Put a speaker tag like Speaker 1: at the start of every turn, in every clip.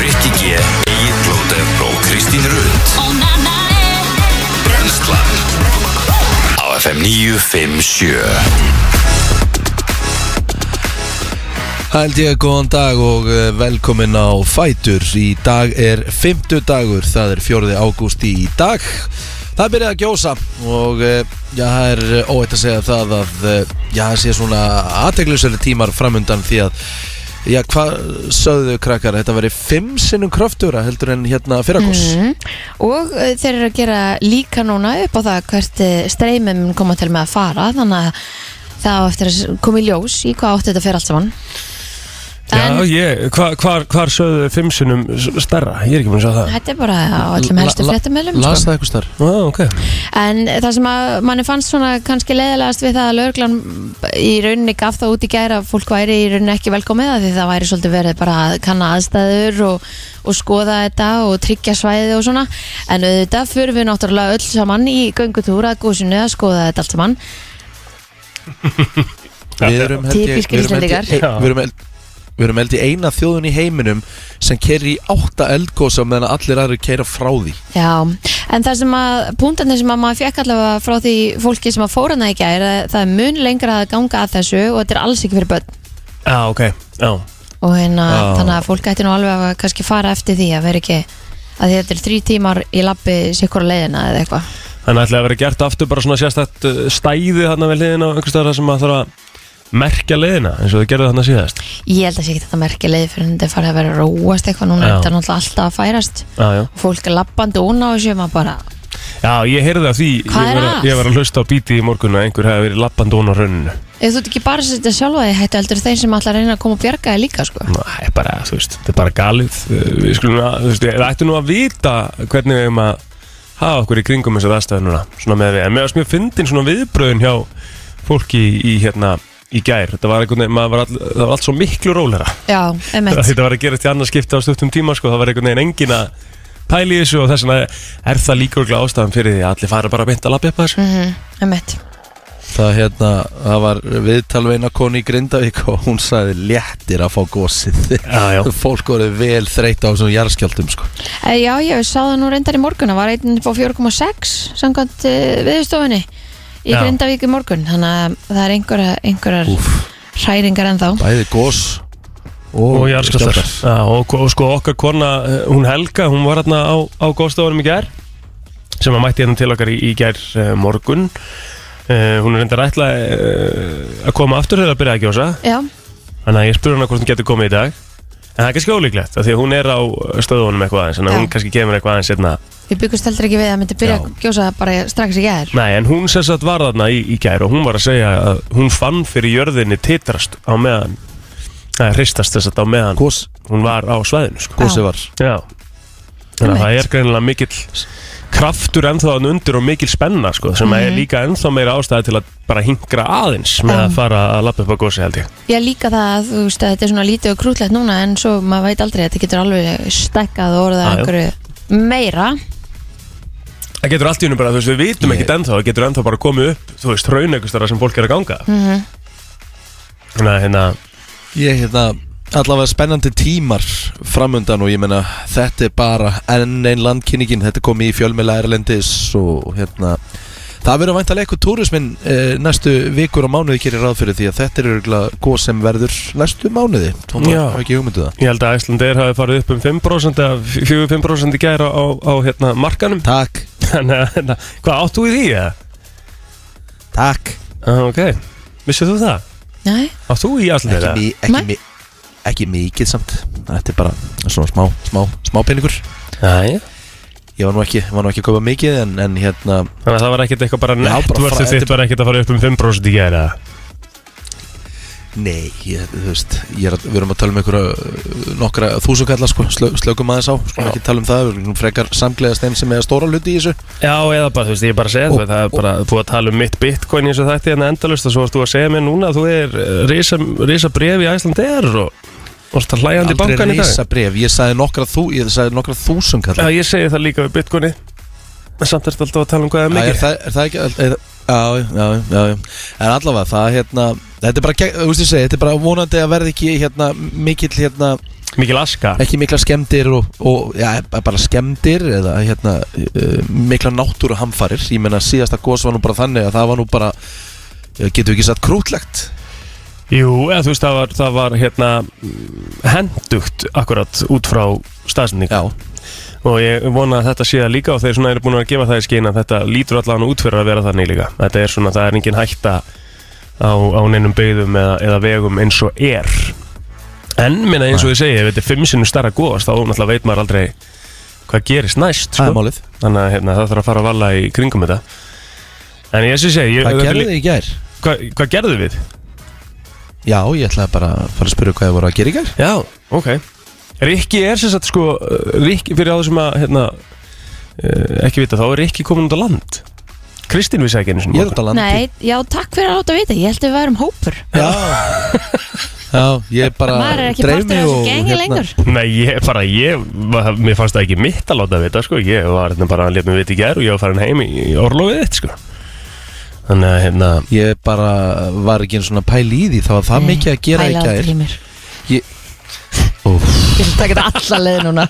Speaker 1: Rikki G, Egil Blóter og Kristín Rund Brenslan Á FM 957
Speaker 2: Held ég góðan dag og eh, velkomin á Fætur Í dag er fimmtudagur, það er 4. ágúst í dag Það er byrjað að gjósa og eh, já, það er eh, óhætt að segja það að eh, já, það sé svona aðteglusölu tímar framundan því að já, hvað sögðu krakkar, þetta veri fimm sinnum kröftura heldur en hérna fyrrakos mm.
Speaker 3: Mhm.
Speaker 4: Og eh, þeir eru að gera líka núna upp á það hvert eh, streymið mun koma til með að fara þannig að það á eftir að koma í ljós í hvað átt þetta fer allt saman En
Speaker 3: Já, ég, hva, hvar, hvar sögðu þau fimm sinnum s- stærra? Ég er ekki búin að sjá það.
Speaker 4: þetta er bara á öllum helstu fréttamöðlum
Speaker 2: Las
Speaker 4: sko.
Speaker 2: það eitthvað starf
Speaker 3: Já, ok.
Speaker 4: En það sem að manni fannst svona kannski leiðilegast við það að lögreglan í rauninni gaf það út í gæra að fólk væri í rauninni ekki velkomið að því það væri svolítið verið bara að kanna aðstæður og, og skoða þetta og tryggja svæði og svona en auðvitað fyrir við náttúrulega öll saman í göngutúra að góðsynu að skoða þetta allt saman
Speaker 2: Við erum held ég
Speaker 4: Typískir
Speaker 2: við erum held ég-
Speaker 4: Íslendingar.
Speaker 2: við erum held- Við erum held í eina þjóðun í heiminum sem kerri í átta eldgósa meðan allir aðrir keira frá því
Speaker 4: Já, en það sem að púntarnir sem að maður fekk allavega frá því fólki sem að fóra hana í gær að það er mun lengra að ganga að þessu og þetta er alls ekki fyrir börn
Speaker 3: Já, ok. Já.
Speaker 4: og hérna,
Speaker 2: Já.
Speaker 4: þannig að fólk ætti nú alveg að kannski fara eftir því að vera ekki að því þetta er þrjú tímar í lappi sikkur leiðina eða eitthvað
Speaker 3: Þannig ætlaði að vera gert aftur bara svona sérstætt uh, stæði þarna við liðina og einhvers staðar sem maður þarf að merkja liðina eins og þau gerðu þarna síðast.
Speaker 4: Ég held að sé ekki þetta merki leið fyrir þetta er farið að vera að róast eitthvað núna,
Speaker 3: Já.
Speaker 4: þetta er náttúrulega alltaf að færast
Speaker 3: Já, já.
Speaker 4: fólk er lappandi óna og sjöma bara
Speaker 3: Já, ég heyrði af því,
Speaker 4: Hvað
Speaker 3: ég
Speaker 4: er
Speaker 3: var,
Speaker 4: að?
Speaker 3: að- ég var að hlusta á bíti í morgun að einhver hefði verið lappandi ón á rauninu.
Speaker 4: Ef þú ert ekki bara að setja sjálfa því hættu heldur þeir sem ætla að reyna að koma og bjarga þér líka sko.
Speaker 3: Það er bara, þú veist, þetta er bara galið. Uh, Við skulum að, þú veist, við ættum nú að vita hvernig við erum að hafa okkur í kringum þessar aðstæður núna, svona með við. En mér varst mjög fyndin svona viðbröðin hjá fólki í, í hérna, í gær. Þetta var einhvern veginn, maður var all, það var allt svo miklu rólera.
Speaker 4: Já, emett
Speaker 3: Þetta var að gerast í annars skipti á stuttum tíma, sko, það var einhvern veginn engin að pæli þessu og þess vegna er það líka örgulega ástæðan fyrir því að allir fara bara beint að lappa upp að þessu.
Speaker 4: mm Emett
Speaker 2: Það hérna, það var viðtalveina koni í Grindavík og hún sagði léttir að fá gósið
Speaker 3: Já, já.
Speaker 2: Fólk voru vel þreytt á þessum jarðskjaldum sko.
Speaker 4: Eh, Já, ég sá það nú reyndar í morgun það var einn upp á 4,6 samkvæmt uh, viðstofunni í
Speaker 3: Já.
Speaker 4: Grindavík í morgun þannig að það er einhverja, einhverjar
Speaker 2: Úff.
Speaker 4: hræringar ennþá
Speaker 2: Bæði gós
Speaker 3: og jarðskjálftar Já, og, og sko okkar kona, eh, hún Helga hún var hérna á, á góðstofunum í gær sem að mætti hérna til okkar í, í gær uh, morgun uh, hún er reyndar ætla uh, að koma aftur þegar að byrja að gjósa
Speaker 4: Já,
Speaker 3: þannig að ég spurði hana hvort hún getur komið í dag en það er kannski ólíklegt, af því að hún er á eh, stöðunum eitthvað aðeins, þannig að
Speaker 4: Já.
Speaker 3: hún kannski kemur eitthvað aðeins hérna
Speaker 4: við byggust heldur ekki við að myndi byrja
Speaker 3: Já.
Speaker 4: að gjósa bara strax í gær
Speaker 3: Nei, en hún sem sagt var þarna í, í gær og hún var að segja að hún fann fyrir jörðinni titrast á meðan Nei, hristast þess að á meðan
Speaker 2: Gós,
Speaker 3: hún var á svæðinu sko.
Speaker 2: gósið var
Speaker 3: Já Þannig að það
Speaker 4: Einmitt.
Speaker 3: er greinilega mikill kraftur ennþá hann undir og mikil spenna sko, sem mm er líka ennþá meira ástæði til að bara hingra aðeins með
Speaker 4: Mhm. Já.
Speaker 3: að fara að lappa upp á gósi held ég
Speaker 4: Ég líka það að þú veist að þetta er svona lítið og krútlegt núna en svo maður veit aldrei að þetta getur alveg stekkað og orðað
Speaker 3: Já, já.
Speaker 4: einhverju meira
Speaker 3: Það getur allt í hennu bara, þú veist, við vitum ekkert ennþá það getur ennþá bara komið upp, þú veist, raun eitthvað starra sem fólk er að ganga
Speaker 4: mm
Speaker 3: Þannig að hérna,
Speaker 2: Ég hérna, allavega spennandi tímar framundan og ég meina þetta er bara enn ein landkynningin Þetta kom í fjölmela Erlendis og hérna Það verður væntalega eitthvað túrismin eh, næstu vikur og mánuði gerir ráð fyrir því að þetta er örgulega góð sem verður næstu mánuði. Hún
Speaker 3: Já.
Speaker 2: var ekki hugmynduð það.
Speaker 3: ég held að Æslandeir hafi farið upp um 5% eða 4-5% í gæra á, á hérna, markanum
Speaker 2: Takk,
Speaker 3: Þannig að, hérna, hvað áttu í því? eða?
Speaker 2: takk
Speaker 3: Ah, ok, vissið þú það?
Speaker 4: Nei,
Speaker 3: Áttu í Æslandeir?
Speaker 2: Ekki,
Speaker 3: eða?
Speaker 2: mi
Speaker 4: Nei.
Speaker 2: ekki, mi ekki mikið samt Þetta er bara svona smá, smá, smá peningur
Speaker 3: Jæja.
Speaker 2: Ég var nú ekki, var nú ekki að kaupa mikið En, en hérna,
Speaker 3: Þannig að það var ekkert eitthvað bara
Speaker 2: bara fra-
Speaker 3: nettvörðu þitt var ekkert að fara upp um 5% í gæra
Speaker 2: nei, ég, þú veist ég er að, Við erum að tala um einhverja uh, nokkra þúsukalla sko, slö, Slökum aðeins á, sko,
Speaker 3: Já.
Speaker 2: ekki tala um það Við erum frekar samgleðast þeim sem er stóra hluti í þessu
Speaker 3: Já, eða bara, þú veist, ég er bara að segja
Speaker 2: Og-
Speaker 3: það Það er bara búið að tala um mitt bitcoin eins og þetta en endalust og svo erst þú að segja mér núna að þú er eh, risa, risa bref í Æslandeir og og það hlæjandi í bankan í dag
Speaker 2: reysa bref, ég sagði nokkra, þú, ég sagði nokkra þúsukalla
Speaker 3: Já, ég segi það líka við bitcoini en samt ertu alltaf að tala um hvað er
Speaker 2: Æ, er
Speaker 3: mikið
Speaker 2: það, er það ekki er, já, já, já, já En allavega það hérna Þetta er bara, gegn- þú veist ég segi, þetta er bara vonandi að verði ekki hérna mikill hérna
Speaker 3: Mikil aska
Speaker 2: ekki mikla skemmdir og, og já, bara skemmdir eða hérna, uh, mikla náttúru hamfarir ég menna síðasta gos var nú bara þannig að það var nú bara eh, getum við ekki sagt krútlegt
Speaker 3: Jú, eða þú veist, það var, það var hérna hendugt akkurat út frá staðsending
Speaker 2: já,
Speaker 3: og ég vona að þetta sé það líka og þeir svona eru búin að gefa það í skina þetta lítur allan út fyrir að vera þannig líka þetta er svona, það er engin hætta á, á neinum byggðum eða, eða vegum eins og er en minna eins og ég segi, ef þetta er fimm sinnum starra góðast þá náttúrulega veit maður aldrei hvað gerist næst
Speaker 2: það er
Speaker 3: sko.
Speaker 2: málið
Speaker 3: þannig að hérna, það þarf að fara að vala í kringum þetta en ég sé segi ég,
Speaker 2: hvað
Speaker 3: þetta er
Speaker 2: gerði
Speaker 3: lí-
Speaker 2: þið í gær?
Speaker 3: hvað, hvað gerðu við?
Speaker 2: já, ég ætlaði bara að fara að spyrja hvað þið voru að gera í gær
Speaker 3: Já, ok Rikki er sem sagt sko uh, Rikki fyrir á þessum að hérna, uh, ekki vita þá er Rikki komin út á land Kristín vissi ekki einu
Speaker 2: ég
Speaker 3: sinni um
Speaker 2: er út á landi
Speaker 4: Nei, já, takk fyrir að láta vita, ég held að við værum hópur
Speaker 2: já, já ég bara
Speaker 4: Maður er ekki
Speaker 2: dreif
Speaker 4: partur
Speaker 2: mig
Speaker 4: af þessu
Speaker 2: og, hérna,
Speaker 4: gengi lengur
Speaker 3: Nei, ég bara, ég, var- mér fannst það ekki mitt að láta vita, sko, ég var hérna bara að lefa mig vita í gær og ég var farin heim í, í orlofið þitt, sko Þannig að, hérna,
Speaker 2: ég bara var ekki einu svona pæl í því það var það mikið að gera í
Speaker 4: Pæla aldrei
Speaker 2: gær
Speaker 4: í mér.
Speaker 2: Úff.
Speaker 4: Ég vil taka þetta alla leið núna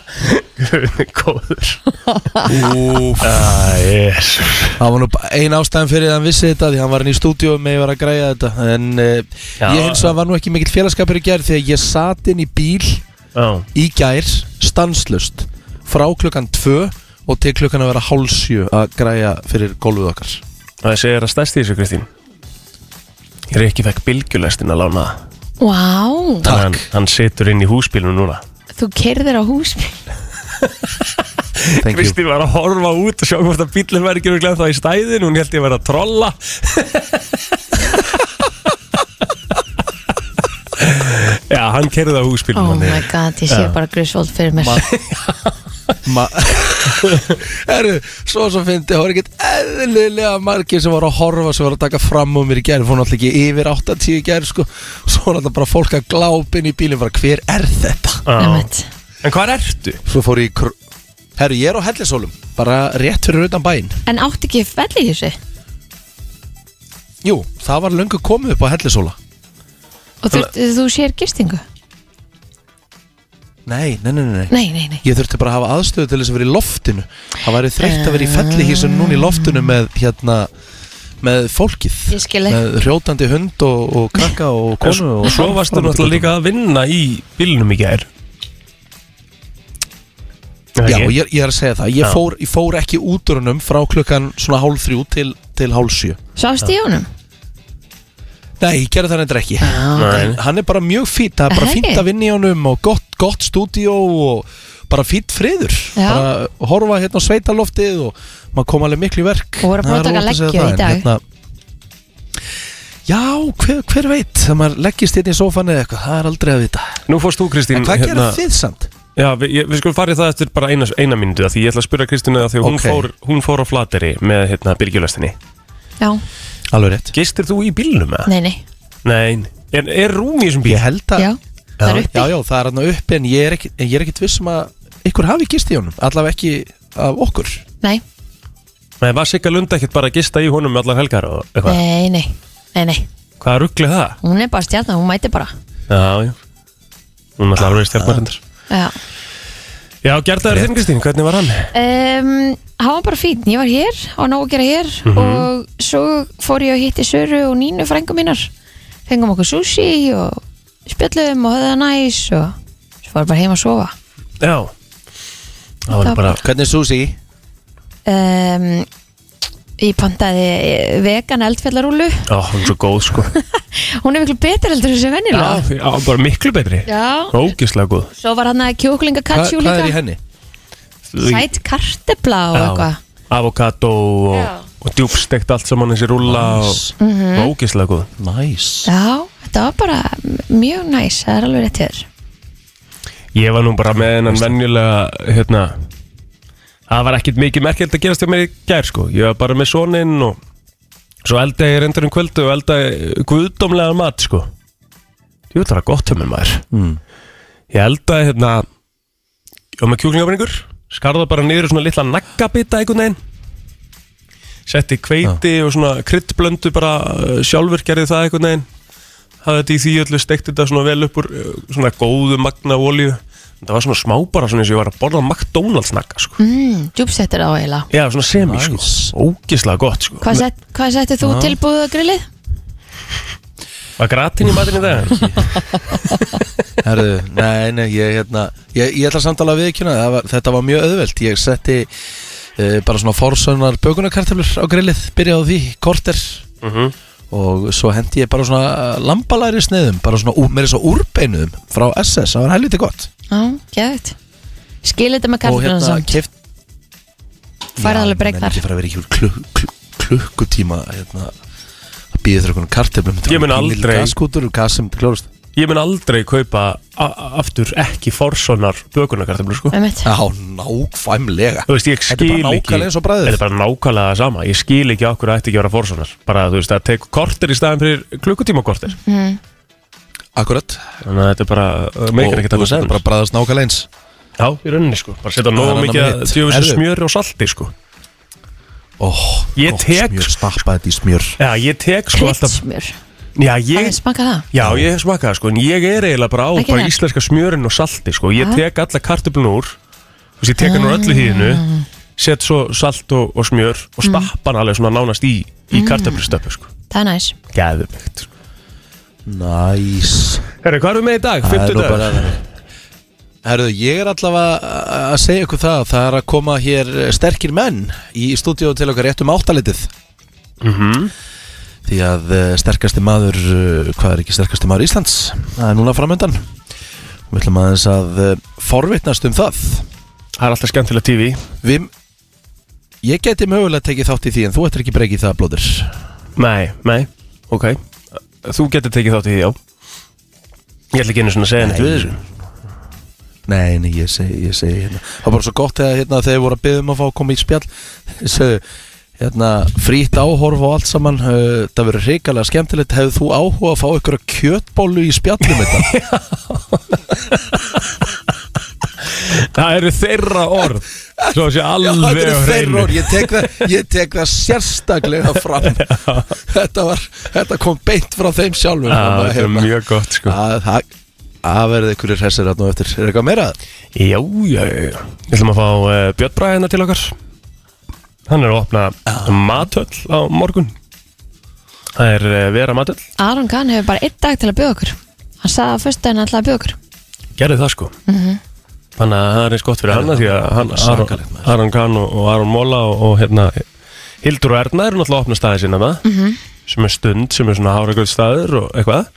Speaker 3: góður
Speaker 2: Úff.
Speaker 3: Það er,
Speaker 2: Það var nú ein ástæðan fyrir að hann vissi þetta því hann var hann í stúdíu með ég var að græja þetta en uh,
Speaker 3: Já.
Speaker 2: ég hins vegar var nú ekki mikill félagskapur í gær því að ég sat inn í bíl
Speaker 3: já,
Speaker 2: í gær stanslust frá klukkan 2 og til klukkan að vera hálsjö að græja fyrir gólfið okkar
Speaker 3: það segir að stærst í þessu, Kristín Rikki fekk bylgjulestin að lána það
Speaker 4: Vá,
Speaker 3: Þannig að hann, hann situr inn í húsbílunum núna
Speaker 4: þú kerðir á húsbíl
Speaker 2: Thank you.
Speaker 3: Kristín var að horfa út og sjá hvort að bílinn væri ekki örugglega þá í stæðin hún held ég að vera að trolla Já, hann kerði það á húsbílinn
Speaker 4: Oh
Speaker 3: hann
Speaker 4: my
Speaker 3: er-
Speaker 4: god, ég sé bara grisvold fyrir mér
Speaker 2: Ma Herru, svo svo fyndi það voru ekkert eðlilega margir sem voru að horfa sem voru að taka fram um mér í gær fór náttúrulega ekki yfir 80 í gær sko svo var náttúrulega bara fólk að glápa inn í bílinn bara hver er þetta?
Speaker 3: Já.
Speaker 4: Einmitt.
Speaker 3: En hvað ertu?
Speaker 2: Svo fór ég í kr... Herru, ég er á hellisólum Bara rétt fyrir utan bæinn
Speaker 4: En átti ekki fell í þessu
Speaker 2: Jú, það var löngu komið upp á hellisóla
Speaker 4: Og þú, þú sér gistingu
Speaker 2: Nei, nei, nei, nei, nei
Speaker 4: Nei, nei, nei
Speaker 2: Ég þurfti bara að hafa aðstöðu til þess að vera í loftinu Það væri þreytt að vera í fellihísun núna í loftinu með, hérna, með fólkið
Speaker 4: Ég skil ekki
Speaker 2: Með hrjótandi hund og, og krakka og
Speaker 3: En
Speaker 2: konu og
Speaker 3: Sko, svo varstu náttúrulega líka að vinna í bílnum í gær
Speaker 2: Já, ég, ég er að segja það
Speaker 3: Já.
Speaker 2: Ég fór, ég fór ekki út úr hennum frá klukkan svona hálf þrjú til, til hálf sjö
Speaker 4: Svafst í honum?
Speaker 2: Nei, ég gerði það reyndar ekki
Speaker 3: Nei.
Speaker 2: En hann er bara mjög fýtt, það er bara
Speaker 4: Hei.
Speaker 2: fínt að vinna í honum og gott, gott stúdíó og bara fýtt friður
Speaker 4: Já.
Speaker 2: bara horfa hérna á sveitaloftið og maður kom alveg miklu í verk
Speaker 4: Og voru
Speaker 2: Það er
Speaker 4: að
Speaker 2: óhætt
Speaker 4: prófa að taka
Speaker 2: segja
Speaker 4: leggju í
Speaker 2: það, en hérna-
Speaker 4: dag.
Speaker 2: Já, hver, hver veit það maður leggist hérna í sófan eða eitthvað, það er aldrei að vita
Speaker 3: Nú fórst þú Kristín
Speaker 2: En hvað
Speaker 3: hérna-
Speaker 2: gerir þið samt?
Speaker 3: Já, við, ég- við skulum farið það eftir bara eina, eina myndu Því ég ætla að spura Kristínu að því hún,
Speaker 2: Ok.
Speaker 3: fór, hún fór á flateri með hérna, byrgjulestinni
Speaker 4: Já,
Speaker 2: Alveg rétt
Speaker 3: Gistir þú í bílnum eða?
Speaker 4: nei, nei
Speaker 3: Nei, en er rúm í þessum bíl?
Speaker 2: Ég held að
Speaker 4: Já, það er uppi
Speaker 2: Já, já, það er hann uppi en ég er ekkit, en ég er ekkit vissum að ykkur hafi gist í honum allavega ekki af okkur
Speaker 4: Nei,
Speaker 3: Nei, var Sigga Lund ekkert bara að gista í honum með allar helgar og eitthvað?
Speaker 4: nei, nei, nei, nei
Speaker 3: Hvað ruggli það?
Speaker 4: Hún er bara stjarnar, hún mæti bara
Speaker 3: Já, já. Hún allar
Speaker 4: Ah,
Speaker 3: alveg stjarnarindar.
Speaker 4: Já
Speaker 3: Já, gerðaður þinn Kristín, hvernig var hann?
Speaker 4: Um, hann var bara fín, ég var hér og nóg að gera hér
Speaker 2: Mhm.
Speaker 4: og svo fór ég og hitti Söru og Nínu frængum mínar fengum okkur sushi og spjöllum og höfða næs og svo var bara heim að sofa
Speaker 3: Já. Það var
Speaker 4: Það-
Speaker 3: bara,
Speaker 2: Hvernig er Susi?
Speaker 4: um, ég pantaði vegan eldfjallarúlu
Speaker 3: já, hún er svo góð sko.
Speaker 4: hún er miklu betur heldur þessi vennilega
Speaker 3: já, bara miklu betri.
Speaker 4: já,
Speaker 3: Ógislega góð.
Speaker 4: svo var hann að kjúklinga
Speaker 2: Hva,
Speaker 4: katsjú
Speaker 2: hvað er í
Speaker 4: líka
Speaker 2: henni?
Speaker 4: sæt kartebla og
Speaker 3: Já.
Speaker 4: eitthvað
Speaker 3: Avokado
Speaker 4: Já. Mhm.
Speaker 3: og, og djúbstekt allt saman þessi rúlla
Speaker 2: Nice.
Speaker 3: og ógislega góð.
Speaker 2: Nice.
Speaker 4: já, þetta var bara mjög næs, það er alveg rétt hér
Speaker 3: Ég var nú bara með hennan venjulega, hérna, það var ekkert mikið merkjöld að gerast hjá mér í gær, sko. Ég var bara með soninn og svo eldaði ég reyndar um kvöldu og eldaði guðdómlega mat, sko. Jú, það var gott hjá mér maður.
Speaker 2: Mm.
Speaker 3: Ég eldaði, hérna, ég var með kjúklingabringur, skarða bara niður í svona litla naggabita einhvern veginn. Setti kveiti og svona kryddblöndu bara uh, sjálfur gerði það einhvern veginn. Hafði þetta í því öllu steikt þetta svona vel upp úr uh, svona góðu eh, magna olíu það var svona smá bara svona eins og ég var að borða McDonalds nakka sko.
Speaker 4: mm, Djúpsettir á eiginlega
Speaker 3: Já, svona semi sko, ógislega gott sko
Speaker 4: Hvað, sett, hvað settir þú
Speaker 3: Já.
Speaker 4: tilbúðu grillið?
Speaker 3: Var gratin í matinn í dag?
Speaker 2: Herðu, nei, nei, ég, hérna, ég, ég ætla samt alveg að viðkjöna var, Þetta var mjög auðvelt Ég setti uh, bara svona forsögnar bökunarkartöflur á grillið Byrjaði á því, korter
Speaker 3: Mhm.
Speaker 2: Og svo hendi ég bara svona lambalæri sniðum Bara svona, úr- meira svo úrbeinuðum Frá SS, það var helviti gott
Speaker 4: Já, geðvægt Skil þetta með
Speaker 2: Og
Speaker 4: karfinu
Speaker 2: hérna,
Speaker 4: samt
Speaker 2: keft
Speaker 4: Færið alveg breyk þar
Speaker 2: Ég fara að vera ekki úr klukk, klukk, klukkutíma hérna, að býða þér okkur kartöflum
Speaker 3: Ég mun aldrei-
Speaker 2: Gaskútur, gas sem klórast
Speaker 3: Ég mun aldrei kaupa a- a- aftur ekki forsonar bökunarkartablu sko
Speaker 4: Einmitt.
Speaker 2: Já, nákvæmlega
Speaker 3: Þú veist, ég skil
Speaker 2: Þetta er bara nákvæmlega eins og bræður
Speaker 3: Þetta er bara nákvæmlega það sama Ég skil ekki okkur að þetta ekki að vera forsonar Bara, þú veist, það tekur korter í staðin fyrir klukkutíma korter
Speaker 2: Akkurat
Speaker 3: Þannig að þetta er bara, uh, meikir ekki
Speaker 2: Og þú sagðir bara bræðast nákvæmlega eins
Speaker 3: Já, í rauninni sko Bara setja
Speaker 2: Það er
Speaker 3: nóg
Speaker 2: annað
Speaker 3: mikið
Speaker 2: mitt.
Speaker 3: djöfis
Speaker 2: Herðu.
Speaker 3: smjöri og salti sko
Speaker 2: oh,
Speaker 3: Ég tek-
Speaker 2: smjör, Stappa þetta í smjör
Speaker 3: Já, ég tek sko alltaf
Speaker 4: Kryddsmjör,
Speaker 3: Já,
Speaker 4: það
Speaker 3: ég,
Speaker 4: er smaka það
Speaker 3: já, ég smaka það sko En ég er eiginlega bara á
Speaker 4: Ekki
Speaker 3: bara
Speaker 4: það?
Speaker 3: íslenska smjörin og salti sko Ég
Speaker 4: Ah.
Speaker 3: tek alla kartöflun úr Þú veist, ég tek hann úr öllu hýðinu Set svo salt og, og smjör Og
Speaker 4: Mm.
Speaker 3: stappa hann alveg svona nánast í, í kartöflustöppu sko
Speaker 4: Það er næs
Speaker 3: Gæðumegt
Speaker 2: Næs
Speaker 3: Herru, hvað erum við með í dag?
Speaker 2: Það er nú
Speaker 3: 50
Speaker 2: bara
Speaker 3: dagar?
Speaker 2: Herðu, ég er allavega að- að segja ykkur það Það er að koma hér sterkir menn Í stúdíu til okkar rétt um áttalitið Mhm. Því að eh, sterkasti maður eh, Hvað er ekki sterkasti maður Íslands Það er núna framöndan Við ætlum aðeins að eh, forvitnast um það
Speaker 3: Það er alltaf skemmtilega TV
Speaker 2: Við Ég geti mögulega tekið þátt í því en þú ættir ekki breykið það blóður
Speaker 3: Nei, nei, ok Þú getur tekið þátt í því, já Ég ætla ekki einu svona að segja neitt
Speaker 2: Nei.
Speaker 3: við þessu
Speaker 2: Nei, nei, ég segi, ég segi hérna. Það var bara svo gott þegar hérna, þegar voru að byggja um að fá að koma í spjall Segðu, hérna, frýtt áhorf og allt saman uh, Það verður hrikalega skemmtilegt Hefðu þú áhuga að fá ykkur kjötbólu í spjallum þetta?
Speaker 3: Það eru þeirra orð Svo sé alveg
Speaker 2: það eru
Speaker 3: á hreinu.
Speaker 2: þeirra orð. ég, tek það, ég tek það sérstaklega fram þetta, var, þetta kom beint frá þeim sjálfum
Speaker 3: Já,
Speaker 2: Þannig að,
Speaker 3: Þetta er
Speaker 2: hérna,
Speaker 3: mjög gott sko
Speaker 2: að- það- Það verður ykkur hressir hérna á eftir Er eitthvað meira?
Speaker 3: Já, já, já já. Við ætlum að fá uh, Björn Braga hérna til okkar Hann er að opna matöll á morgun Það er uh, Vera matöll
Speaker 4: Aron Kahn hefur bara einn dag til að bjóða okkur Hann sagði á fyrstu en alltaf að bjóða okkur
Speaker 3: Gerðu það sko Þannig að það er eins gott fyrir hann Því að hann, Aron,
Speaker 2: Svakalegt, maður.
Speaker 3: Aron Kahn og, og Aron Móla og, og hérna Hildur og Erna eru náttúrulega að opna staði sinna það -hmm. Sem er stund, sem er svona háragröð staður og eitthvað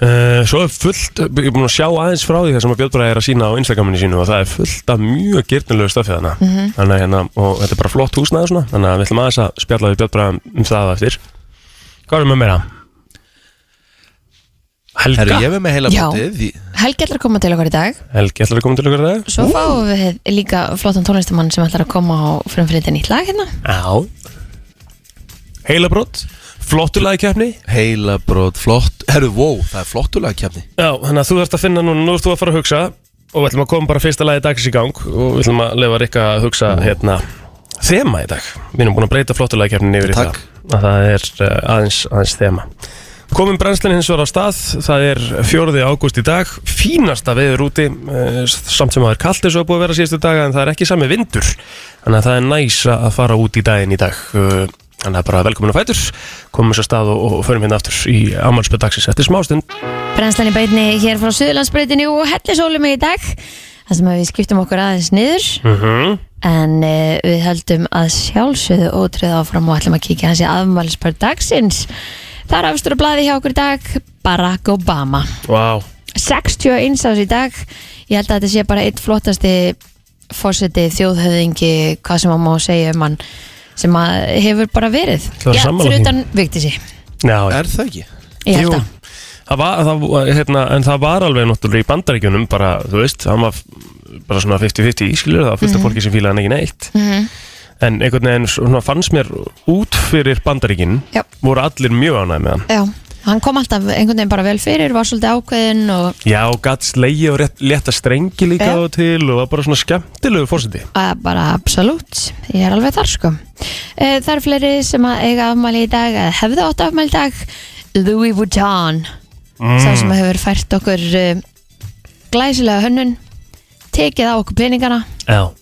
Speaker 3: Uh, svo er fullt, ég er búin að sjá aðeins frá því það sem að Björn Bræði er að sína á Instagraminu sínu og það er fullt af mjög girnilegu stafjöðana mm -hmm. þannig að hérna, og þetta er bara flott húsnaði svona, þannig að við ætlum aðeins að spjalla við Björn Bræði um það á eftir Hvað erum við meira? Helga,
Speaker 2: Herru, ég verð með heila
Speaker 4: Já.
Speaker 2: bótið því-
Speaker 4: Helgi ætlar að koma til okkar í dag
Speaker 3: Helgi, ætlar að koma til okkur þegar?
Speaker 4: Svo fáum við líka flottan tónlistamann sem ætlar að koma á frumfyrirtin í lag hérna
Speaker 3: Já Heilabrott Flottulega keppni
Speaker 2: Heila brot, flott Herru, wow, það er flottulega kefni
Speaker 3: Já, þannig að þú þarfst að finna núna Nú ert þú að fara að hugsa Og við ætlum að koma bara fyrsta lagi dags í gang Og við ætlum að lefa Rikka að hugsa hérna Þema í dag Við erum búin að breyta flottulega keppnin yfir í
Speaker 2: Takk.
Speaker 3: það Að það er uh, aðeins, aðeins þema Komin brennslan hins vegar á stað, það er 4. ágúst í dag, fínasta veður úti, eh, samt sem að það er kallt eins og að búið að vera síðustu daga en það er ekki sami vindur, þannig að það er næs að fara út í daginn í dag, Eh, þannig að bara velkomin að fætur, komum þess að stað og, og förum hérna aftur í ammálspöð dagsins eftir smástund.
Speaker 4: Brennslan í beinni hér frá Suðurlandsbreytinu og hellisólum í dag Það sem að við skiptum okkur aðeins niður
Speaker 3: Mm -hmm.
Speaker 4: En uh, við höldum að sjálfsögðu ótröð áfram og ætlum að kíkja hans í afmælisbörn dagsins. Það er afstur að blaði hjá okkur í dag, Barack Obama.
Speaker 3: Vá,
Speaker 4: 61 ás í dag, ég held að þetta sé bara eitt flottasti fórseti þjóðhöfðingi, hvað sem maður má segja um hann, sem að hefur bara verið.
Speaker 3: Það er
Speaker 4: Já,
Speaker 3: sammála
Speaker 4: fyrir
Speaker 3: því.
Speaker 4: utan Vigdísi,
Speaker 3: já, já.
Speaker 2: Er það ekki?
Speaker 4: ég held
Speaker 3: Jú.
Speaker 4: að.
Speaker 3: það var, það, var- hérna, en það var alveg náttúrulega í bandaríkjunum bara, þú veist, það var bara svona 50-50 ískilur, það var fullt af fólki sem fílaði hann ekki neitt
Speaker 4: Mhm.
Speaker 3: en einhvern veginn svona fannst mér út fyrir bandaríkin
Speaker 4: Já.
Speaker 3: voru allir mjög ánægð með hann
Speaker 4: Já, hann kom alltaf einhvern veginn bara vel fyrir, var svolítið ákveðin og
Speaker 3: Já, og gatt slegi og rétt, leta strengi líka
Speaker 4: Já.
Speaker 3: á og til og var bara svona skemmtilegu fórseti
Speaker 4: Að bara absolutt, ég er alveg þar sko Eh, Það eru fleiri sem að eiga afmæli í dag eða hefðu átt afmæli í dag Mm.
Speaker 3: Mm.
Speaker 4: Louis Vuitton sá sem hefur fært okkur eh, e, glæsilega hönnun tekið á okkur peningana
Speaker 3: Já.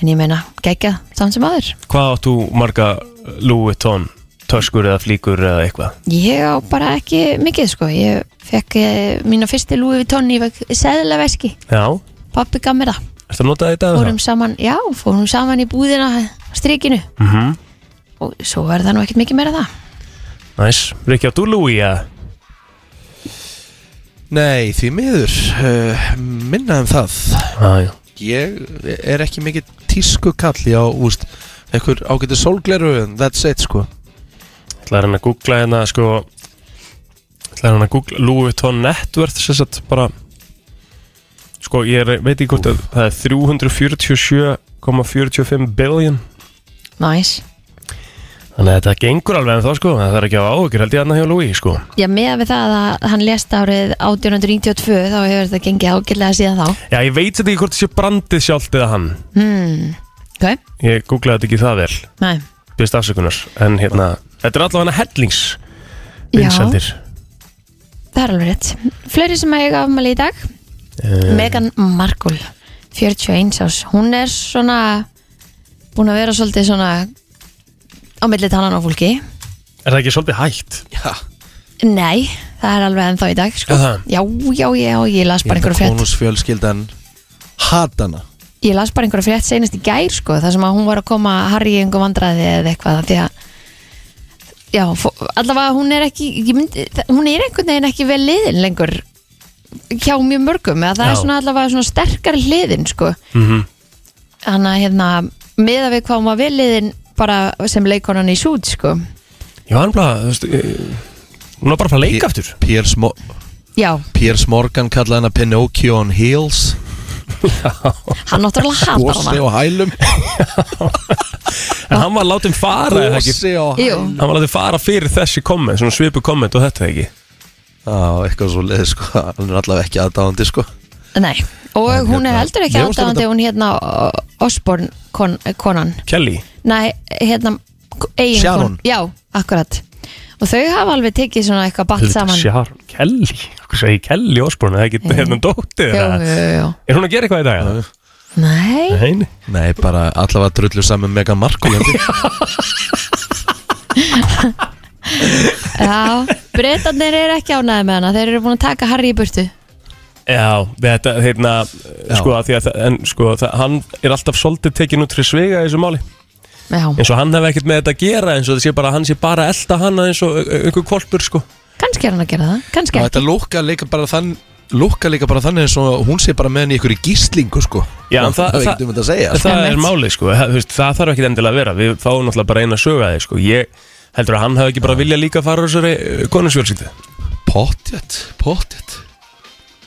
Speaker 4: en ég meina, geggjað, samt sem aður
Speaker 3: Hvað áttu marga lúi tón, töskur eða flíkur eða eitthvað?
Speaker 4: ég á bara ekki mikið sko ég fekk eh, mína fyrsti Louis Vuitton í seðlega veski,
Speaker 3: Já,
Speaker 4: pappi gaf mér það
Speaker 3: ertu að nota þetta eða
Speaker 4: fórum saman, já, fórum saman í búðina á strikinu
Speaker 3: Mm -hmm.
Speaker 4: og svo var það nú ekkert mikið meira en það
Speaker 3: Næs, Rikki áttu lúi eða?
Speaker 2: Nei, því miður uh, Minna um það
Speaker 3: Já, já
Speaker 2: Ég er ekki mikið tísku kalli á úst, einhver ágæti sólgleru en That's it sko
Speaker 3: Það er hann að googla hérna sko Það er hann að googla Louis Vuitton Networth Sess að bara Sko ég er, veit ekki hvort að það er 347,45 billion
Speaker 4: næs,
Speaker 3: Þannig að þetta gengur alveg en þá sko en Það er ekki á áhugir held ég hann hjá Louis sko
Speaker 4: já, meða við það að hann lést árið 1892 þá hefur þetta gengið ágætlega síðan þá
Speaker 3: Já ég veit þetta ekki hvort það sé brandið sjálft eða hann
Speaker 4: hmm, ok,
Speaker 3: Ég googlaði þetta ekki það vel
Speaker 4: næ
Speaker 3: Byrst afsökunar En hérna, þetta er allavega hellings
Speaker 4: já,
Speaker 3: Vinseldir
Speaker 4: það er alveg rétt fleiri sem eiga afmæli í dag
Speaker 3: Eh.
Speaker 4: Megan Markle 41 árs, hún er svona búin að vera svolítið svona á milli tannan á fólki
Speaker 3: Eh, Er það ekki svolítið hægt?
Speaker 2: Já,
Speaker 4: nei, það er alveg ennþá í dag sko.
Speaker 3: Er það?
Speaker 4: já, já, já, ég las bara einhverja frétt
Speaker 2: Konusfjölskyldan Hatana
Speaker 4: ég las bara einhverja frétt seinast í gær sko, þar sem að hún var að koma Harry í einhver vandræði eða eitthvað því að já, fó- allavega hún er ekki ég myndi, þa- hún er einhvern veginn ekki vel liðin lengur hjá mjög mörgum eða það er
Speaker 3: Já.
Speaker 4: svona allavega svona sterkar liðin sko
Speaker 3: Mm
Speaker 2: Mhm.
Speaker 4: þannig að hérna meða við hvað hún var veliðin bara sem leikonan í sút sko
Speaker 3: Já hann bara, þú veist eh, Hún var bara að fara að leika aftur
Speaker 2: Piers, Mo
Speaker 4: já,
Speaker 2: Piers Morgan kallaði hana Pinocchio on Heels
Speaker 4: hann náttúrulega hatar
Speaker 2: Gósi
Speaker 4: hana
Speaker 2: og hælum
Speaker 3: En hann var látið fara eða ekki
Speaker 2: Gósi og
Speaker 4: Jú,
Speaker 2: hælum
Speaker 3: Hann var látið fara fyrir þessi komment Svona svipu komment og þetta ekki
Speaker 2: Já, eitthvað svo leið sko Hann er allavega ekki aðdáðandi sko
Speaker 4: nei og hún er heldur ekki
Speaker 2: hérna, Mér fannst
Speaker 4: aðdáðandi hún hérna Osborn kon, konan
Speaker 3: Kelly
Speaker 4: nei, hérna eigin
Speaker 2: Sharon.
Speaker 4: já, akkurat og þau hafa alveg tekið svona eitthvað batt
Speaker 3: Auðvitað,
Speaker 4: saman jú,
Speaker 3: Sharon Kelly Hvað segi Kelly Osborn Það er ekki hérna dóttið
Speaker 4: jú,
Speaker 3: Er
Speaker 4: jú.
Speaker 3: hún að gera eitthvað í dag?
Speaker 4: nei,
Speaker 3: Nei
Speaker 2: Nei, bara allavega drullu saman Megan Markle held ég.
Speaker 4: já breytanir eru ekki ánæði með hana þeir eru búin að taka Harry í burtu
Speaker 3: Já, þetta, hérna,
Speaker 2: Já.
Speaker 3: sko, að því að, það- en, sko, það, hann er alltaf svolítið tekin út fyrir svega í þessu máli
Speaker 4: já,
Speaker 3: eins og hann hef ekkert með þetta að gera eins og það sé bara, hann sé bara að elda hana eins og eh, einhver kvolpur, sko
Speaker 4: kannski er hann að gera það
Speaker 2: Og
Speaker 4: kannski,
Speaker 2: Þetta lúkka líka bara þann Lúkka líka bara þannig eins og hún sé bara með henni í ykkur í gíslingu sko
Speaker 3: Já, það-
Speaker 2: Og Það er
Speaker 3: það-
Speaker 2: ekkert um þetta að segja sko.
Speaker 3: það er
Speaker 4: Einmitt.
Speaker 3: málið sko, það, þú veist, það þarf ekki endilega að vera við fáum náttúrulega bara eina sögu að þið sko ég heldur að hann hafi ekki bara vilja líka fara úr þessari eh, konusfjölskyldu,
Speaker 2: Pottjett, pottjett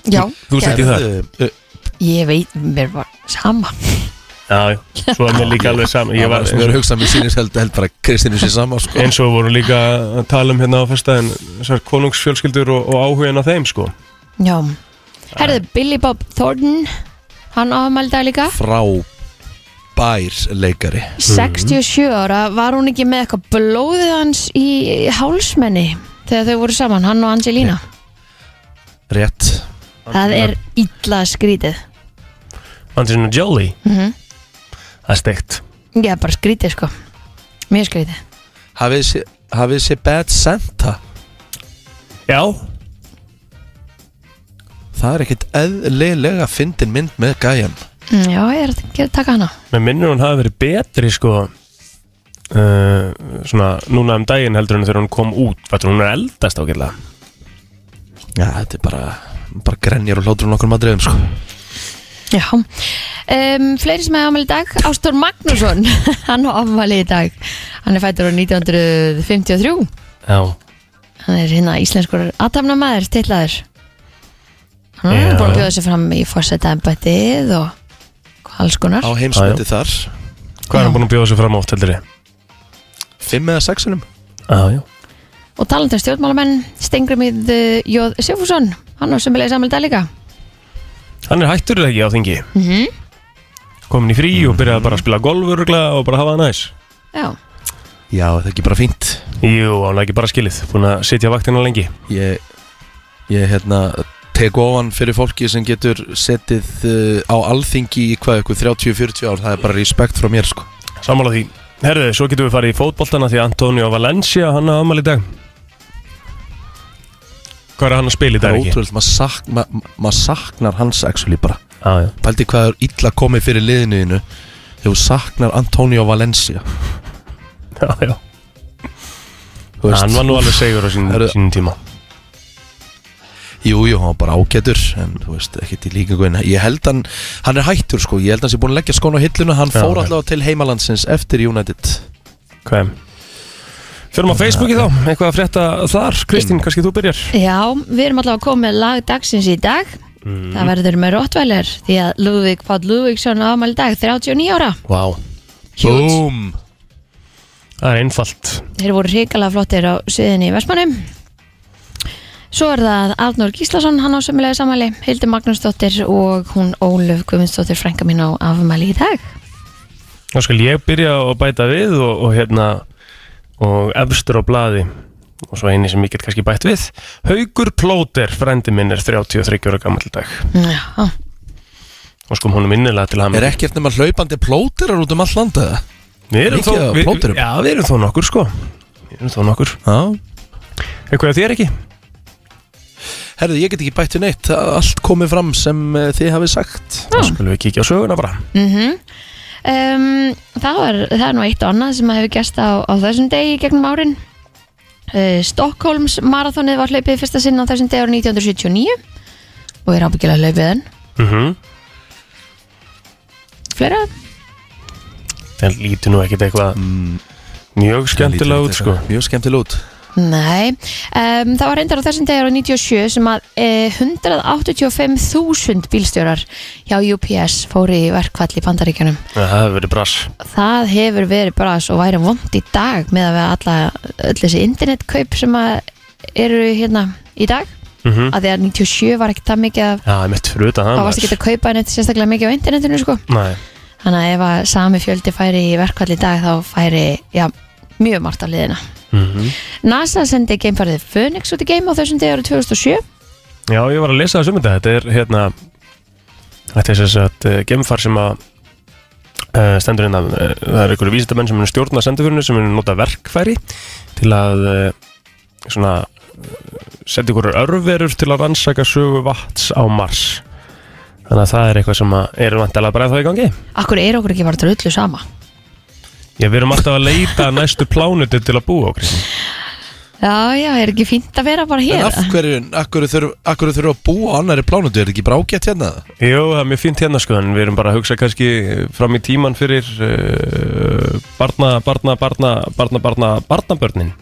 Speaker 4: já,
Speaker 3: þú veist ekki það
Speaker 2: Herðu, uh,
Speaker 4: ég veit mér var sama
Speaker 3: já, já, svo er mér líka alveg saman ég var
Speaker 2: Ég er hugsað mér sínist held, held bara Kristínu sér saman sko
Speaker 3: eins og við vorum líka að tala um hérna á fyrstaðin þessar konungsfjölskyldur og, og áhugin á þeim sko
Speaker 4: Já Herðu, Billy Bob Thornton Hann ámælda líka
Speaker 2: Frábær leikari
Speaker 4: 67 ára Var hún ekki með eitthvað blóðið hans í hálsmenni Þegar þau voru saman, hann og Angelina
Speaker 2: Rétt
Speaker 4: Það er illa skrítið
Speaker 3: Angelina Jolie,
Speaker 4: mm
Speaker 3: það er steikt
Speaker 4: Ég er bara skrítið sko Mjög skrítið
Speaker 2: Hafið sé, hafið sé Bad Santa
Speaker 3: já,
Speaker 2: Það er ekkert eðlilega fyndin mynd með gæjan
Speaker 4: Mm, Já, ég er að gera taka hana
Speaker 3: með minnur hún hafi verið betri sko Uh, svona núna um daginn heldur hún þegar hún kom út Þetta hún er eldast ákveðlega
Speaker 2: Já, þetta er bara bara grenjar og hlátur hún okkur maður sko
Speaker 4: Já um, Fleiri sem hefði ámæli í dag Ástór Magnússon Hann á ámæli í dag Hann er fættur á 1953
Speaker 3: Já,
Speaker 4: hann er hérna íslenskur aðtapnamaður, tillaður hann er
Speaker 3: Já.
Speaker 4: búin að bjóða sér fram í fórseta embættið og alls konar
Speaker 2: Á heimsmyndi þar
Speaker 3: Hvað er hann
Speaker 4: Já.
Speaker 3: búin að bjóða sig fram átt heldur þið?
Speaker 2: Fimm eða sexunum
Speaker 3: Já, já.
Speaker 4: og talandar stjórnmálamenn, Stengrimið Jóð Sjöfússon, hann á sömulega samlega líka
Speaker 3: Hann er hættur eða ekki á þingi?
Speaker 4: mm -hmm.
Speaker 3: Komin í frí og byrjaði bara að spila golf örugglega og bara hafa það næs?
Speaker 4: já,
Speaker 2: Já, það er ekki bara fínt
Speaker 3: Jú, hann er ekki bara skilið. Búin að sitja vaktina lengi.
Speaker 2: Ég, ég hérna tek ofan fyrir fólki sem getur setið uh, á alþingi í hvað ykkur 30-40 ár, það er bara respekt frá mér sko.
Speaker 3: Sammála því Herðu, svo getum við farið í fótboltana því Antonio Valencia, hann á amal í dag Hvað er hann að spila í
Speaker 2: það er
Speaker 3: dag ekki?
Speaker 2: ótrúlega, maður sak, ma, ma- maður saknar hans actually bara,
Speaker 3: Ah,
Speaker 2: pældi hvað er illa komið fyrir liðinu þínu þegar þú saknar Antonio Valencia
Speaker 3: já, já.
Speaker 2: þú veist.
Speaker 3: Ah, Hann var nú alveg segur á sín,
Speaker 2: Herðu-
Speaker 3: sínum tíma
Speaker 2: Jú, jú, hann var bara ágætur en þú veist, ekkert í líkinguinn ég held hann, hann er hættur sko, ég held hann sé búin að leggja skon á hilluna, hann
Speaker 3: Já,
Speaker 2: fór
Speaker 3: ok.
Speaker 2: allavega til heimalandsins eftir United
Speaker 3: Hvað? Förum á Facebooki þá, eitthvað að frétta þar Kristín, kannski þú byrjar
Speaker 4: Já, við erum allavega komið með lag dagsins í dag Það verður með Rottweiler Því að Lúðvík Páll Lúðvíksson á afmæli í dag 39 ára
Speaker 2: Vá wow.
Speaker 4: Huge.
Speaker 2: Búm
Speaker 3: Það er einfalt
Speaker 4: Þeir voru hrikalega flottir á sviðinni í Vestmannum Svo er það Arnór Gíslason, hann á sömulega samæli Hildur Magnúsdóttir og hún Ólöf Guðmundsdóttir frænka mín á afmæli í dag
Speaker 3: Þá skal ég byrja að bæta við og, og hérna og efstur á blaði og svo eini sem ég get kannski bætt við Haugur Plóter, frændi minn er 33 ára gammal dag
Speaker 4: Já,
Speaker 3: og sko hún er minnilega til hann
Speaker 2: Er ekkert nema hlaupandi plóterar út um all landaða?
Speaker 3: Við erum
Speaker 2: mikið af
Speaker 3: þó, við,
Speaker 2: plóterum?
Speaker 3: já, við erum þó nokkur sko Við erum þó nokkur
Speaker 2: Já
Speaker 3: Eitthvað að þér ekki?
Speaker 2: Herðu, ég get ekki bætt við neitt, það er allt komið fram sem uh, þið hafið sagt
Speaker 3: Þá
Speaker 4: Ah.
Speaker 3: skulum við kíkja á söguna bara
Speaker 4: um, það, var, það er nú eitt og annað sem hefur gerst á, á þessum degi í gegnum árin uh, Stockholms marathonið var hlaupið í fyrsta sinn á þessum degi árið 1979 og er ábyggilega hlaupið enn
Speaker 3: mm -hmm.
Speaker 4: fleira,
Speaker 3: Það lítur nú ekkit eitthvað
Speaker 2: Mm.
Speaker 3: mjög skemmtilega út sko
Speaker 2: Mjög skemmtilega út
Speaker 4: nei um, það var reyndar á þessum degi árið 97 sem að uh, 185.000 bílstjórar hjá UPS fóri í verkvall í bandaríkjunum
Speaker 3: Það hefur verið brass
Speaker 4: það hefur verið bara svo væri vond í dag með að við alla öll þessi internetkaup sem að eru hérna í dag
Speaker 3: mm
Speaker 2: Mhm.
Speaker 4: að því að 97 var ekkert það mikið að
Speaker 3: Já, mitt fyrir utan það
Speaker 4: þá varst ekki að kaupa neitt sérstaklega mikið á internetinu sko.
Speaker 3: Nei,
Speaker 4: þannig að ef að sami fjöldi færi í verkvall í dag þá færi já, mjög margt á liðina
Speaker 3: Mhm.
Speaker 4: NASA sendi geimfarið Phoenix út í geim á þessum degi árið 2007
Speaker 3: já ég var að lesa það sumunda Þetta er hérna Þetta er þess að uh, gemfar sem að uh, stendur inn að uh, það er einhverju vísindamenn sem er stjórna sendiförinu sem er nota verkfæri til að uh, svona uh, setja einhverju örverur til að rannsaka sögu vatns á Mars Þannig að það er eitthvað sem að er vantilega bara þá í gangi
Speaker 4: Akkur er okkur ekki bara drullu sama
Speaker 3: Já, við erum alltaf að leita að næstu plánutu til að búa okkur
Speaker 4: Já, já, er ekki fínt að vera bara
Speaker 2: En
Speaker 4: hér
Speaker 2: af hverju, af hverju þurfum af hverju þurfum að búa á annari plánutu, er ekki brákjætt hérna?
Speaker 3: Jú, það er mjög fínt hérna sko en við erum bara að hugsa kannski fram í tíman fyrir uh, barna, barna, barna, barna, barna, barnabörnin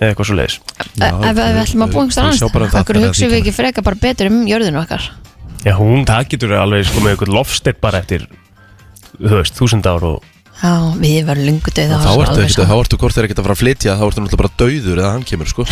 Speaker 3: eða eitthvað svo leiðis
Speaker 4: Ef ef við ætlum að búa einhvers
Speaker 2: Við sjá bara um
Speaker 4: annars
Speaker 2: það
Speaker 4: Akkur
Speaker 2: þegar
Speaker 4: hugsaum
Speaker 2: því
Speaker 4: við ekki freka bara betur um jörðinu okkar
Speaker 3: Já, hún, það getur alveg sko með eitthvað lofsteitt bara eftir þú veist, þúsund ár og
Speaker 4: Já, við varum lungu döið
Speaker 2: Þá ertu
Speaker 4: sko.
Speaker 2: ekkert, þá ertu hvort þeir ekkert að fara að flytja þá ertu náttúrulega bara dauður eða hann kemur sko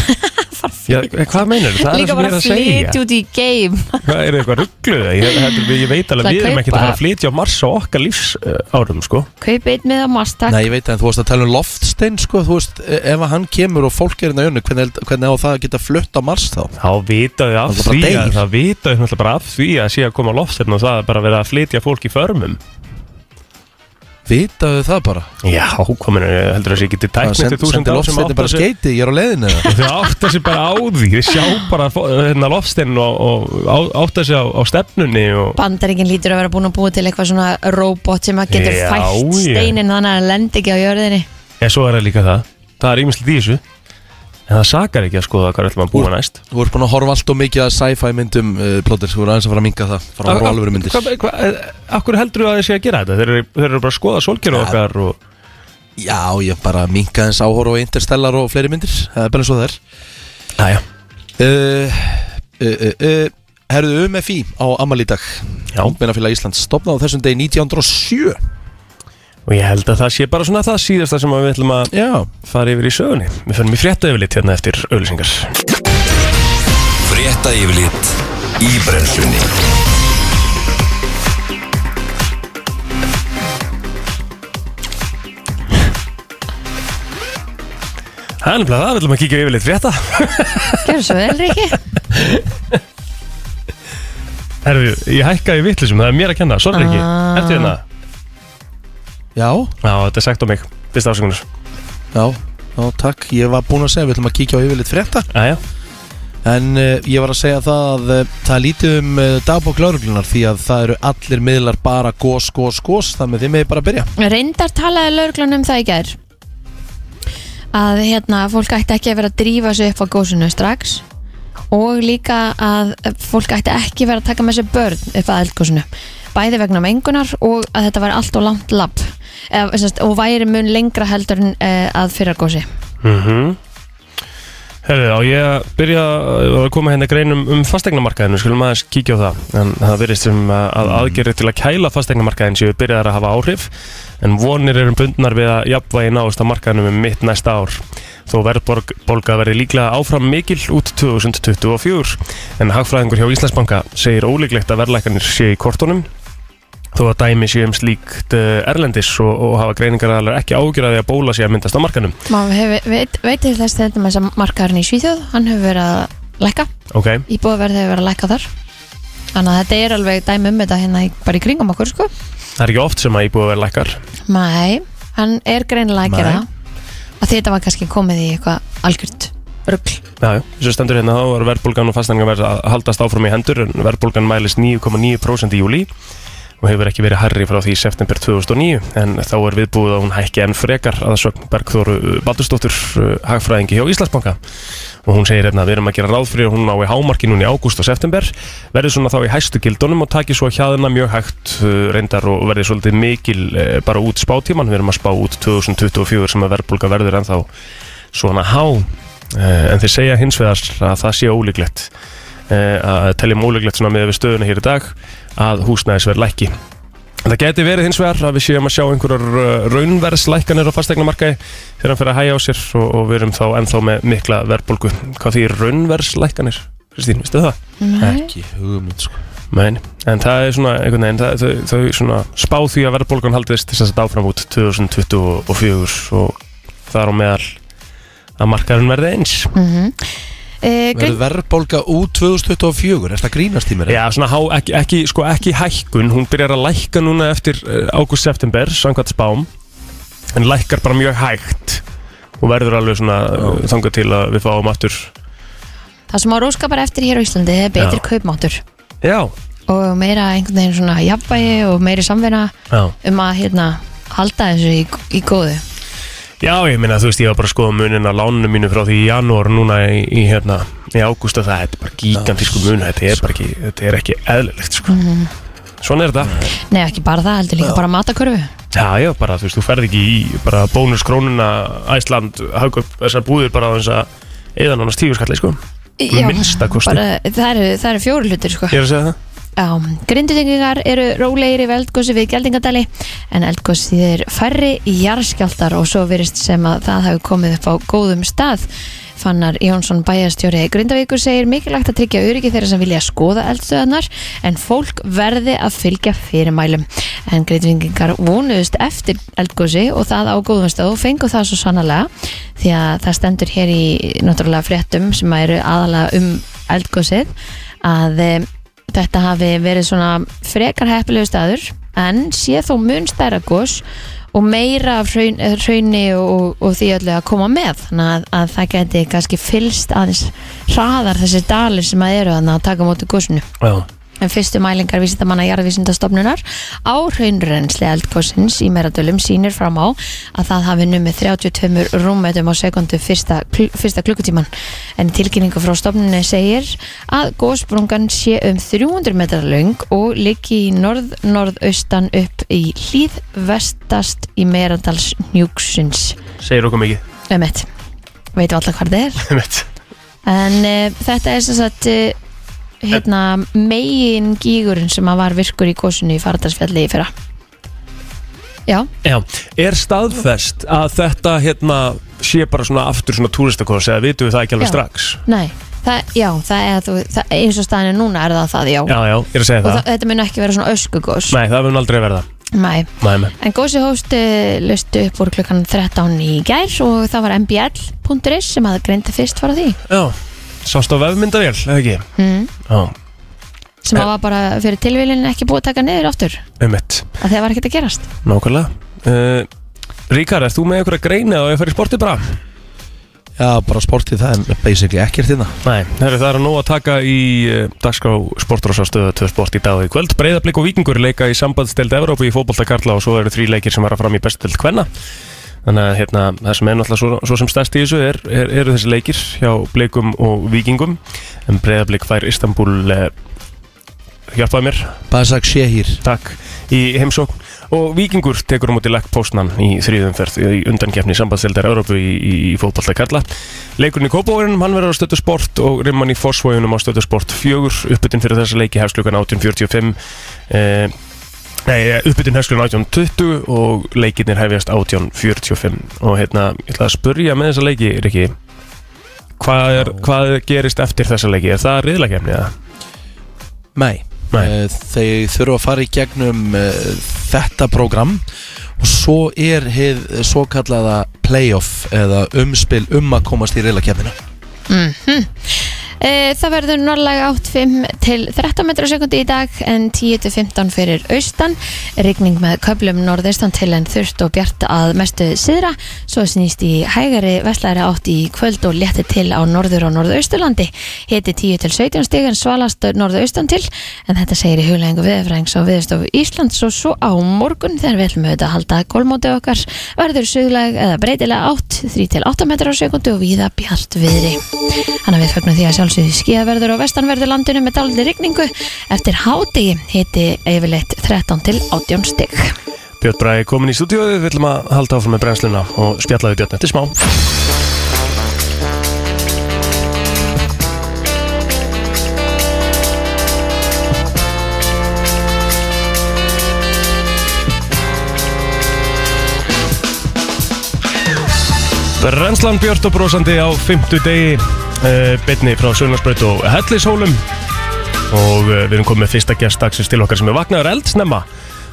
Speaker 3: Já, eh, hvað meinar þú? Það er
Speaker 4: Líka
Speaker 3: það sem ég
Speaker 4: bara
Speaker 3: er
Speaker 4: að
Speaker 3: að segja
Speaker 4: flytja út í geim
Speaker 3: Hvað er eitthvað ruggluð? Ég, þetta- ég veit alveg,
Speaker 4: Það
Speaker 3: við erum
Speaker 4: kaupa-
Speaker 3: ekkert að fara að flytja á Mars á okkar lífs uh, árum sko
Speaker 4: Kaupi einn með á Mastak
Speaker 2: Nei, ég veit það, en þú varst að tala um loftstein sko þú veist, e- ef að hann kemur og fólk er hérna í önnu hvernig, held- hvernig á það að geta flutt á Mars þá?
Speaker 3: Þá vitaðu af
Speaker 2: Það er bara
Speaker 3: því
Speaker 2: deyr.
Speaker 3: að það vitaðu náttúrulega bara af því að sé að koma lofsteitt og það er bara að vera að flytja fólk í förmum
Speaker 2: Vitaðu það bara?
Speaker 3: Já, komin, eh, heldur að ég geti
Speaker 2: Það
Speaker 3: tæknir til
Speaker 2: send-
Speaker 3: þúsund
Speaker 2: Sendi
Speaker 3: ár sem
Speaker 2: loftstein
Speaker 3: átta
Speaker 2: bara
Speaker 3: sig
Speaker 2: skeiti, ég er á leiðinu eða?
Speaker 3: Þau átta sig bara á því, þau sjá bara fó- hérna, lofstein og, og á- átta sig á, á stefnunni og
Speaker 4: Bandaríkinn lítur að vera búin að búa til eitthvað svona robot sem að getur
Speaker 3: Já,
Speaker 4: fætt
Speaker 3: ég.
Speaker 4: steinin þannig að hann lendi ekki á jörðinni
Speaker 3: ja, svo er það líka það, það er ýmislegt í þessu en það sakar ekki að skoða hvað ætlum að búa næst
Speaker 2: Þú ert búin að horfa allt og mikið að sci-fi myndum uh, plótir, þú eru aðeins að fara að minga það fara að horfa á alvöru myndir
Speaker 3: Hvað- hvað- eh, Af hverju heldur þú að þið sé að gera þetta? Þeir eru, þeir eru bara að skoða solkjöru
Speaker 2: Ja.
Speaker 3: okkar og
Speaker 2: Já, ég bara minga aðeins áhorfa á Interstellar og fleiri myndir það er bara eins og það er
Speaker 3: Æja,
Speaker 2: uh, uh, uh, uh, Herðu UMFI á Amal í dag
Speaker 3: Já.
Speaker 2: Ungmennafélag Íslands stopnað á þessum degi 1907
Speaker 3: og ég held að það sé bara svona það síðasta sem að við ætlum að
Speaker 2: Já,
Speaker 3: fara yfir í sögunni Við fyrir mér frétta yfir hérna eftir auðlýsingar
Speaker 1: Frétta yfirlit í brennslunni
Speaker 3: Það er nefnilega það, við ætlum að kíkja yfir frétta
Speaker 4: Gjörðu svo vel, Ríkki
Speaker 3: Herru, ég hækkaði vittlisum, það er mér að kenna, sorry ekki
Speaker 4: Ah.
Speaker 3: Ertu hérna?
Speaker 2: Já,
Speaker 3: Já, þetta er sagt á mig, fyrst afsökunar
Speaker 2: já, já, takk Ég var búin að segja, við ætlum að kíkja á yfirleitt frétta
Speaker 3: Jæja,
Speaker 2: En uh, ég var að segja það að uh, það er lítið um uh, dagbók lauruglunar því að það eru allir miðlar bara gos, gos, gos þannig að þið meði bara að byrja
Speaker 4: Reyndar talaði lauruglan um það í gær að hérna, fólk ætti ekki að vera að drífa sig upp á gósinu strax og líka að fólk ætti ekki að vera að taka með sér börn upp að eldgósinu bæði vegna mengunar og að þetta væri allt og langt lapp Eða, sem sagt, og væri mun lengra heldur en eh, að fyrra gósi
Speaker 3: Mhm. Herðu, á ég að byrja að koma hérna greinum um fastegnamarkaðinu, skulum aðeins kíkja á það. En það verðist sem að- að aðgerið til að kæla fastegnamarkaðin séu byrjaðar að hafa áhrif, en vonir eru bundnar við að jafnvægi náist á markaðinu um mitt næsta ár. Þó verðbólga verði líklega áfram mikil út 2024, en hagfræðingur hjá Íslandsbanka segir ólíklegt að verðlækarnir séu í kortunum þó að dæmi séu um slíkt eh, erlendis og, og hafa greiningaraðalar ekki ágjörði að bóla sé að myndast á markanum.
Speaker 4: maður hefur- veit, veit til þess þetta með þess að markaðurinn í Svíþjóð hann hefur verið að lækka
Speaker 3: Okay.
Speaker 4: íbúðverð hefur verið að lækka þar þannig að þetta er alveg dæmi um þetta hérna í- bara í kringum okkur sko
Speaker 3: Það er ekki oft sem að íbúið verið lækkar
Speaker 4: Nei, hann er greinilega að
Speaker 2: Nei.
Speaker 4: gera það. að þetta var kannski komið í eitthvað algjört rugl
Speaker 3: Já, já, þessu stendur hérna þá var verðbólgan og fastnæðingar að haldast áfram í hendur en verðbólgan mælist 9,9% í júli og hefur ekki verið harri frá því í september 2009 en þá er viðbúið að hún hækki enn frekar að sögn Bergþóru Baldursdóttur uh, hagfræðingi hjá Íslandsbanka og hún segir hérna að við erum að gera ráð fyrir að hún nái hámarki núna í ágúst og september verður svona þá í hæstu gildunum og taki svo hjaðina mjög hægt uh, reyndar og verður svolítið mikil uh, bara út spátíman við erum að spá út 2024 sem að verðbólga verður ennþá svona há Eh, en þeir segja hins vegar að það sé ólíklegt eh, að teljum ólíklegt svona með við stöðuna hér í dag að húsnæðisverð lækki Það geti verið hins vegar að við séum að sjá einhverjar eh, raunverðslækkanir á fastegnamarkaði þegar hann fer að hægja á sér og, og við erum þá ennþá með mikla verðbólgu. Hvað því raunverðslækkanir? Kristín, veistu það?
Speaker 4: Nei.
Speaker 2: Ekki hugmynd sko
Speaker 3: Nein. En það er svona, einhvern veginn, það, þau, þau svona spá því að verðbólgan haldist þess að áfram út 2024 og þar á meðal að markaðurinn verði eins.
Speaker 4: Mm -hmm.
Speaker 2: Verður verðbólga út 2024, er það grínast í mér?
Speaker 3: Já, svona há, ekki, ekki, sko, ekki hækkun, hún byrjar að lækka núna eftir eh, ágúst-september, samkvæmt spám, en lækkar bara mjög hægt og verður alveg svona uh, þangað til að við fáum aftur.
Speaker 4: Það sem á róska bara eftir hér á Íslandi er betri kaupmáttur
Speaker 3: Já,
Speaker 4: og meira einhvern veginn svona jafnvægi og meiri samvinna
Speaker 3: já.
Speaker 4: um að hérna halda þessu í, í góðu
Speaker 3: Já, ég meina, þú veist, ég var bara að skoða munin á lánunum mínu frá því í janúar og núna í, í hérna, í ágúst og það, þetta er bara gigantísku mun, þetta er bara ekki, þetta er ekki eðlilegt, sko. Svona er þetta.
Speaker 4: Nei, ekki bara það, heldur líka bara matakörfu
Speaker 3: Já, já, bara, þú veist, þú ferð ekki í bara bónuskrónuna Æsland, haugup, þessar búðir bara á þess að eða nánast tíu skalli, sko. Minnsta kosti.
Speaker 4: bara, það, eru, það eru fjóru hlutir sko.
Speaker 3: Ég er að segja það
Speaker 4: Já, grindutengningar eru rólegir yfir eldgósi við geldingadali en eldgósi þýðir færri jarðskjáltar og svo virist sem að það hafi komið upp á góðum stað. Fannar Jónsson bæjarstjóri Grindavíkur segir mikilvægt að tryggja öryggi þeirra sem vilja skoða eldstöðanar en fólk verði að fylgja fyrirmælum. En grindvingingar vonuðust eftir eldgósi og það á góðum stað og fengu það svo sannlega því að það stendur hér í náttúrulega fréttum sem eru aðalega um eldgósið að eh, þetta hafi verið svona frekar heppilegu staður en sé þó mun stærra gos og meira af hraun, eh, hrauni og, og því öllu að koma með þannig að, að það geti kannski fylst aðeins hraðar þessi dalir sem að eru þannig að taka á móti gosinu
Speaker 3: Já,
Speaker 4: en fyrstu mælingar vísindamanna jarðvísindastofnunar á hraunrensli eldkossins í meradölum sýnir fram á að það hafi numið 32 rúmmetum á sekundu fyrsta, kl- fyrsta klukkutíman en í tilkynningu frá stofnunni segir að gósprungan sé um 300 metrar löng og liggi í norð-norðaustan upp í hlýð vestast í meradals njúksins
Speaker 3: segir okkur mikið
Speaker 4: um eitt veitum alltaf hvað það er
Speaker 3: Einmitt.
Speaker 4: En uh, þetta er sem sagt uh, hérna, megin gígurinn sem að var virkur í gósinu í Fardarsfjalli í fyrra Já,
Speaker 3: Já, er staðfest að þetta hérna sé bara svona aftur svona túristakos eða vitum við það ekki alveg
Speaker 4: Já.
Speaker 3: strax
Speaker 4: nei það, Já, það er þú, það, eins og staðinu núna er það það, já,
Speaker 3: Já, já, ég er að segja
Speaker 4: Og
Speaker 3: það,
Speaker 4: það, þetta mun ekki vera svona öskugós
Speaker 3: Nei, það mun aldrei verða
Speaker 4: Nei.
Speaker 3: Nei, nei.
Speaker 4: En gósi hóst uh, lustu upp úr klukkan 13 í gær og það var mbl.is sem að greinda fyrst fara því
Speaker 3: Já, sást á vefmyndavél, eða ekki
Speaker 4: mm.
Speaker 3: Já,
Speaker 4: sem að var bara fyrir tilvílinn ekki búið að taka niður aftur
Speaker 3: Einmitt,
Speaker 4: að það var ekkert að gerast
Speaker 3: nákvæmlega uh, Ríkar, erst þú með einhverja greina og ég fer í sportið bara?
Speaker 2: Já, bara sportið það er basically ekkert hérna
Speaker 3: Nei, herri, það er að nóg að taka í uh, dagskrá sportrásastöðu tvö sport í dag og í kvöld. Breiðablík og vikingur leika í sambandsdeild Evrópu í fótbolta karla og svo eru þrý leikir sem fara fram í bestu deild kvenna. Þannig að hérna, það sem er náttúrulega svo, svo sem stærst í þessu er, er, eru þessi leikir hjá blikum og vikingum. En breiðablík fær Istanbul eh, hjálpaði mér,
Speaker 2: Basak Shehir
Speaker 3: takk, í heimsókn. Og vikingur tekur á móti legg postnan í þrýðumferð í undankefni sambandsdeildar Evrópu í, í, í fótbolta karla. Leikurinn í Kópavórinum, hann verður á stötu sport og rimman í Fossvójunum á stötu sport fjögur uppbytun fyrir þessa leiki hefst klukkan 18.45 eh, Nei, eh, uppbytun hefst klukkan 18.20 og leikinnir hefjast 18.45 og hérna, ég ætla að spurja með þessa leiki, Riki hvað, er, hvað gerist eftir þessa leiki? Er það riðlakefni eða?
Speaker 2: Nei,
Speaker 3: Nei.
Speaker 2: Eh, þeir þurfa að fara í gegnum eh, þetta program og svo er hið svo kallaða playoff eða umspil um að komast í reylakefnina
Speaker 4: Eh, Það verður norðlæg 8-5 til 13 metra sekundi í dag en 10-15 fyrir austan rigning með köflum norðaustan til en þurft og bjart að mestu syðra svo snýst í hægari vestlæri átt í kvöld og létti til á norður og norðausturlandi hiti 10 til 17 stig en svalast norðaustan til en þetta segir í huglæðingu viðfræðings á viðstofu Íslands og svo á morgun þegar við ætlum auðvitað að halda gólmóti okkar verður söguleg eða breytilega átt 3 til 8 metra sekundi og víða bjart viðri Þannig að við fögnum því að sjálfsögðu skíðaverður og vestanverður landinu með daldi rigningu eftir hádegi hiti yfirleitt 13 til 18 stygg.
Speaker 3: Björn Bræði komin í stúdíóðu, við ætlum að halda áfram með brennsluna og spjallaði Björn eftir smá Brennslan Björn og brósandi á fymtu degi uh, beinni frá Sjónarsbröð og Hellishólum og uh, við erum komið með fyrsta gest dagsins til okkar sem er vaknaður eldsnemma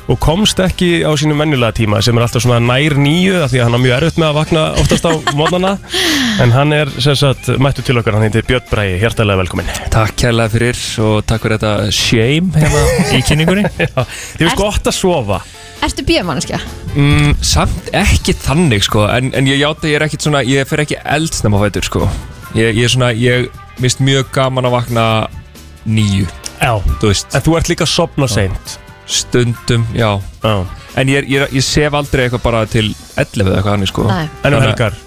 Speaker 3: og komst ekki á sínum venjulega tíma sem er alltaf svona nær nýju af því að hann er mjög erfitt með að vakna oftast á mótnana en hann er sem sagt mættu til okkar, hann heitir Björn Bræði, hjertalega velkominn
Speaker 5: Takk kærlega fyrir og takk fyrir þetta shame hérna í kynningunni
Speaker 3: Þið er sko
Speaker 4: Ert-
Speaker 3: gott að sofa
Speaker 4: Ertu bíumannskja?
Speaker 5: mm, Samt ekki þannig sko en, en ég játa ég er ekkit svona, ég fer ekki eldsnæma fætur sko Ég, ég er svona, ég mist mjög gaman að vakna nýju,
Speaker 3: Já,
Speaker 5: þú veist,
Speaker 3: en þú ert líka að sopna seint
Speaker 5: stundum, já
Speaker 3: Já,
Speaker 5: En ég, er- ég, er- ég sef aldrei eitthvað bara til 11 eða eitthvað hannig sko
Speaker 4: Nei.
Speaker 3: en um
Speaker 5: Þannig að-
Speaker 3: helgar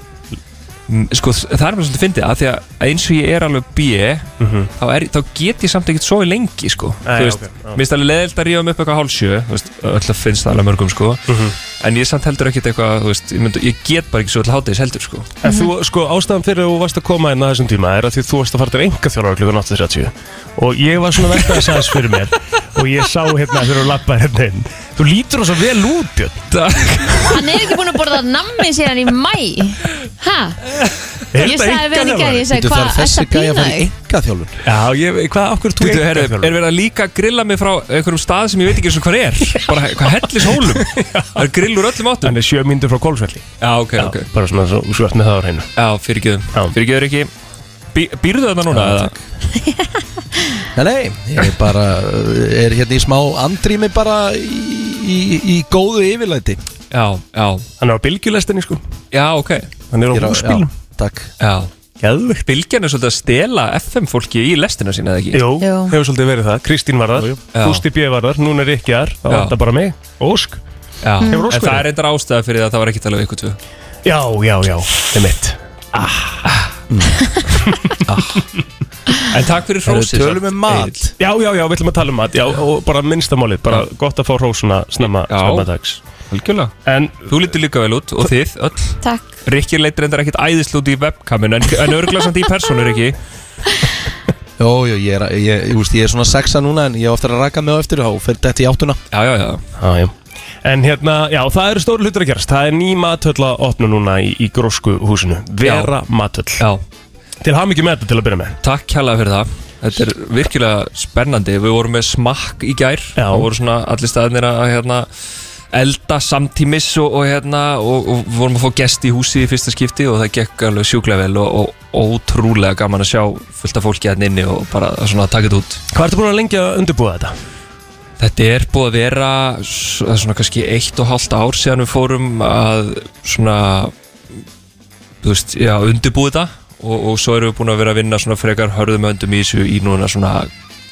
Speaker 5: Mm, Sko það er mér svolítið fyndið að því að eins og ég er alveg bíi þá, er, þá get ég samt ekkert svo lengi sko
Speaker 3: Mhm. Nei,
Speaker 5: Þú veist,
Speaker 3: ok, já.
Speaker 5: mér finnst alveg leðilt að ríða um upp eitthvað hálsjö öll að finnst það alveg mörgum sko
Speaker 3: Mhm.
Speaker 5: en ég samt heldur ekkert eitthvað þú veist, ég, mynd, ég get bara ekki svo öll hátegis heldur sko
Speaker 3: En þú, sko, ástæðan fyrir að þú varst að koma inn að þessum tíma er að því þú varst að fara til enga þjólar klukkan 8.30 og ég var svona veltaði sæðis fyrir mér og ég sá hérna þegar þú lappaði hérna inn Þú lítur þess vel út, Björn
Speaker 4: Hann er ekki búin að borða nammi síðan í mæ. Hæ?
Speaker 3: Er
Speaker 4: Ég
Speaker 3: þetta
Speaker 4: sagði við hann í
Speaker 3: einkaþjálfari?
Speaker 4: gerð, ég sagði
Speaker 2: Þar
Speaker 4: hvað
Speaker 2: þessi
Speaker 4: ert að
Speaker 2: gæja að
Speaker 4: pína
Speaker 2: fara í
Speaker 4: þig?
Speaker 2: enga þjálfun
Speaker 3: Já, ég, hvað, okkur
Speaker 5: Þú
Speaker 3: þú
Speaker 5: veit, herri, er verið að líka grilla mig frá einhverjum stað sem ég veit ekki eins og hvað er bara hvað hellis hólum það er grill úr öllum áttum
Speaker 3: Hann er sjö myndur frá kólsvelli
Speaker 5: Já, ok,
Speaker 3: Já,
Speaker 5: ok
Speaker 3: bara svona svo, svo eftir með það á hreinu
Speaker 5: Já, fyrirgjöðum
Speaker 3: Já.
Speaker 5: Fyrirgjöður ekki Bí, Býrðu þetta núna?
Speaker 2: Já,
Speaker 5: eða?
Speaker 2: Nei, nei, ég bara eh, er hérna í smá andrými bara í, í, í góðu yfirlæti
Speaker 5: já, já,
Speaker 3: Hann er á bylgjulestinni, sko
Speaker 5: já, ok
Speaker 3: Hann er á
Speaker 2: Ég er á-
Speaker 3: húsbílum
Speaker 2: já, Takk
Speaker 5: Já
Speaker 3: Geðvikt
Speaker 5: Bylgjan er svolítið að stela FM fólki í lestina sína eða ekki?
Speaker 3: Jó,
Speaker 4: Jú.
Speaker 3: hefur svolítið verið það Kristín var þar,
Speaker 5: Já.
Speaker 3: Gústi B. var þar, núna er ekki þar Það
Speaker 5: Já.
Speaker 3: vantar bara mig, Ósk
Speaker 5: Já,
Speaker 3: Hefur
Speaker 5: en
Speaker 3: Ósk
Speaker 5: það
Speaker 3: verið?
Speaker 5: er eitthvað ástæða fyrir það að það var ekki talað við ykkur tvö
Speaker 3: Já, já, já, það er mitt
Speaker 5: En takk fyrir
Speaker 2: Eru
Speaker 5: hrósið
Speaker 2: tölum við mat
Speaker 3: Já, já, já, við ætlum að tala um mat Já, og bara minnstamálið, bara gott að fá hrósuna snemma,
Speaker 5: Já.
Speaker 3: snemma dags
Speaker 5: Helgjulega
Speaker 3: En,
Speaker 5: Þú lítur líka vel út og þið öll
Speaker 4: Takk.
Speaker 5: Rikki leitur endar ekkit æðislu út í webkaminu En, en örgla samt í persónu Rikki
Speaker 2: Jó, jó, ég er, að- ég, ég, veist, ég er svona sexa núna en ég á eftir að raka mig á eftir og fyrir þetta í áttuna
Speaker 5: Já, já, já
Speaker 3: á, já En hérna, já, það eru stóru hlutur að gerast Það er ný matöll að opna núna í, í grósku húsinu Vera matöll
Speaker 5: Já,
Speaker 3: Til hafa mikið með þetta til að byrja með
Speaker 5: takk kjærlega fyrir það Þetta er virkilega spennandi Við vorum með smakk í gær
Speaker 3: Já.
Speaker 5: Það voru svona allir staðinir að hérna elda samtímis og, og hérna og, og vorum að fá gesti í húsi í fyrsta skipti og það gekk alveg sjúklega vel og, og ótrúlega gaman að sjá fullt af fólki hérna inni og bara svona að taka þetta út
Speaker 3: Hvað ertu búin að lengja að undirbúa þetta?
Speaker 5: Þetta er búið að vera s- það er svona kannski eitt og hálft ár síðan við fórum að svona þú veist, já, undirbúið það og, og svo erum við búin að vera að vinna svona frekar hörðum öndum í þessu í núna svona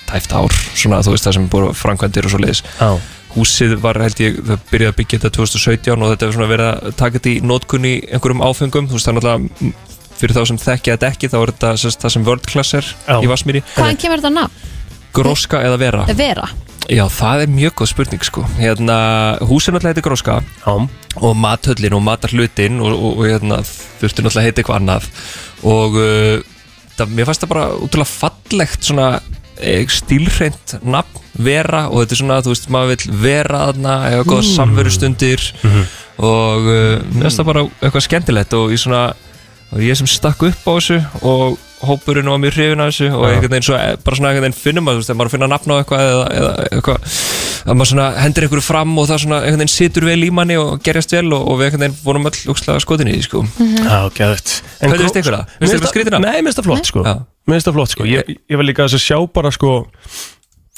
Speaker 5: tæft ár, svona þú veist það sem er búið framkvæmdir og svo leiðis.
Speaker 3: Já
Speaker 5: Húsið var held ég, það byrjaði að byggja þetta 2017 og þetta er svona verið að taka þetta í nótkunni einhverjum áfengum, þú veist það er náttúrulega m, fyrir þá sem þekkja þetta ekki þá er þetta sem sagt, það sem world class er
Speaker 3: Já.
Speaker 5: í Vassmýri,
Speaker 4: Hvaðan kemur þetta nafn?
Speaker 5: gróska eða vera
Speaker 4: Vera
Speaker 5: Já, það er mjög góð spurning sko hérna, Húsin alltaf heiti Gróska
Speaker 3: Já
Speaker 5: og mathöllin og matarhlutin og, og, og hérna, þurfti náttúrulega að heita eitthvað annað og uh, það, mér fannst það bara útrúlega fallegt svona eh, stílhreint nafn vera og þetta er svona, þú veist, maður vill vera þarna, eða góða samverustundir og uh, mér finnst það bara eitthvað skemmtilegt og ég svona og ég sem stakk upp á þessu og hópurinn var mjög hrifin af þessu og einhvern veginn svo, eh, bara svona einhvern veginn finnum maður, þú veist, ef maður finna nafn á eitthvað eða, eða eitthvað, að maður svona hendur einhverju fram og það svona einhvern veginn situr vel í manni og gerjast vel og, og við einhvern veginn vorum öll úkslega skotin í því, sko.
Speaker 3: Já, gæðut
Speaker 5: Hvað finnst ykkur það? Finnst ykkur skrýtin af?
Speaker 3: Nei, minnst það flott sko
Speaker 5: Já.
Speaker 3: Minnst það flott sko Ég, ég var líka þess að sjá bara sko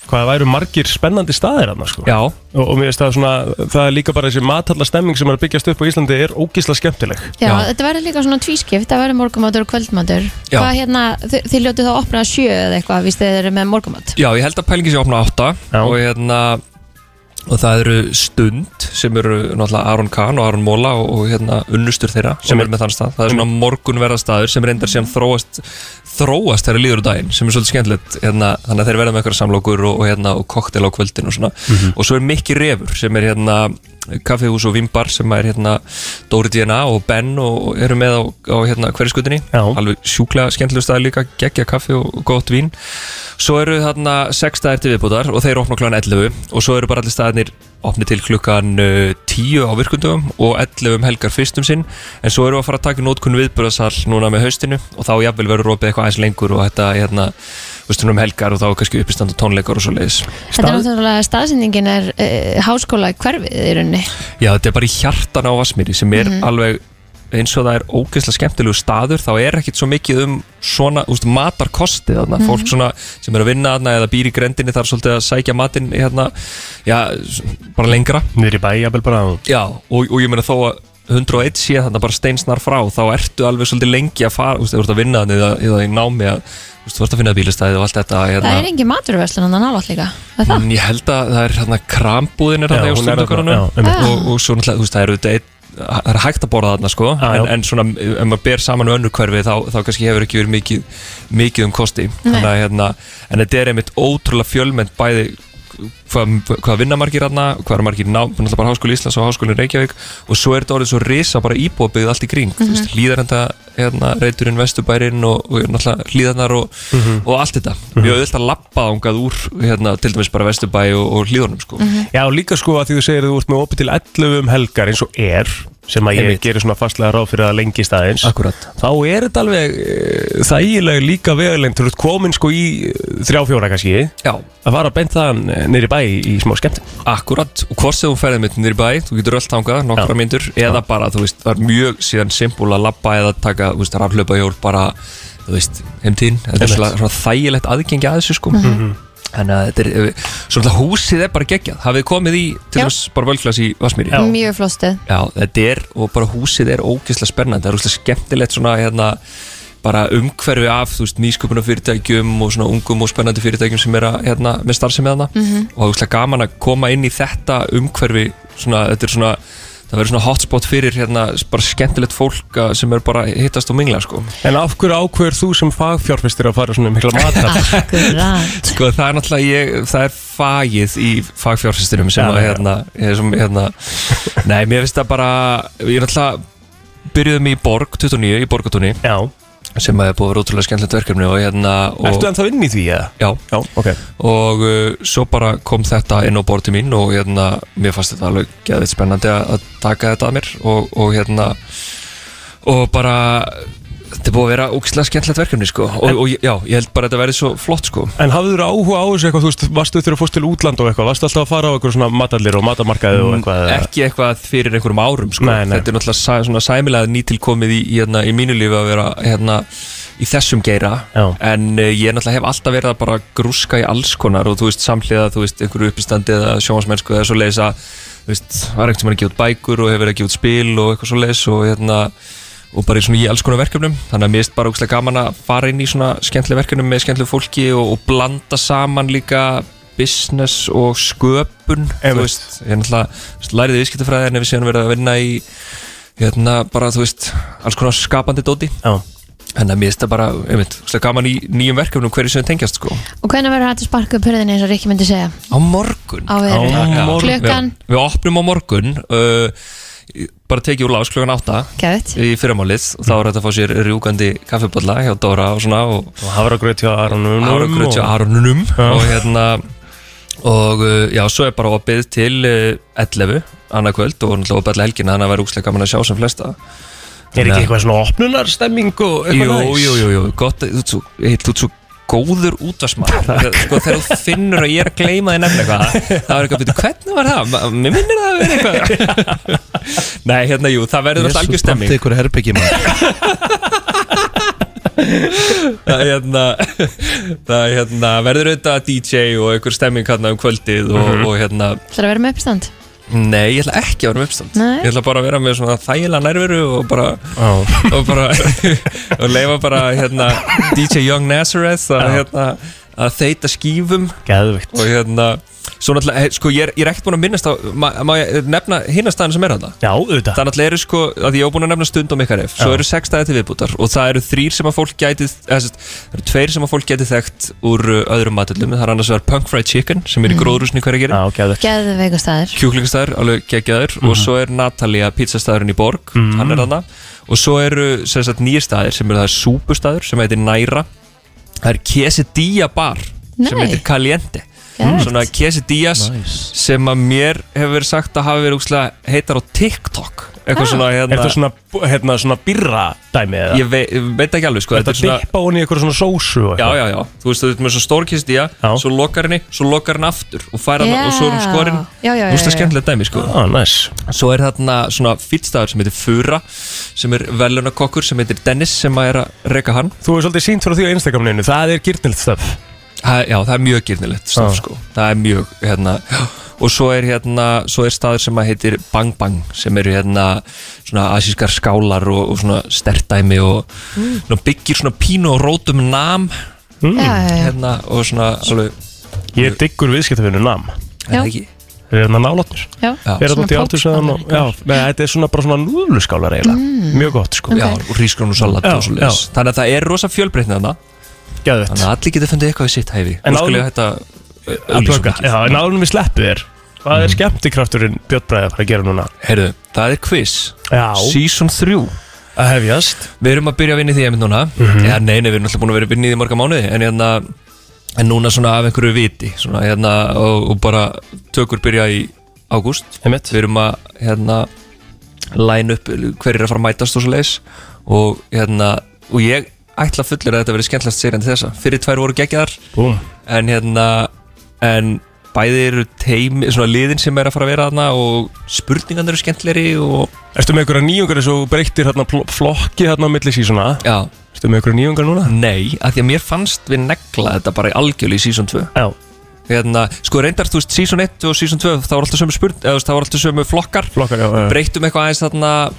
Speaker 3: hvað það væru margir spennandi staðir aðna sko
Speaker 5: Já,
Speaker 3: og, og mér finnst það svona það er líka bara þessi matalla stemming sem er að byggjast upp á Íslandi er ógísla skemmtileg
Speaker 4: Já,
Speaker 5: Já.
Speaker 4: þetta verður líka svona tvískipt, það verður morgumátur og kvöldmátur
Speaker 5: Já.
Speaker 4: Hvað hérna, þi- þið ljótið þá að opna að sjö eða eitthvað, víst þið eru með morgumát
Speaker 5: já, ég held að pælingi sé opna átta
Speaker 3: Já.
Speaker 5: og hérna og það eru stund sem eru náttúrulega Aron Kahn og Aron Móla og, og hérna unnustur þeirra sem
Speaker 3: Og-
Speaker 5: eru með þann stað það er svona morgunverðastaður sem reyndar sem þróast þróast þeirra líður úr daginn sem er svolítið skemmtilegt hérna, þannig að þeir verða með eitthvað samlokur og, og hérna og koktel á kvöldin og svona
Speaker 3: Mhm.
Speaker 5: og svo er Mikki Refur sem er hérna kaffihús og vimbar sem er hérna Dóri DNA og Ben og og eru með á, á hérna hverjaskutinni
Speaker 3: Já.
Speaker 5: alveg sjúklega skemmtileg staði líka geggja kaffi og gott vín Svo eru þarna sex staðir til viðbútar og þeir opna klukkan 11 og svo eru bara allir staðirnir opni til klukkan uh, 10 á virkundum og 11 um helgar fyrstum sinn en svo eru að fara að taka nótkunn viðbúðarsal núna með haustinu og þá jafnvel verður opið eitthvað aðeins lengur og þetta hérna, veistum um helgar og þá er kannski uppistand og tónleikar og svo leiðis
Speaker 4: Þetta er náttúrulega staðsendingin er e, háskóla hverfið í rauninni
Speaker 5: Já, þetta er bara í hjartan á Vassmýri sem er
Speaker 4: Mhm.
Speaker 5: alveg eins og það er ógeðslega skemmtilegu staður þá er ekkit svo mikið um svona úst, matarkosti þarna,
Speaker 4: Mhm.
Speaker 5: fólk svona sem er að vinna þarna eða býr í grendinni þarf svolítið að sækja matinn hérna, já, s- bara lengra
Speaker 3: niður í bæ, jafnvel bara á-
Speaker 5: Já, og, og ég meina þó að 101 sé þarna bara steinsnar frá þá ertu alveg svolítið lengi að fara úst, þú ert að vinna þarna eða, eða í námi að, úst, þú ert að finna bílastæði og allt þetta hérna.
Speaker 4: Það er engin maturverslun hann nálátt líka er það?
Speaker 5: Mm, Ég held að það er hérna krambúðin
Speaker 3: Já,
Speaker 5: er hérna á
Speaker 3: hún er
Speaker 5: stundakörnunum
Speaker 3: þarna, já,
Speaker 4: Ah.
Speaker 3: einmitt.
Speaker 5: og, og svo náttúrulega, þú veist, það er auðvitað einn það er hægt að borða þarna sko
Speaker 3: Já, já.
Speaker 5: en, en svona, ef maður ber saman við önnur hverfi þá, þá kannski hefur ekki verið mikið, mikið um kosti þannig að hérna, en þetta er einmitt ótrúlega fjölmennt bæði hvað, hvað vinna margir þarna hvað er margir ná, náttúrulega bara Háskóli Íslands og Háskóli Reykjavík og svo er þetta orðið svo risa bara íbúabbyggð allt í kring, þú veist, hlýðarenda hérna, reyturinn, vesturbærin og, og náttúrulega hlýðarnar og,
Speaker 3: Mhm.
Speaker 5: og allt þetta mjög auðvitað lappa ángað úr hérna, til dæmis bara vesturbæi og, og hlýðarnum sko.
Speaker 3: Já, og líka sko að því þú segir að þú ert með opið til 11 um helgar eins og er sem að ég
Speaker 5: Einmitt.
Speaker 3: gerir svona fastlega ráð fyrir að lengi staðins
Speaker 5: Akkúrat.
Speaker 3: Þá er þetta alveg e, þægilega líka vegulegn þú ert komin sko í þrjá fjóra kannski
Speaker 5: Já,
Speaker 3: að fara beint þaðan eh, niður í bæ í, í smá skemmt
Speaker 5: Akkurat, og hvort sem þú ferðið mitt nýri bæ, þú getur öll tangað, nokkra
Speaker 3: Já.
Speaker 5: myndur eða bara, þú veist, það er mjög síðan simpul að labba eða taka, þú veist, raflöpa hjól bara, þú veist, heimtíðin þetta er
Speaker 3: Einmitt. Mhm.
Speaker 5: svona, svona þægilegt aðgengi að þessu sko þannig að þetta er, eh, svona húsið er bara geggjað, hafið þið komið í til
Speaker 4: Já.
Speaker 5: þess bara völglas í Vasmýri
Speaker 4: Mjög flóstið
Speaker 5: Já, þetta er, og bara húsið er ógeðslega spennandi, það er úrslega skemmtilegt svona hérna, bara umhverfi af, þú veist, nýsköpuna fyrirtækjum og svona ungum og spennandi fyrirtækjum sem er að, hérna, með starfsemi þarna og það er úrslega gaman að koma inn í þetta umhverfi, svona, þetta er svona, það verður svona hotspot fyrir, hérna, bara skemmtilegt fólk að- sem er bara að hittast og mingla, sko.
Speaker 3: En af hverju ákveður þú sem fagfjárfestir að fara svona mikla matar?
Speaker 4: Akkurat
Speaker 5: Sko, það er náttúrulega, ég, það er fagið í fagfjársystemum sem
Speaker 3: Já,
Speaker 5: að,
Speaker 3: já.
Speaker 5: hérna, ég- sem, hérna, nei, mér finnst það bara, ég náttúrulega byrjuðum í Borg 29, í Borgatúni
Speaker 3: Já,
Speaker 5: sem að er búið að vera ótrúlega skemmtilegt verkefni og hérna og,
Speaker 3: ertu ennþá inn í því eða?
Speaker 5: já,
Speaker 3: Já, ok
Speaker 5: og uh, svo bara kom þetta inn á borti mín og hérna mér fannst þetta alveg geðið spennandi að, að taka þetta að mér og, og hérna og bara Þetta er búið að vera ógislega skemmtilegt verkefni sko og, og já, ég held bara að þetta verði svo flott sko
Speaker 3: En hafðu þú áhuga á þessu eitthvað, þú veist, varstu þegar að fórst til útland og eitthvað, varstu alltaf að fara á eitthvað svona matallir og matamarkaði og eitthvað eða-
Speaker 5: Ekki eitthvað fyrir einhverjum árum sko
Speaker 3: Nei, nei.
Speaker 5: Þetta er náttúrulega sæ, svona sæmilega nýtilkomið í, í, hérna, í mínu lífi að vera hérna, í þessum geira
Speaker 3: Já.
Speaker 5: En uh, ég náttúrulega hef alltaf verið að bara grúska í alls konar og þú veist samhliða, þú veist, einhverju uppistandi eða sjónvarsmennsku eða svo leiðis að þú veist, var ekkert sem að gefa út bækur og hefur verið að gefa út spil og eitthvað svo leiðis og hérna og bara í svona í alls konar verkefnum þannig að mér er bara ógæslega gaman að fara inn í svona skemmtileg verkefnum með skemmtileg fólki og, og blanda saman líka business og sköpun
Speaker 3: Einmitt.
Speaker 5: þú veist, ég er náttúrulega þú veist, læriði viðskiptafræði en ef við séum verið að vinna í hérna bara, þú veist, alls konar skapandi dóti
Speaker 3: Já.
Speaker 5: þannig að mér er þetta bara, einmitt, ógæslega gaman í nýjum verkefnum hverju sem þau tengjast, sko
Speaker 4: Og hvernig verður hægt að sparka upp hurðinni eins og Rikki myndi segja
Speaker 5: á morgun
Speaker 4: á veðri?
Speaker 3: Á morgun.
Speaker 4: Klukkan,
Speaker 5: við, við opnum á morgun uh, bara tekið úr lás klukkan 8
Speaker 4: gæðið
Speaker 5: í fyrramálið og þá er þetta að fá sér rjúkandi kaffiballa hjá Dóra og svona og
Speaker 3: Og hafragraut hjá Aronum
Speaker 5: Áragröð hjá Aronunum og hérna og uh, já, svo er bara opið til uh, 11 annað kvöld og náttúrulega opið allir helgina þannig að vera úkslega gaman að sjá sem flesta
Speaker 3: Er ekki eitthvað svona opnunarstemming og
Speaker 5: Jú,
Speaker 3: eitthvað næs?
Speaker 5: jú, jú, jú, gott þú ert svo, ég, þú ert svo góður útvarsmaður sko, þegar þú finnur að ég er að gleyma þér nefn eitthvað það er eitthvað, betur, hvernig var það? Ma- Mér minnir það að vera eitthvað Nei, hérna, jú, það verður alltaf algjör stemming
Speaker 2: ykkur herbyggi maður
Speaker 5: það hérna, það hérna, verður auðvitað DJ og einhver stemming hérna um kvöldið og,
Speaker 3: Mhm.
Speaker 5: og hérna,
Speaker 4: Það er að vera með uppstand
Speaker 5: nei, ég ætla ekki að vera með uppstand
Speaker 4: Nei.
Speaker 5: ég ætla bara að vera með svona þægilega nærveru og bara,
Speaker 3: Já.
Speaker 5: og bara og leifa bara, hérna DJ Young Nazareth að, hérna, að þeita skífum
Speaker 3: Geðvikt
Speaker 5: og hérna, svo náttúrulega eh, sko, ég er, ég er ekkert búin að minnast á, má, má ég nefna hinnastæðin sem er þetta
Speaker 3: Já, auðvitað
Speaker 5: Það er náttúrulega eru sko, að ég hef búin að nefna stund og mikkarif Svo
Speaker 3: Já.
Speaker 5: eru sex staði til viðbútar Og það eru þrýr sem að fólk gæti eða, sest, Það eru tveir sem að fólk gæti þekkt úr uh, öðrum matillum Það er annars vegar Punk Fried Chicken Sem er í gróðrúsni hverja gerir
Speaker 3: Já, geðvikt
Speaker 4: Gæðið veikustæður
Speaker 5: Kjúklingastæður, alveg geggjaður Og svo er Natalia pizzastæðurinn í Borg Hann er þarna Og svo eru sem sagt, nýjir staðir sem eru það er súpustæður Sem heitir Næra Það er Quesadilla Bar Sem
Speaker 4: Nei.
Speaker 5: heitir Caliente
Speaker 4: Geðveikt.
Speaker 5: Svona quesadillas
Speaker 2: Nice.
Speaker 5: sem að mér hefur verið sagt að hafi verið úkslega heitar á TikTok eitthvað
Speaker 4: Ah.
Speaker 5: svona hérna
Speaker 3: Er það svona, hérna, svona birra dæmi eða?
Speaker 5: ég vei, veit ekki alveg sko
Speaker 3: Þetta
Speaker 5: þetta er svona
Speaker 3: dippa hún í eitthvað svona sósu og
Speaker 5: já
Speaker 3: eitthvað
Speaker 5: já já þú veist þú veist með svo stór kisti já
Speaker 3: Já.
Speaker 5: svo lokar henni svo lokar henni aftur og fær hann
Speaker 4: Já.
Speaker 5: og svo er hún skorinn
Speaker 4: Já, já, já,
Speaker 5: Úrslega
Speaker 4: já, já.
Speaker 5: skemmtilegt dæmi sko
Speaker 3: Já, Ah, næs
Speaker 5: svo er þarna svona fyrstafur sem heitir Fura sem er velunarkokkur sem heitir Dennis sem að er að reka hann
Speaker 3: Þú hefur svolítið sínt frá því á Instagraminu, það er gyrnilt stöf
Speaker 5: ha, já það er mjög girnilegt
Speaker 3: Já.
Speaker 5: stöf sko það er mjög hérna já. og svo er hérna svo er staður sem að heitir Bang Bang sem eru hérna svona asískar skálar og, og svona stertdæmi og mm. byggir svona pínu og rótum nam
Speaker 4: Já, já, já.
Speaker 5: hérna og svona alveg
Speaker 3: Ég diggur viðskiptafinu nam
Speaker 5: Er það
Speaker 4: Já.
Speaker 5: ekki?
Speaker 3: Það er hérna nálatnir
Speaker 4: Já,
Speaker 3: Er það
Speaker 4: svona
Speaker 3: út í átursæðan og Já, nei, þetta er svona bara svona núðluskálar eiginlega Mjög gott sko
Speaker 4: Ok.
Speaker 5: Já, og rísgrón og salat
Speaker 3: Já,
Speaker 5: og svo leiðis Þannig að það er rosa fjölbreytni þarna
Speaker 3: Geðvikt
Speaker 5: Þannig að allir geta fundið eitthvað í sitt hæfi
Speaker 3: En
Speaker 5: Nú skulle
Speaker 3: áður-
Speaker 5: þetta
Speaker 3: Að plugga. Já, en áðurum við sleppu þér Hvað er skemmtikrafturinn Björn Bræði að fara að gera núna?
Speaker 5: Heyrðu, það er quiz
Speaker 3: Já,
Speaker 5: Season 3
Speaker 3: að hefjast Mhm.
Speaker 5: Við erum að byrja að vinna í því einmitt núna mm -hmm. Já, nei, nei, við erum alltaf búin að vera að vinna í því í marga mánuði En hérna En núna svona af einhverju viti svona, hérna, og, og bara tökur byrja í ágúst
Speaker 3: Einmitt.
Speaker 5: Við erum að hérna Læn upp hverjir að fara að mætast og svo leiðis Og hérna Og ég ætla fullur að þetta verið skemmtlast sér en þessa Fyrir tvær voru geggjaðar
Speaker 3: Búm
Speaker 5: en hérna en bæði eru teimi, svona liðin sem er að fara að vera þarna og spurningan eru skemmtleri og
Speaker 3: Ertu með einhverja nýjungar eins og þú breyttir hérna pl- flokki hérna á milli sísona?
Speaker 5: já,
Speaker 3: Ertu með einhverja nýjungar núna?
Speaker 5: nei, af því að mér fannst við negla þetta bara í algjörlega í season 2
Speaker 3: Já
Speaker 5: hérna, sko reyndar, þú veist, season 1 og season 2 þá voru alltaf sömu spurning, eða þú veist, þá voru alltaf sömu flokkar
Speaker 3: Flokkar, já, já
Speaker 5: breyttum eitthvað aðeins þarna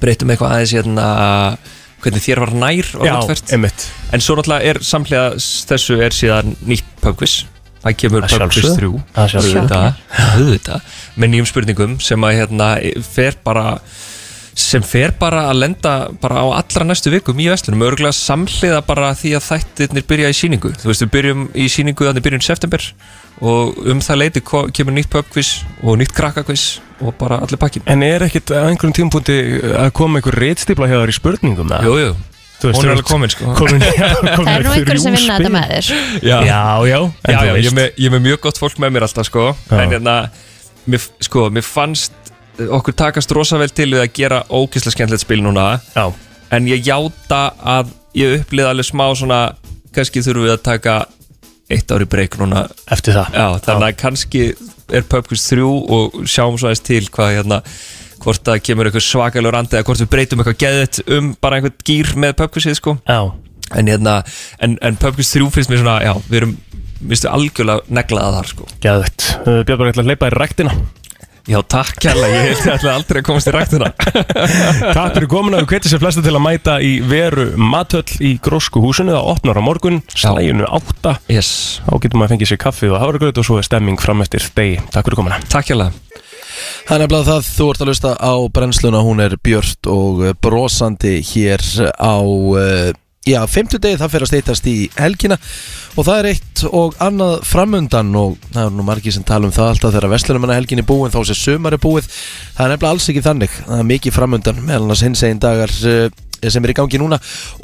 Speaker 5: breyttum eitthvað aðeins hérna hvernig þér var nær og
Speaker 3: Já,
Speaker 5: haldfært
Speaker 3: einmitt
Speaker 5: en svo náttúrulega er samlega þessu er síðan nýtt pubquiz það kemur
Speaker 3: Að
Speaker 5: pubquiz
Speaker 3: sjálfsögðu.
Speaker 5: 3
Speaker 3: Það sjálf
Speaker 5: auðvitað, auðvitað með nýjum spurningum sem að hérna fer bara sem fer bara að lenda bara á allra næstu vikum í vestlunum, örgulega samhliða bara því að þættirnir byrja í síningu þú veist, við byrjum í síningu þannig byrjum september og um það leiti ko- kemur nýtt pubquiz og nýtt krakkakviz og bara allir pakkin
Speaker 3: En er ekkit að einhverjum tímpúndi að koma einhver reitstípla hjá þér í spurningum það?
Speaker 5: Jú, jú,
Speaker 3: þú
Speaker 5: hún er
Speaker 3: þú
Speaker 5: alveg komin sko
Speaker 3: komin já, komin
Speaker 4: Það eru nú
Speaker 3: með
Speaker 4: einhverjum sem
Speaker 3: þrjú spil.
Speaker 4: vinna þetta með þér
Speaker 5: Já,
Speaker 3: Já, já, en
Speaker 5: já,
Speaker 3: þú
Speaker 5: já, ég
Speaker 3: veist.
Speaker 5: er með- ég er með mjög gott fólk með mér alltaf sko
Speaker 3: Já.
Speaker 5: en hérna, mér, sko, mér fannst okkur takast rosa vel til við að gera ógislega skemmtilegt spil núna
Speaker 3: Já,
Speaker 5: en ég játa að ég upplýði alveg smá svona kannski þurfum við að taka eitt ári breyk núna
Speaker 6: eftir það
Speaker 5: já, þannig að kannski er Pubquiz 3 og sjáum svo aðeins til hvað hérna hvort það kemur eitthvað svakalur andi eða hvort við breytum eitthvað geðitt um bara einhvern gýr með Pubquizið sko
Speaker 6: Já,
Speaker 5: en, hérna, en, en Pubquiz 3 finnst mér svona já, við erum, minnstu algjörlega neglaða þar sko
Speaker 6: geðvægt uh, Björn bara ætla að hleypa í ræktina
Speaker 5: já, takk kærlega, ég held alltaf aldrei að komast í hérna. ræktina
Speaker 3: Takk fyrir komin að við hvetjum sér flesta til að mæta í veru matöll í grósku húsinu það opnar á morgun, slæjunu átta
Speaker 5: yes,
Speaker 3: þá getur maður að fengið sér kaffi og hafragraut og svo er stemming fram eftir degi. Takk fyrir komina
Speaker 5: takk kærlega
Speaker 2: Það er nefnilega það, þú ert að lusta á brennsluna, hún er björt og eh, brosandi hér á, eh, já, fimmtudegi, það fer að steytast í helgina og það er eitt og annað framundan og það er nú margir sem tala um það alltaf þegar vestlunumanna helgin er búin, þá sé sumar er búið, það er nefnilega alls ekki þannig, það er mikið framundan, meðal annars hins einn dagar eh, sem er í gangi núna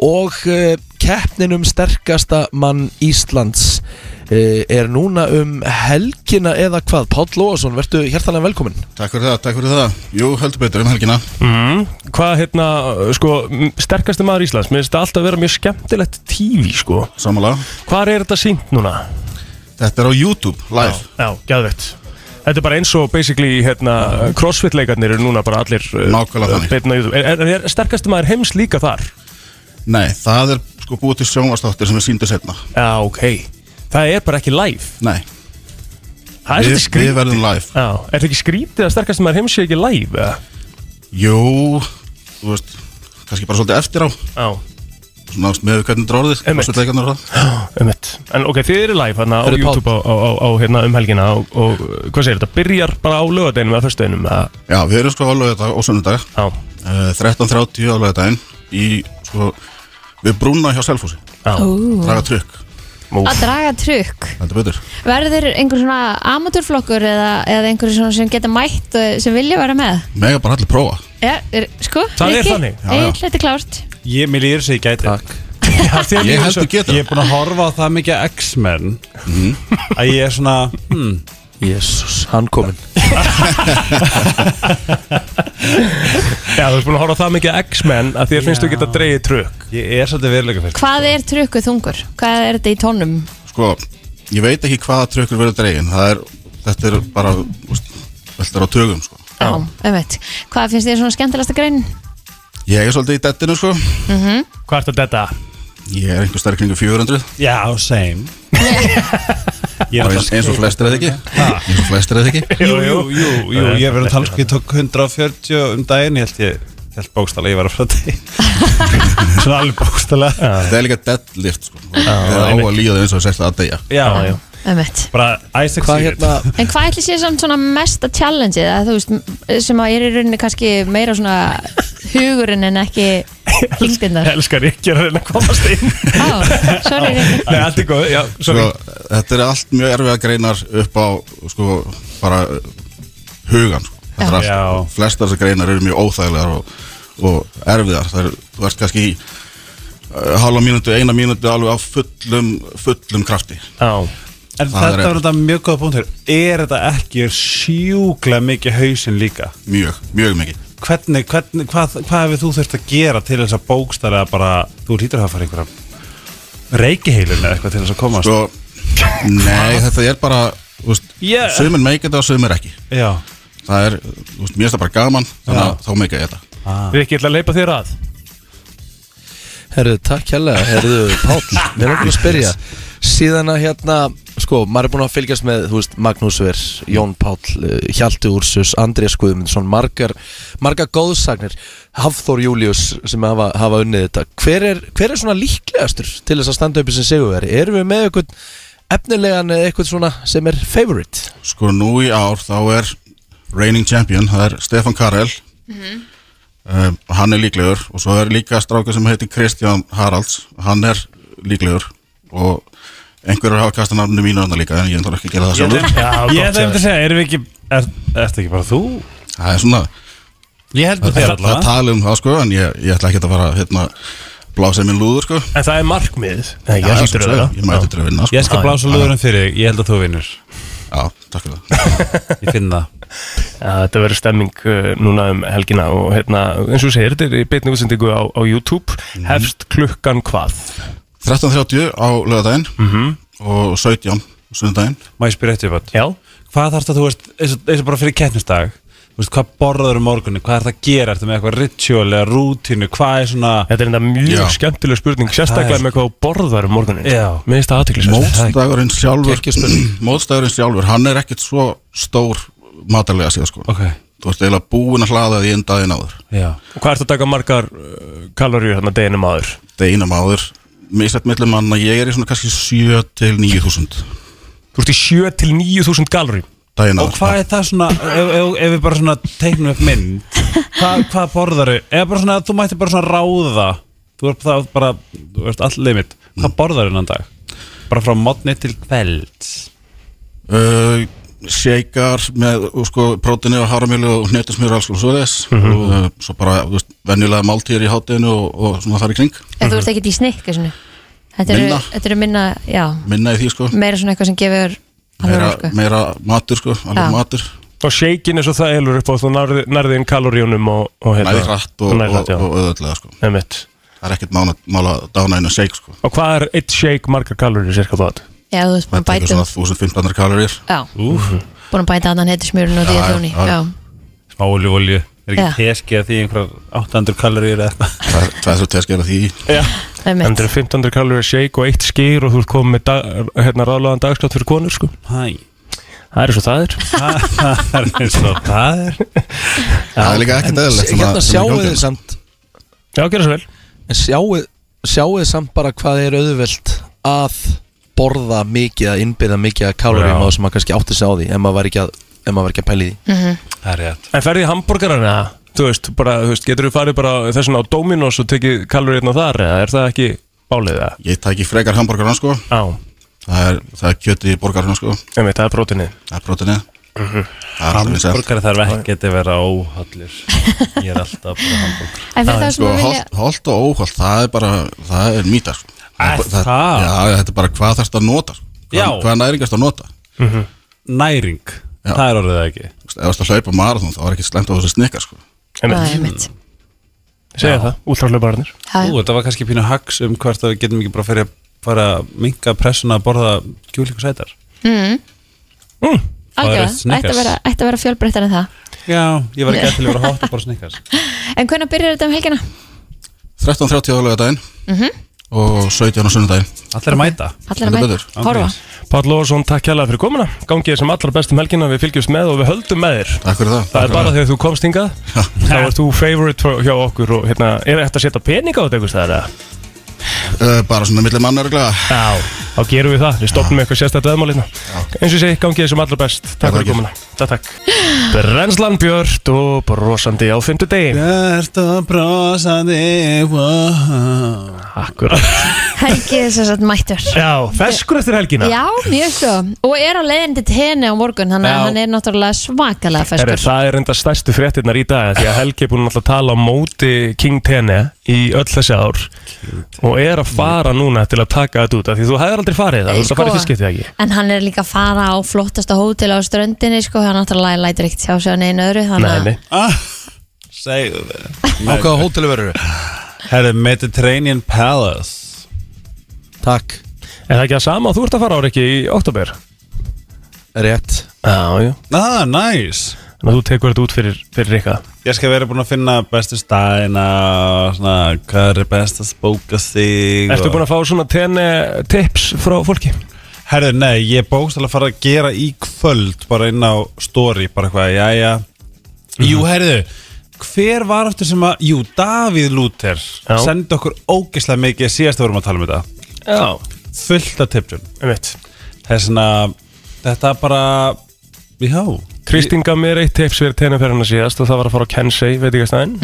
Speaker 2: og eh, keppnin um sterkasta mann Íslands eh, er núna um helgina eða hvað, Páll Lóasson, vertu hjertalega velkominn
Speaker 7: Takk fyrir það, takk fyrir það. Jú, heldur betur um helgina.
Speaker 3: mm. Hvað hérna, sko, m- sterkasti maður Íslands mér finnst þetta alltaf að vera mjög skemmtilegt TV sko,
Speaker 7: Samanlega.
Speaker 3: hvað er þetta sínt núna?
Speaker 7: Þetta er á YouTube, live.
Speaker 3: Já, geðvett Þetta er bara eins og basically hérna, crossfit leikarnir eru núna bara allir uh,
Speaker 7: Nákvæmlega
Speaker 3: uh,
Speaker 7: þannig.
Speaker 3: beinn á YouTube. er, er, er sterkasti maður heims líka þar?
Speaker 7: Nei, það er sko búið til sjónvastáttir sem er síndu setna.
Speaker 3: Já, ok Það er bara ekki live
Speaker 7: Nei,
Speaker 3: Það er
Speaker 7: við,
Speaker 3: svolítið
Speaker 7: við
Speaker 3: skrítið
Speaker 7: verðum live.
Speaker 3: Já, er það ekki skrítið að sterkast maður heims sé ekki live? eða?
Speaker 7: Jú, þú veist, kannski bara svolítið eftir á.
Speaker 3: Já,
Speaker 7: Svona með hvernig þetta er orðið,
Speaker 3: Einmitt.
Speaker 7: þessu leikarnar og það.
Speaker 3: ummitt En ok, þið Um eru live hérna á
Speaker 2: Eru
Speaker 3: YouTube á, á, á, á hérna um helgina og, og uh, hvað segir þetta? Byrjar bara á lögadeinum eða föstuðinum?
Speaker 7: Já, við erum sko á lögðardag og söndag,
Speaker 3: Já,
Speaker 7: uh, 13.30 á lögðardaginn í, sko, við brúna hjá Selfossi.
Speaker 3: já
Speaker 7: Draga trygg,
Speaker 4: Að draga trukk
Speaker 7: heldur betur.
Speaker 4: Verður einhver svona amatörflokkur eða, eða einhver svona sem geta mætt og sem vilja vera með?
Speaker 7: Mega bara allir prófa.
Speaker 4: Já, er, sko,
Speaker 3: Það er þannig.
Speaker 7: Já, já.
Speaker 4: Egil, þetta er klárt
Speaker 8: Ég mér líður sem ég gæti
Speaker 2: Takk
Speaker 7: Ég held þú
Speaker 8: Ég er
Speaker 7: getur.
Speaker 8: búin að horfa á það mikið á X-Men að ég er svona hmm,
Speaker 2: Jésús, hann kominn
Speaker 3: Já, þú ert búin að horfa á það mikið að X-Men að þér finnst þú geta dreigið trökk
Speaker 8: Ég er svolítið veruleika fyrst
Speaker 4: Hvað er trukkuð þungur? Hvað er þetta í tónum?
Speaker 7: Sko, ég veit ekki hvaða tryggur verður dregin. Það er, þetta er bara, þú veist, veldur á tögum, sko.
Speaker 4: Já, einmitt Hvað finnst þér svona skemmtilegasta grein?
Speaker 7: Ég er svolítið í dettinu sko
Speaker 3: Hvað ertu að detta?
Speaker 7: Ég er einhver starf kringu 400
Speaker 8: Já, same Ég er
Speaker 7: Bara eins,
Speaker 8: alltaf
Speaker 7: eins og flestir eða ekki Eins og flestir eða ekki
Speaker 8: Jú, jú, jú, jú, ég er verið að tala sko, ég tók 140 um daginn, ég held ég ég held bókstala, ég var að frá því Svona alveg bókstala Já,
Speaker 7: Það er líka deadlift sko Það er á að líða þau eins og sérst að deyja
Speaker 8: já,
Speaker 4: Einmitt
Speaker 8: bara Isaac
Speaker 2: Hvað
Speaker 8: Sigurd
Speaker 2: hérna,
Speaker 4: En hvað ætli sé samt svona mesta challenge að þú veist, m- sem að er í rauninni kannski meira svona hugurinn en ekki þingdinnar
Speaker 3: Elskar ekki að reyna að komast inn
Speaker 4: Á, sorry Rikki.
Speaker 3: Nei, allt er góð, já,
Speaker 7: Svo
Speaker 3: sorry
Speaker 7: Sko, þetta er allt mjög erfið að greinar upp á sko bara uh, hugan sko Þetta er
Speaker 8: Já.
Speaker 7: allt, flestar þessar greinar eru mjög óþægilegar og, og erfiðar Það er, þú ert kannski í uh, hálfa mínútu, eina mínútu alveg á fullum, fullum krafti
Speaker 3: Já,
Speaker 8: En
Speaker 7: Það er
Speaker 8: þetta var þetta mjög góða punktur Er þetta ekki sjúklega mikið hausinn líka?
Speaker 7: Mjög, mjög mikið
Speaker 8: Hvernig, hvernig, hvað, hvað hefur þú þurft að gera til þess að bókstara að bara, þú hlýtur að hafa fara einhverja reikiheilun eða eitthvað til þess að komast
Speaker 7: Svo, nei þetta er bara þú veist,
Speaker 8: Yeah.
Speaker 7: Sumir meikir þetta og sumir ekki
Speaker 8: Já,
Speaker 7: það er, þú veist, mér finnst það bara gaman þannig að þá meika ég þetta
Speaker 3: við ekki ætla að leipa þér að
Speaker 2: herðu, takk hérlega, herðu, Páll Mér er okkur að spyrja Síðan að hérna, sko, maður er búin að fylgjast með, þú veist, Magnús Ver, Jón Páll eh, Hjalti Úrsus, Andrés Guðmundsson Margar, margar góðsagnir Hafþór Július sem hafa, hafa unnið þetta hver er, hver er svona líklegastur til þess að standa uppi sem sigurveri? Erum við með eitthvað efnilegan eða eitthvað svona sem er favorite?
Speaker 7: sko nú í ár þá er reigning champion, það er Stefan Karel um, hann er líklegur og svo er líka stráka sem heitir Kristján Haralds, hann er líklegur og einhverjur hafa kastað nafninu mínu hann líka en ég ætla ekki að gera það sjálfur
Speaker 8: ég ætla einmitt að segja, erum við ekki er, Ertu ekki bara þú?
Speaker 7: það er svona,
Speaker 8: Ég held
Speaker 7: það, það, það tali um það sko en ég, ég ætla ekki að fara hérna blása í minn lúður sko
Speaker 3: En það er markmiðið Nei,
Speaker 7: Já,
Speaker 3: ég
Speaker 7: sem
Speaker 3: hlýtur
Speaker 7: sagt,
Speaker 3: auðvitað.
Speaker 7: ég mæti til að vinna sko.
Speaker 8: Ég skal blása löðurinn fyrir þig, ég held að þú vinnur
Speaker 7: já, takk fyrir það
Speaker 8: Ég finn það
Speaker 3: þetta verður stemming uh, núna um helgina og hérna, eins og þú segir, þetta er í beinni útsendingu á, á YouTube,
Speaker 7: Mhm.
Speaker 3: hefst klukkan hvað?
Speaker 7: 13.30 á lögadaginn og 17 á sundaginn
Speaker 8: Má ég spyrja eftir bát?
Speaker 3: Já,
Speaker 8: Hvað þarf það, þú veist, eins og, eins og bara fyrir keppnisdag Þú veist, hvað borðaður um morgunni, hvað er það að gera Ertu með eitthvað ritual eða rútínu, hvað er svona
Speaker 3: þetta er enda mjög
Speaker 7: Já.
Speaker 3: skemmtileg spurning, sérstaklega
Speaker 8: Það er-
Speaker 3: með hvað þú borðar um morgunin.
Speaker 8: Já.
Speaker 3: Mér finnst það aðteklisvægt.
Speaker 7: Mótstagurinn sjálfur Mótstagurinn sjálfur, hann er ekkert svo stór matalega sér sko
Speaker 8: Ok,
Speaker 7: Þú ert eiginlega búin að hlaða því einn daginn áður
Speaker 8: já
Speaker 3: Og hvað ertu að taka margar uh, kaloríur þarna deginum aður?
Speaker 7: Deginum áður, mislætt millum manna Ég er í svona kannski 7 til 9000
Speaker 3: Þú ert í 7 til 9000 kaloríum.
Speaker 7: daginn
Speaker 8: Og
Speaker 7: áður
Speaker 8: hvað er það svona, ef, ef, ef við bara svona teiknum upp mynd Hvað, hvað borðaður, eða bara svona, þú mætti bara svona ráða Þú ert það bara, þú ert all limit Hvað borðaður innan dag? Bara frá modni til kveld
Speaker 7: uh, Shakar með uh, sko, prótini og haramjölu og hnetusmjör og alls og svo þess
Speaker 8: Mhm.
Speaker 7: og, uh, Svo bara þú veist, venjulega máltíðir í hátinu og, og svona þar í kring
Speaker 4: Ef þú ert ekki í snikk svona. Þetta eru
Speaker 7: Minna.
Speaker 4: þetta eru minna, já
Speaker 7: Minna í því sko
Speaker 4: Meira svona eitthvað sem gefur sko. alveg
Speaker 7: Meira,
Speaker 4: orku
Speaker 7: meira matur sko, alveg
Speaker 4: Já.
Speaker 7: matur
Speaker 3: Og shakein er svo það elur upp á þú nærði- nærðin kaloríunum og, og hérna.
Speaker 7: Næði hratt og,
Speaker 3: Nærði
Speaker 7: og,
Speaker 3: hratt, já.
Speaker 7: og auðvöldlega sko
Speaker 3: Einmitt.
Speaker 7: Það er ekkert mála, mála dána einu shake sko
Speaker 3: Og hvað er eitt shake margar kaloríur cirka þú átt?
Speaker 4: Já, þú ert búin að
Speaker 7: Þetta er
Speaker 4: bæta
Speaker 7: eitthvað svona 1500 kalorir
Speaker 4: Já, búin að bæta að hann heiti smjörun og því að
Speaker 7: Já,
Speaker 4: þjóni
Speaker 7: já.
Speaker 4: Já,
Speaker 8: Smá olívolju, er
Speaker 4: Já.
Speaker 8: ekki teski að því einhverjar 800 kaloríur eða eitthvað
Speaker 7: Það er tveið svo teskir að því
Speaker 4: einmitt.
Speaker 3: Þannig að 1500 kaloríur shake og eitt skýr og þú ert komið með dag, hérna, ráðlaðan dagskátt fyrir konur sko.
Speaker 8: Hæ,
Speaker 3: Það er svo það er.
Speaker 8: það er eins og það er
Speaker 7: Það er líka ekkert eðlilegt svona-
Speaker 2: Hérna
Speaker 7: svona í
Speaker 2: sjáu
Speaker 7: gangi,
Speaker 2: þið
Speaker 7: sko.
Speaker 2: samt
Speaker 3: Já, gera svo vel.
Speaker 2: En sjáu, sjáu þið samt bara hvað er auðvelt að borða mikið, að innbyrða mikið að kaloríum
Speaker 3: Já.
Speaker 2: á það sem maður kannski átti sig á því en maður var ekki að, ef maður var ekki að pæli því
Speaker 8: Það er rétt
Speaker 3: En ferði í hambúrgarana? Þú veist, bara, þú veist, getur þú farið bara þess vegna á Dominos og tekið kaloríurna þar eða er það ekki bálið það?
Speaker 7: Ég tæki frekar hambúrgarna sko
Speaker 3: Á,
Speaker 7: Það er, það er kjöti í borgarna sko
Speaker 3: einmitt, það er prótinið.
Speaker 7: Það er prótinni Það er alltaf vinsælt
Speaker 8: Hamburgari þarf ekkert að vera óhallir Ég er alltaf bara hamburgari
Speaker 4: En fyrir það sem
Speaker 7: sko,
Speaker 4: að vilja
Speaker 7: holt, holt og óholt, það er bara það er mýtar sko.
Speaker 8: Er það?
Speaker 7: Já, þetta er bara hvað þarfst að nota sko.
Speaker 8: Já.
Speaker 7: hvað, hvað næringast að nota
Speaker 8: Næring,
Speaker 7: Já.
Speaker 8: það er orðið það ekki
Speaker 7: Þú veist, ef það hlaupa marathon, þá er ekki slemt á þessu snikkar sko.
Speaker 4: Já,
Speaker 3: Einmitt,
Speaker 4: einmitt.
Speaker 3: segja það, útráðlaubarnir.
Speaker 4: Já,
Speaker 8: Ú, þetta var kannski pínu hags um hvert að við getum ekki bara fyrir að fara að minka pressuna að borða kjúlík og sætar
Speaker 4: Mm.
Speaker 3: Mm,
Speaker 4: algjörlega.
Speaker 8: Fæðrast Snickers.
Speaker 4: Ætti að vera- ætti að vera fjölbreyttar en það
Speaker 8: Já, ég var ekki eftir að vera hótt að borða snikkars
Speaker 4: En hvernig byrjar þetta um helgina?
Speaker 7: 13.30 á lögadaginn og 17 á sunnudaginn
Speaker 8: Allir að mæta
Speaker 4: Allir að
Speaker 7: Heldur
Speaker 4: mæta,
Speaker 7: betur.
Speaker 4: horfa
Speaker 3: Páll Lóðarsson, takk hérlega fyrir komuna. Gangið sem allra bestum helgina, við fylgjumst með og við höldum með þér.
Speaker 7: Takk fyrir það,
Speaker 3: Það er bara þegar þú komst hingað, þá ert þú favorite hjá okkur og hérna, er þetta að setja pening á þetta einhvers staðar, eða?
Speaker 7: uh, bara svona millir mann örglega
Speaker 3: Já, þá gerum við það, við stopnum eitthvað sérstætt veðmál hérna Eins og ég segi, gangi þessum allra best Takk fyrir
Speaker 7: takk.
Speaker 3: komuna, takk takk Brennslan Björn og brosandi á fimmtudegi
Speaker 8: Hvert að brosa þig wow.
Speaker 3: Akkurat
Speaker 4: Helgi er sem sagt mættur
Speaker 3: Já, feskur eftir helgina
Speaker 4: Já, mjög svo Og er á leiðin til tenni á morgun Þannig að
Speaker 3: Já.
Speaker 4: hann er náttúrulega svakalega
Speaker 3: Herri,
Speaker 4: feskur
Speaker 3: það er enda stærstu fréttinnar í dag Því að Helgi er búin að tala á móti King Tene í öll þessi ár Og er að fara núna til að taka þetta út af Því þú hefur aldrei farið það, þú ert að fara í
Speaker 4: Sko.
Speaker 3: fyrstskiptið ekki
Speaker 4: En hann er líka að fara á flottasta hótel á ströndinni sko, hann náttúrulega lætur ekkert sjá sig á neinu öðru þannig
Speaker 3: Nei,
Speaker 4: að
Speaker 3: nei,
Speaker 8: Segðu þið
Speaker 2: Á hvaða hótelu verður þau?
Speaker 8: Herðu Mediterranean Palace
Speaker 2: Takk,
Speaker 3: er það ekki að sama? Þú ert að fara ára ekki í oktober
Speaker 2: rétt
Speaker 3: Já, já,
Speaker 8: Ah, nice
Speaker 3: þannig að þú tekur þetta út fyrir, fyrir ykkar
Speaker 8: Ég skal vera búinn að finna bestu staðina og svona, hvað er best að spóka sig
Speaker 3: Ertu búin að fá svona tenni tips frá fólki?
Speaker 8: Herðu, nei, ég er bókstæðlega að fara að gera í kvöld bara inn á story, bara eitthvað, jæja Jú, herðu, hver var aftur sem að, jú, Davíð Lúter
Speaker 3: Já.
Speaker 8: sendi okkur ógeðslega mikið síðast að vorum að tala um þetta
Speaker 3: Já
Speaker 8: fullt af tiptum
Speaker 3: Einmitt.
Speaker 8: Þess vegna, þetta bara, já
Speaker 3: Kristín gaf mér eitt tips fyrir tenniferðina síðast og það var að fara á Kensei veitingastæðin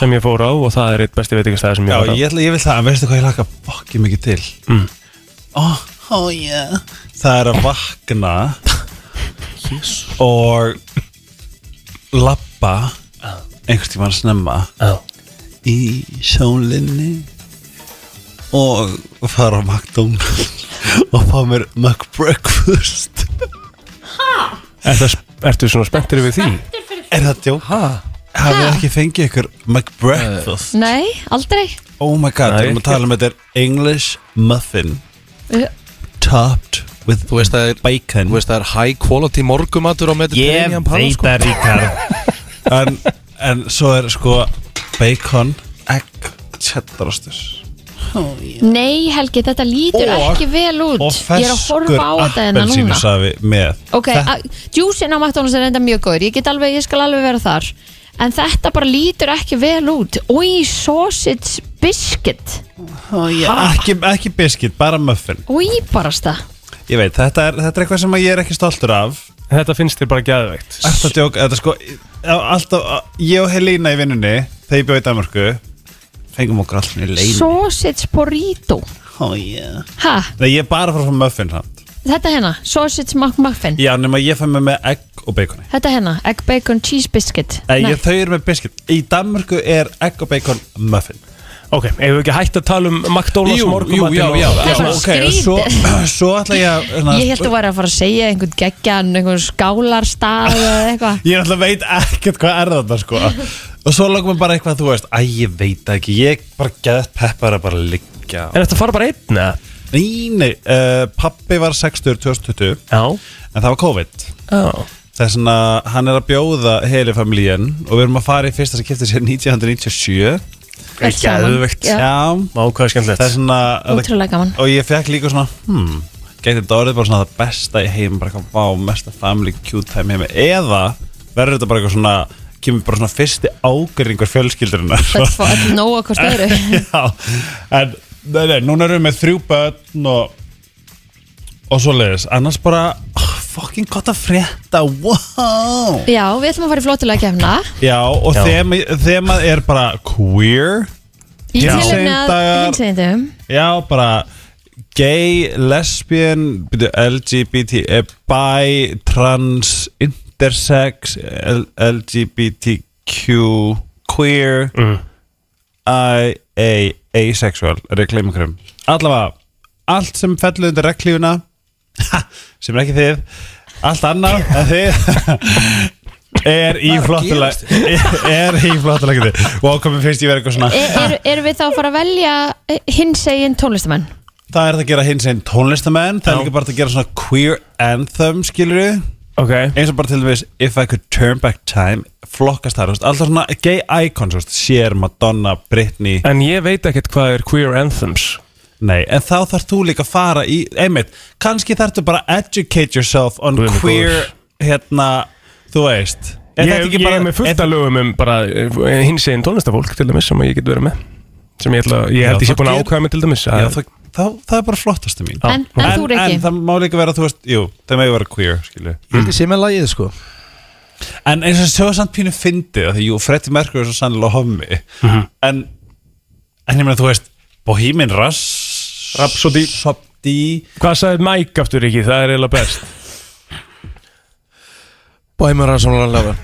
Speaker 3: sem ég fór á og það er eitt besti veitingastæði sem ég
Speaker 8: Já,
Speaker 3: fór á
Speaker 8: ég, ætla, ég vil það, en veistu hvað ég laka fokkið mikið til mm. oh, oh yeah Það er að vakna og labba einhvers tímann snemma
Speaker 3: Já.
Speaker 8: í sjónlinni og fara á McDonalds og fá mér McBreakfast
Speaker 3: Er það, Ertu svona spenntir yfir því?
Speaker 8: Er það djók?
Speaker 5: Ha?
Speaker 4: Ha?
Speaker 8: Hafið þið ekki fengið ykkur McBreakfast?
Speaker 4: Nei, aldrei
Speaker 8: Oh my god,
Speaker 3: Nei,
Speaker 8: við erum að tala um þetta er English muffin
Speaker 4: Eh.
Speaker 8: Topped with
Speaker 2: Þú veist það er
Speaker 8: bacon
Speaker 2: Þú veist það er high quality morgumatur á Mediterranean Palace sko.
Speaker 6: það ríkar
Speaker 8: en, en svo er sko bacon, egg, cheddarostur
Speaker 4: Nei Helgi, þetta lítur
Speaker 8: Og-
Speaker 4: ekki vel út
Speaker 8: Og
Speaker 4: Ég er að
Speaker 8: ferskur
Speaker 4: horfa á þetta hérna núna
Speaker 8: appelsínusafi með
Speaker 4: Ok,
Speaker 8: Þetta-
Speaker 4: a- djúsin á McDonalds er enda mjög góður Ég get alveg, ég skal alveg vera þar En þetta bara lítur ekki vel út Új, sausage biscuit
Speaker 8: ekki, ekki biskit, bara muffin
Speaker 4: Új, barasta
Speaker 8: Ég veit, þetta er, þetta er eitthvað sem ég er ekki stoltur af
Speaker 3: Þetta finnst þér bara gæðveikt
Speaker 8: Þetta djók, þetta sko alltaf, Ég og Helena í vinnunni Þegar ég bjóði í Danmarku Fengum okkur allir í leini
Speaker 4: Sausage burrito
Speaker 8: oh, yeah.
Speaker 4: Ha,
Speaker 8: Nei, ég er bara að fara frá muffin samt
Speaker 4: þetta hérna, sausage McMuffin
Speaker 8: Já, nema ég fæ mig með egg og bacon í.
Speaker 4: Þetta hérna, egg bacon cheese biscuit
Speaker 8: Nei, ég, þau eru með biscuit Í Danmarku er egg og bacon muffin
Speaker 3: Ok, ef við ekki hægt að tala um McDonalds
Speaker 2: Jú, jú, já,
Speaker 3: morgumatinn
Speaker 2: já,
Speaker 3: og-
Speaker 4: Það er bara
Speaker 8: og
Speaker 4: skrítið.
Speaker 8: svo, svo ætla ég að hérna,
Speaker 4: Ég held að þú væri að fara að segja einhvern geggjan, einhvern skálarstað eða eitthvað
Speaker 8: Ég ætla að veit ekkert hvað er þetta sko Og svo lókum við bara eitthvað þú veist Æ, ég veit það ekki, ég bara geðt peppar að bara liggja
Speaker 3: En þetta fara bara einn, eða?
Speaker 8: Nei, nei, uh, pappi var 60 2020
Speaker 3: Já
Speaker 8: En það var COVID
Speaker 3: Já
Speaker 8: Þess vegna hann er að bjóða heli familíin Og við erum að fara í fyrsta sem kipti sér 1997
Speaker 4: Öll saman.
Speaker 3: geðveikt.
Speaker 4: Já,
Speaker 3: Má, hvað er skemmtilegt
Speaker 8: Það er svona
Speaker 4: Ótrúlega gaman.
Speaker 8: Og ég fekk líka svona hmm, Gæti þetta orðið bara svona það besta í heim Bara eitthvað vá, mesta family cute time heimi Eða verður þetta bara eitthvað svona Kemur bara svona fyrsti ágjöringur fjölskyldurinnar
Speaker 4: Það er fór öll nóg hvort öðru
Speaker 8: Já, en nei, nei, núna erum við með þrjú börn og, og svo leiðis annars bara, oh, fucking gott að frétta wow
Speaker 4: Já, við ætlum að fara í flottulega kemna
Speaker 8: Já, og þema, þemað er bara queer
Speaker 4: Í
Speaker 8: Já.
Speaker 4: tilefni að
Speaker 8: Dagar.
Speaker 4: hinsegindum
Speaker 8: Já, bara gay, lesbian byrju, LGBT, eh, bi trans, intersex L LGBTQ queer I, A, asexual er ég gleyma einhverjum allavega, allt sem fellur undir reglífuna sem er ekki þið allt annað en þið er í flottulega er í flottulega og ákomið finnst ég verið eitthvað svona
Speaker 4: E- eru- Erum við þá að fara að velja hinsegin tónlistamenn?
Speaker 8: Það er hægt að gera hins einn tónlistamenn Það er líka bara hægt að gera svona queer anthem skilur
Speaker 3: Ok
Speaker 8: Eins og bara til dæmis If I could turn back time Flokkast þar, þú veist, alltaf svona gay icons þú veist, Cher, Madonna, Britney
Speaker 3: En ég veit ekkert hvað er queer anthems
Speaker 8: Nei, en þá þarf þú líka að fara í Einmitt, kannski þarftu bara að educate yourself On
Speaker 3: Guð minn
Speaker 8: queer Hérna, þú veist Er
Speaker 3: Ég,
Speaker 8: þetta ekki
Speaker 3: ég
Speaker 8: bara-
Speaker 3: er með fullt
Speaker 8: er-
Speaker 3: að lögum um bara hins einn tónlistafólk til dæmis sem ég get verið með sem ég, ætla, ég
Speaker 8: Já,
Speaker 3: held ég sé
Speaker 8: það
Speaker 3: búin að
Speaker 8: ger-
Speaker 3: ákvæða mig til dæmis
Speaker 8: Já, það, það, það er bara flottastu mín
Speaker 4: En, en þú
Speaker 8: en
Speaker 4: Riki?
Speaker 8: það má líka vera, þú veist, jú, það megi vera queer, skilju
Speaker 2: Ég held ég sé með lagið sko
Speaker 8: En eins og svo er samt pínu fyndið af Því jú, Freddie Mercury er svo sannlega hommi En En ég meina, þú veist Bohemian Rass Rhapsody Sopdi
Speaker 3: Hvað sagði Mike aftur ekki? Það er eiginlega best
Speaker 2: Bæmur að svona laga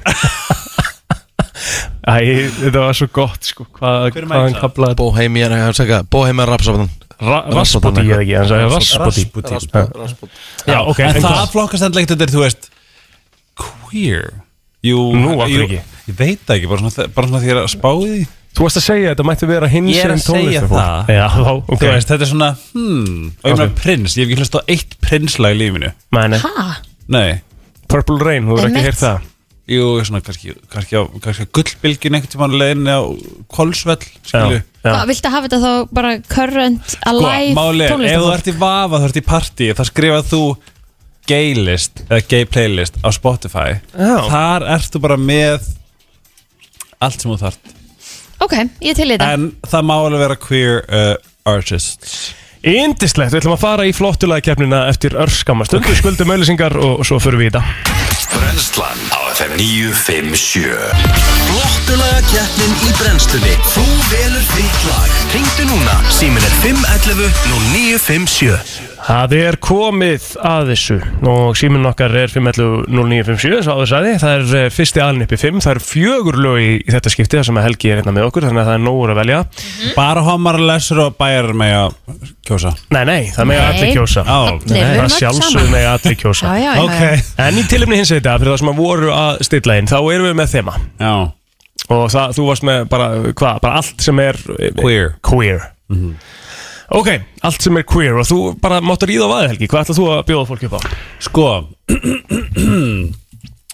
Speaker 3: Æ, þetta var svo gott sko Hvað,
Speaker 8: Hver er Mike
Speaker 3: hvað hann
Speaker 8: sagði?
Speaker 3: kaplaði
Speaker 2: Bohemian, ég hef sagt Bohemian Rhapsody
Speaker 3: Ra Raspoti eða ekki, hann sagði Raspoti Já, ok,
Speaker 8: En
Speaker 3: en
Speaker 8: það
Speaker 3: hvað?
Speaker 8: flokkast endlega þetta er, þú veist Queer Jú,
Speaker 3: Nú, af hverju
Speaker 8: jú
Speaker 3: ekki?
Speaker 8: Ég veit það ekki, bara svona, bara svona því að spáði því
Speaker 3: Þú varst að segja að þetta mætti vera hins
Speaker 8: Ég er að
Speaker 3: einn
Speaker 8: segja
Speaker 3: tónlistafólk
Speaker 8: það.
Speaker 3: Já, þá, ok
Speaker 8: Þú veist, þetta er svona, hmm Og ég meina
Speaker 3: Ok.
Speaker 8: prins, ég hef ekki hlust á eitt prinslag í lífinu
Speaker 3: Mæni,
Speaker 4: Ha?
Speaker 8: Nei
Speaker 3: Purple Rain, þú verður ekki
Speaker 4: Einmitt.
Speaker 3: heyrt það
Speaker 8: Jú, svona kannski, kannski á, kannski á gullbylgin einhvern tímann leiðinni á Kolsvell, skilju
Speaker 3: Já.
Speaker 4: Hvað, viltu hafa þetta þá bara current, alive
Speaker 8: Máli Sko, er, ef þú
Speaker 4: tónlistamenn?
Speaker 8: ert í vafa, þú ert í partí þá skrifað þú gaylist eða gay playlist á Spotify
Speaker 3: Já.
Speaker 8: þar ert þú bara með allt sem þú þart
Speaker 4: Ok, ég til í þetta
Speaker 8: en það má alveg vera queer uh, artists
Speaker 3: Indislegt, við ætlum að fara í flottulega keppnina eftir örskamma stundu okay. skuldum auðlýsingar og svo förum við í þetta
Speaker 1: Brennslan á FM 957 Flottulega keppnin í brennslunni Þú velur þitt lag Ringdu núna, símin er 511 0957
Speaker 3: Það er komið að þessu og síminn okkar er 5.09.57 svo áður sæði, það er eh, fyrsti aðlinni 5, það er fjögur lög í, í þetta skipti þar sem að Helgi er hérna með okkur, þannig að það er nógur að velja
Speaker 8: Bara homar, lesur og bæjar með að kjósa
Speaker 3: Nei, nei, það mega
Speaker 4: Nei.
Speaker 3: allir kjósa
Speaker 8: Á,
Speaker 4: Nei, við erum
Speaker 3: Það
Speaker 4: öll
Speaker 3: sjálfsögðu
Speaker 4: saman.
Speaker 3: mega allir kjósa
Speaker 4: Já, já, já,
Speaker 8: Ok.
Speaker 4: já.
Speaker 3: En í tilumni hins veita, fyrir það sem að voru að stilla inn, þá erum við með þema
Speaker 8: Já,
Speaker 3: og það, þú varst með bara, hva, bara allt sem er eh,
Speaker 8: Queer.
Speaker 3: queer. Ok, allt sem er queer og þú bara máttu ríða á vaðið Helgi, hvað ætlað þú að bjóða fólki upp á?
Speaker 8: sko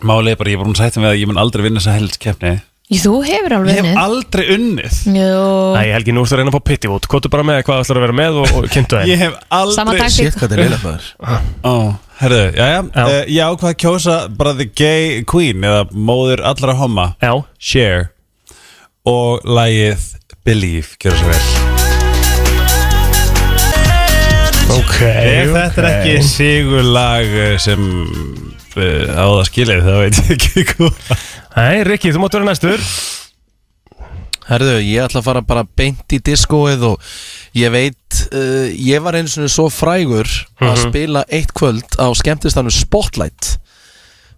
Speaker 8: Málið er bara, ég er búin að sættum við að ég mun aldrei vinna þessa helst keppni
Speaker 4: Jú, Þú hefur alveg
Speaker 8: Ég hef
Speaker 4: unnið
Speaker 8: aldrei unnið
Speaker 4: Jú,
Speaker 3: Æ, Helgi, nú ertu að reyna að fá pitti út, kvotu bara með hvað ætlar að vera með og, og kynntu þeim
Speaker 8: Ég hef aldrei
Speaker 4: sama taktík
Speaker 2: Sér hvað þetta er leila maður
Speaker 8: Ó, herðu, jæja
Speaker 3: Já.
Speaker 8: uh, Ég ákvað að kjósa bara the gay queen eða móður allra homma
Speaker 3: Já,
Speaker 8: Share og lagið Believe, gjör svo vel
Speaker 3: ok
Speaker 8: Ef þetta er ekki sigurlag uh, sem uh, á það skilið þá veit ég ekki hvað
Speaker 3: Nei, Rikki, þú máttu vera næstur
Speaker 2: Herðu, ég ætla að fara bara beint í diskóið og ég veit, uh, ég var einu svona svo frægur að
Speaker 3: Mhm.
Speaker 2: spila eitt kvöld á skemmtistanum Spotlight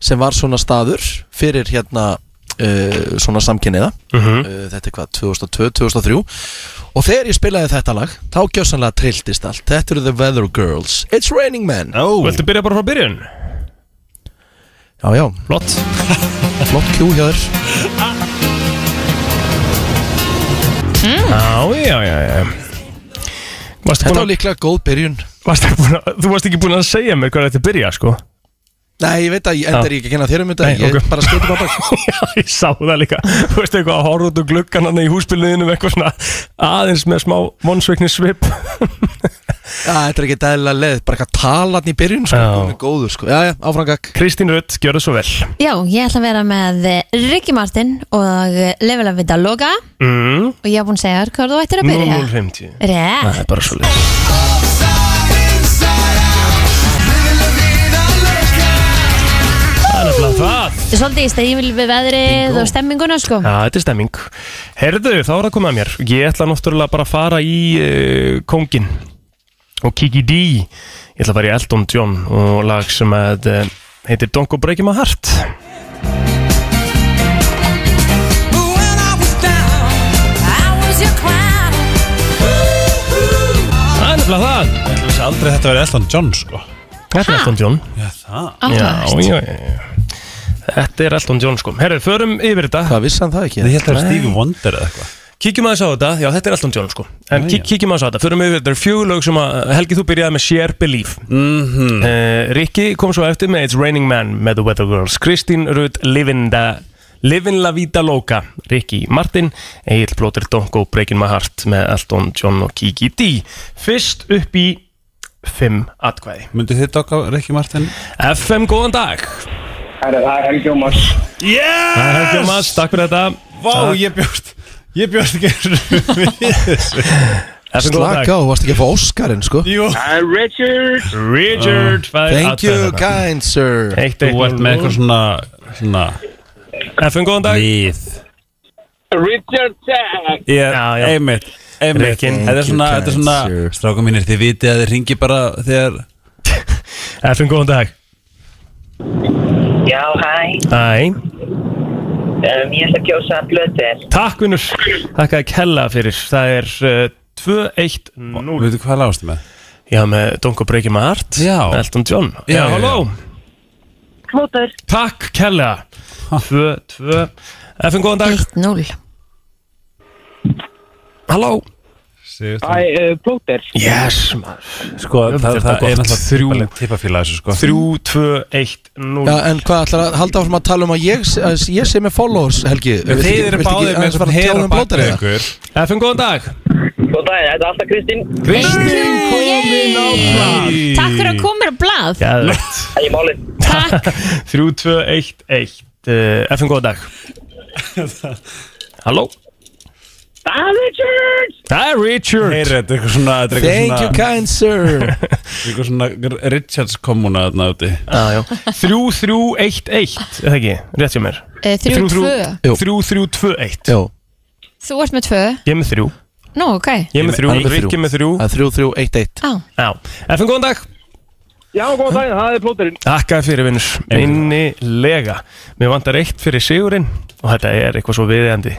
Speaker 2: sem var svona staður fyrir hérna uh, svona samkynniða
Speaker 3: Mhm.
Speaker 2: uh, þetta er hvað, 2002-2003 og þegar ég spilaði þetta lag þá gjössanlega trilltist allt, þetta eru The Weather Girls It's Raining Men
Speaker 8: Ó,
Speaker 3: Viltu byrja bara frá byrjun?
Speaker 2: Já, já,
Speaker 3: Flott
Speaker 2: flott kjú hjá þér
Speaker 3: Já, já, já, já Varstu
Speaker 2: Þetta var
Speaker 3: búin að,
Speaker 2: líklega góð byrjun
Speaker 3: varstu búin að, þú varst ekki búin að segja mér hvað þetta er byrja, sko
Speaker 2: Nei, ég veit að, enda er ég ekki að kenna þér um þetta
Speaker 3: Nei,
Speaker 2: Ég
Speaker 3: ok.
Speaker 2: bara skeitir bara bak
Speaker 3: Já, ég sá það líka Þú veist eitthvað að horfa út úr gluggan hann í húsbylnuðinu með eitthvað svona aðeins með smá vonsveikni svip
Speaker 2: Já, þetta er ekki dæðilega leið, bara eitthvað talan í byrjun sko,
Speaker 3: Já.
Speaker 2: hún er góður sko, já, já, áframgag
Speaker 3: Kristín Rutt, gjör það svo vel
Speaker 4: Já, ég ætla að vera með eh, Ricky Martin og eh, Level Up Vita Loga
Speaker 3: mm,
Speaker 4: og ég hef búin að segja þér hvað þú ættir að byrja
Speaker 3: 0050
Speaker 4: Rétt,
Speaker 3: Það er bara svo leið Það er nefnilega það
Speaker 4: svolítið í stegið við veðrið og stemminguna sko
Speaker 3: Já, þetta er stemming Herðu, þá er það komið að mér Ég ætla náttúrulega bara að fara í uh, Kongin og Kiki D Ég ætla að fara í Elton John og lag sem að, uh, heitir Don't Go Breaking My Heart Það er nefnilega það
Speaker 8: ég vissi aldrei að þetta verið Elton John sko
Speaker 3: Þetta er Elton John
Speaker 8: Já, það
Speaker 4: Áhugavert.
Speaker 3: já, já, já. Þetta er Elton John sko Herðu, förum yfir þetta
Speaker 2: Hvað vissi hann það ekki?
Speaker 8: Ég held að það er Stevie Wonder eða eitthvað
Speaker 3: Kíkjum aðeins á þetta, já þetta er Elton John sko En kík, kíkjum aðeins á þetta, förum við þetta er fjögulög sem að Helgi þú byrjaði með Share Belief mm -hmm. Rikki kom svo eftir með It's Raining Man með The Weather Girls Kristín Rudd Livinda Livin La Vida Loca Rikki Martin, Egil Blóter Donko Breaking My Heart með Elton John og Kiki D Fyrst upp í 5 atkvæði
Speaker 8: Myndu þið dokka Ricky Martin?
Speaker 3: FM, góðan dag
Speaker 8: Yes!
Speaker 3: Það er Helgi og Mats, takk fyrir þetta
Speaker 8: Vá, ég bjóst Ég bjóst ekki einu sinni við þessu
Speaker 3: FM, góðan dag
Speaker 2: Slaka á, þú varst ekki að fá Óskarinn sko
Speaker 8: Jú
Speaker 3: Richard, hvað er
Speaker 2: Thank you,
Speaker 3: atkvæði þarna?
Speaker 2: kind sir
Speaker 3: Eitt, eitt,
Speaker 8: Þú ert með
Speaker 3: núll.
Speaker 8: eitthvað svona Svona
Speaker 3: FM, góðan dag
Speaker 8: Við
Speaker 9: Richard Jack
Speaker 8: Ég,
Speaker 3: Já, já.
Speaker 8: einmitt Einmitt
Speaker 3: Rekin.
Speaker 8: Þetta er svona,
Speaker 2: Thank you,
Speaker 8: þetta er svona
Speaker 2: kind sir.
Speaker 8: Stráka mínir, þið viti að þið ringi bara þegar
Speaker 3: FM, góðan dag
Speaker 9: Já, hæ,
Speaker 3: Æ,
Speaker 9: um, ég ætla að kjósa að blöta þér
Speaker 3: takk vinnur Takk að kella fyrir Það er uh, 2-1-0
Speaker 8: Veitu hvað lástu með?
Speaker 3: Já, með Donko Breaking My Heart
Speaker 8: Já.
Speaker 3: Elton John
Speaker 8: Já,
Speaker 3: Já,
Speaker 8: já,
Speaker 3: halló
Speaker 9: Klótur
Speaker 3: Takk kella 2-2 FM, góðan dag
Speaker 4: 1-0
Speaker 3: Halló
Speaker 9: Æ, uh, blóter
Speaker 3: Yes, maður
Speaker 8: Sko,
Speaker 3: Já,
Speaker 8: það,
Speaker 3: þetta
Speaker 8: það
Speaker 3: er
Speaker 8: er
Speaker 3: gott.
Speaker 8: náttúrulega þrjú
Speaker 3: Bara-
Speaker 8: tippafíla þessu sko
Speaker 3: 3-2-1-0
Speaker 2: Já, en hvað ætlar að halda áfram að tala um að ég, að ég sé með followers, Helgi Viltu ekki- viltu ekki aðeins fara að tjála um blótarið það?
Speaker 8: ykkur
Speaker 3: FM, góðan dag
Speaker 9: Góð dag, þetta er alltaf Kristín
Speaker 3: Kristín komin á blad
Speaker 4: Takk fyrir að koma mér á blað
Speaker 3: Gæðvegt
Speaker 9: Það er málið
Speaker 3: 3-2-1-1 uh, FM, góðan dag Halló
Speaker 9: Það er Richard
Speaker 3: Það er Richard
Speaker 8: Heyri, þetta er eitthvað svona Þetta er
Speaker 2: Thank you,
Speaker 8: eitthvað svona,
Speaker 2: kind sir
Speaker 8: eitthvað svona Richards kommuna þarna úti
Speaker 3: Já, já. 3-3-1-1 er það ekki, rétt hjá mér
Speaker 4: 3-2
Speaker 2: Jú.
Speaker 3: 3-3-2-1
Speaker 2: Jó,
Speaker 4: Þú ert með 2
Speaker 3: Ég er með 3
Speaker 4: Nú, ok
Speaker 3: Ég er með
Speaker 2: Hann er
Speaker 3: þrjú,
Speaker 2: með
Speaker 3: Rikki með þrjú
Speaker 2: Það er 3311
Speaker 4: Á,
Speaker 3: Já, FN góðan dag
Speaker 9: Já, góðan daginn, það er plóterinn
Speaker 3: Takkaði fyrir vinnur, innilega Mér vantar eitt fyrir sigurinn og þetta er eitthvað svo viðjandi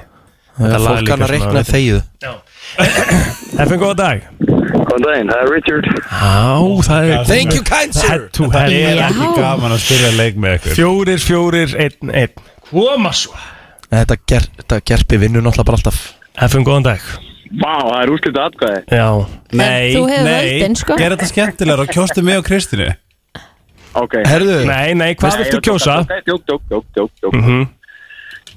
Speaker 3: Þetta lag
Speaker 2: Fólk
Speaker 3: líka
Speaker 2: kann að
Speaker 3: sem að
Speaker 2: reikna
Speaker 3: vita.
Speaker 2: þegið
Speaker 3: FN góðan dag
Speaker 9: Góðan daginn, það er Richard
Speaker 3: Á, það er
Speaker 2: Thank you kind sir
Speaker 3: head to head
Speaker 8: Það er
Speaker 4: Já.
Speaker 8: ekki gaman að spyrja leik með ykkur
Speaker 3: Fjórir, fjórir, einn, einn Koma svo
Speaker 2: Þetta, ger, þetta gerpi vinnu náttúrulega bara alltaf
Speaker 3: FM, góðan dag
Speaker 9: Vá, það er úrslita atkvæði
Speaker 3: Já,
Speaker 8: Nei,
Speaker 4: þú hefur völdin,
Speaker 8: nei,
Speaker 4: sko.
Speaker 8: gera þetta skemmtilega og kjóstu mig og Kristinu
Speaker 9: Ok
Speaker 2: Herðu,
Speaker 3: nei, nei, hvað viltu kjósa? Mhm.
Speaker 9: Jók, jók, jók, jók, jók, jók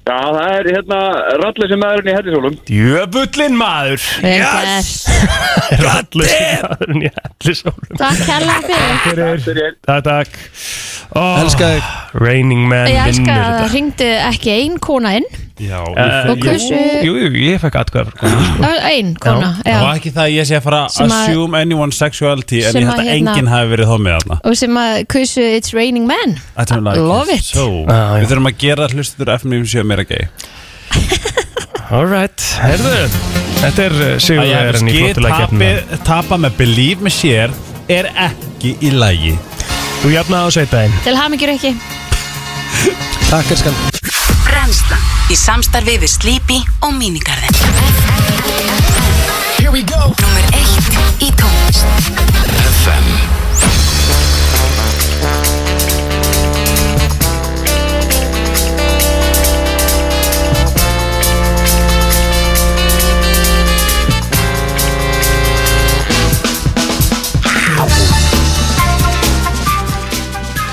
Speaker 9: Já, það er hérna rallið sem maðurinn í hellisólum
Speaker 3: Jöfullin maður
Speaker 4: vel gert
Speaker 3: Rallausin maðurinn í hellisólum
Speaker 4: Takk hella fyrir
Speaker 9: Fyrir
Speaker 3: Takk, takk oh,
Speaker 2: elska þig
Speaker 3: Raining Man
Speaker 4: Ég elska
Speaker 3: vinnur
Speaker 4: að það
Speaker 3: þetta
Speaker 4: ringdi ekki ein kona inn
Speaker 8: Já,
Speaker 3: Eh,
Speaker 4: Og hversu,
Speaker 3: Jú, jú, ég fekk atkvæða fyrir konu
Speaker 4: það var ein kona
Speaker 8: Það var
Speaker 4: já.
Speaker 8: ekki það að ég sé að fara að
Speaker 4: Sem að-
Speaker 8: assume anyone's sexuality en
Speaker 4: sem
Speaker 8: ég
Speaker 4: að
Speaker 8: held að
Speaker 4: hérna-
Speaker 8: enginn hafi verið þá með þarna
Speaker 4: Og sem að kusu It's Raining Men
Speaker 8: Þetta er like
Speaker 4: Love
Speaker 8: it.
Speaker 4: it.
Speaker 8: so,
Speaker 3: Ah, já.
Speaker 8: Við þurfum að gera hlustuður FM97 meira gay
Speaker 3: Alright, herðu Þetta er
Speaker 8: Að ég
Speaker 3: sigurverðin í hérna.
Speaker 8: hefði
Speaker 3: flottulega keppnum
Speaker 8: skið tapa með Believe með sér er ekki í lagi
Speaker 3: Þú jafnaði á sveitaðin
Speaker 4: Til hamingjur ekki
Speaker 2: Takk elskan
Speaker 1: Brenslan Í samstarfi við Sleepy og Minigarden Númer eitt í tónlist
Speaker 10: FM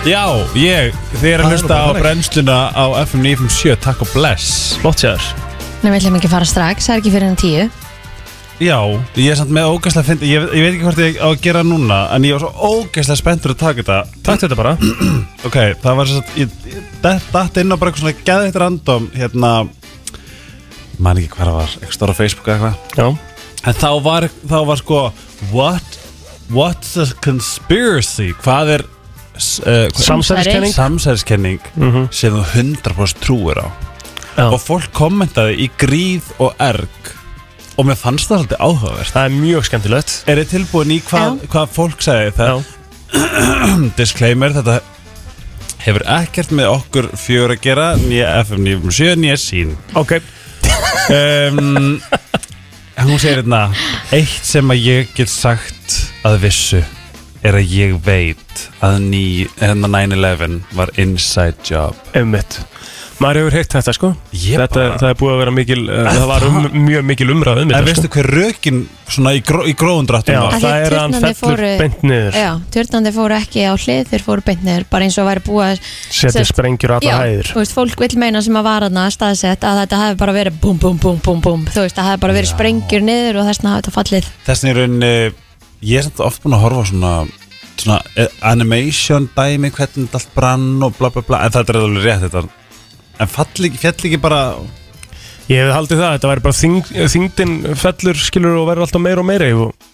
Speaker 8: Já, ég, þið
Speaker 2: Það
Speaker 8: er að
Speaker 2: er nú
Speaker 8: hlusta
Speaker 2: bara
Speaker 8: á
Speaker 2: þannig.
Speaker 8: brennsluna á FM957 Takk og bless
Speaker 3: Flott séður
Speaker 4: Nei, við ætlum ekki að fara strax, það er ekki fyrir en tíu
Speaker 8: Já, ég er samt með ógæslega fyndi ég, ég veit ekki hvort ég á að gera núna en ég var svo ógæslega spenntur að taka þetta
Speaker 3: Takk þetta bara
Speaker 8: Ok, það var svo ég, ég datt- datt inn á bara eitthvað svona geðveitt random hérna man ekki hvað það var, eitthvað stóra Facebook eða eitthvað
Speaker 3: Já
Speaker 8: en þá var, þá var sko what, what's a conspiracy hvað er uh,
Speaker 4: Samsæriskenning.
Speaker 8: samsæðiskenning sem þú 100% trúir á
Speaker 3: Mhm. Já.
Speaker 8: og fólk kommentaði í gríð og erg og mér fannst það svolítið áhugavert
Speaker 3: Það er mjög skemmtilegt
Speaker 8: er þið tilbúin í hvað,
Speaker 4: Já.
Speaker 8: hvað fólk sagði það,
Speaker 3: Já,
Speaker 8: disclaimer þetta hefur ekkert með okkur fjör að gera nýja FM 97 nýja sín
Speaker 3: ok
Speaker 8: um, hún segir hérna eitt sem að ég get sagt að vissu er að ég veit að ný- hérna 9-11 var inside job
Speaker 3: Einmitt Maður hefur heitt þetta sko
Speaker 8: Ég
Speaker 3: þetta,
Speaker 8: bara-
Speaker 3: Það er búið að vera mikil uh, Það var um, mjög mikil umræð um
Speaker 8: en
Speaker 3: þetta
Speaker 8: veistu hver rökin svona í, gró, í gróðundrættum
Speaker 3: Já,
Speaker 8: var
Speaker 4: Af því
Speaker 3: það er að hann
Speaker 4: turnandi
Speaker 3: fellur
Speaker 4: fóru-
Speaker 3: beint niður
Speaker 4: Já, tjörnandi fóru ekki á hlið, þeir fóru beint niður Bara eins og væri búið að
Speaker 3: Setja
Speaker 4: Sett-
Speaker 3: sprengjur
Speaker 4: Já,
Speaker 3: alla hæðir
Speaker 4: þú veist, fólk vil meina sem að var aðna staðsett að þetta hefði bara verið búm, búm, búm, búm, búm Þú veist, það hefði bara verið sprengjur niður og þessna hafi þetta fallið
Speaker 8: þess vegna er rauninni ég er samt oft búin að horfa á svona svona eh, animation dæmi hvernig þetta allt brann og bla bla bla en þetta er alveg rétt þetta en fall ekki, fjall ekki bara
Speaker 3: Ég hefði haldið það, þetta væri bara þing, þingdin fellur skilur og verður alltaf meira og meira og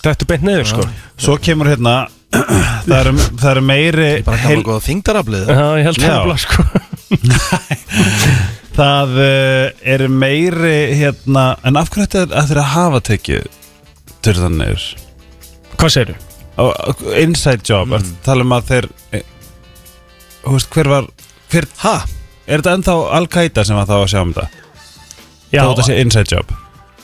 Speaker 3: þetta er beint neður sko
Speaker 8: svo kemur hérna það eru það eru meiri
Speaker 2: Bara
Speaker 8: heil-
Speaker 2: gamla góða þingdaraflið
Speaker 3: Já, ég held
Speaker 8: Já.
Speaker 3: það blá sko
Speaker 8: það eh, eru meiri hérna en af hverju þetta er að þeirra hafa tekið törðan neyður
Speaker 3: Hvað segirðu?
Speaker 8: inside job mm. ertu að tala um að þeir eh, þú veist hver var hver, ha? er þetta ennþá Al-Qaida sem var þá að sjá um þetta
Speaker 3: Já,
Speaker 8: Já, þetta sé inside job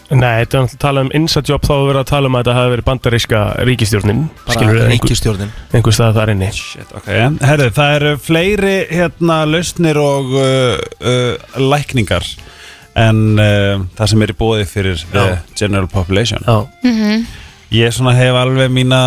Speaker 3: nei, þetta er náttúrulega að tala um inside job þá er verið að tala um að þetta hafi verið bandaríska ríkistjórnin skilur
Speaker 2: Bara
Speaker 3: eða einhver,
Speaker 2: ríkistjórnin
Speaker 3: einhver stað þar inni
Speaker 8: Shit, okay. Herðu, það eru fleiri hérna lausnir og uh, uh, lækningar en uh, það sem er í bóði fyrir uh, general population
Speaker 3: Já,
Speaker 8: Ég svona hef alveg mína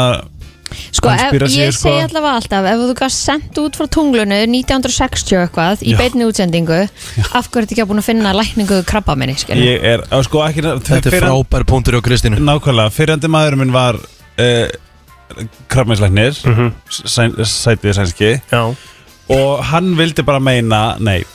Speaker 4: Sko, ef,
Speaker 8: Conspiracy,
Speaker 4: ég
Speaker 8: sko.
Speaker 4: segi allavega alltaf ef þú gafst sendt út frá tunglunu 1960 og eitthvað í
Speaker 8: Já.
Speaker 4: beinni útsendingu af hverju ertu ekki að búin að finna lækningu krabba minni, skilur
Speaker 8: ég er, á, sko, ekki,
Speaker 2: Þetta er frábær punktur á Kristínu
Speaker 8: Nákvæmlega, fyrrandi maður minn var uh, krabmeinslæknir mm
Speaker 3: Mhm.
Speaker 8: -hmm. sætið sænski
Speaker 3: já,
Speaker 8: og hann vildi bara meina nei,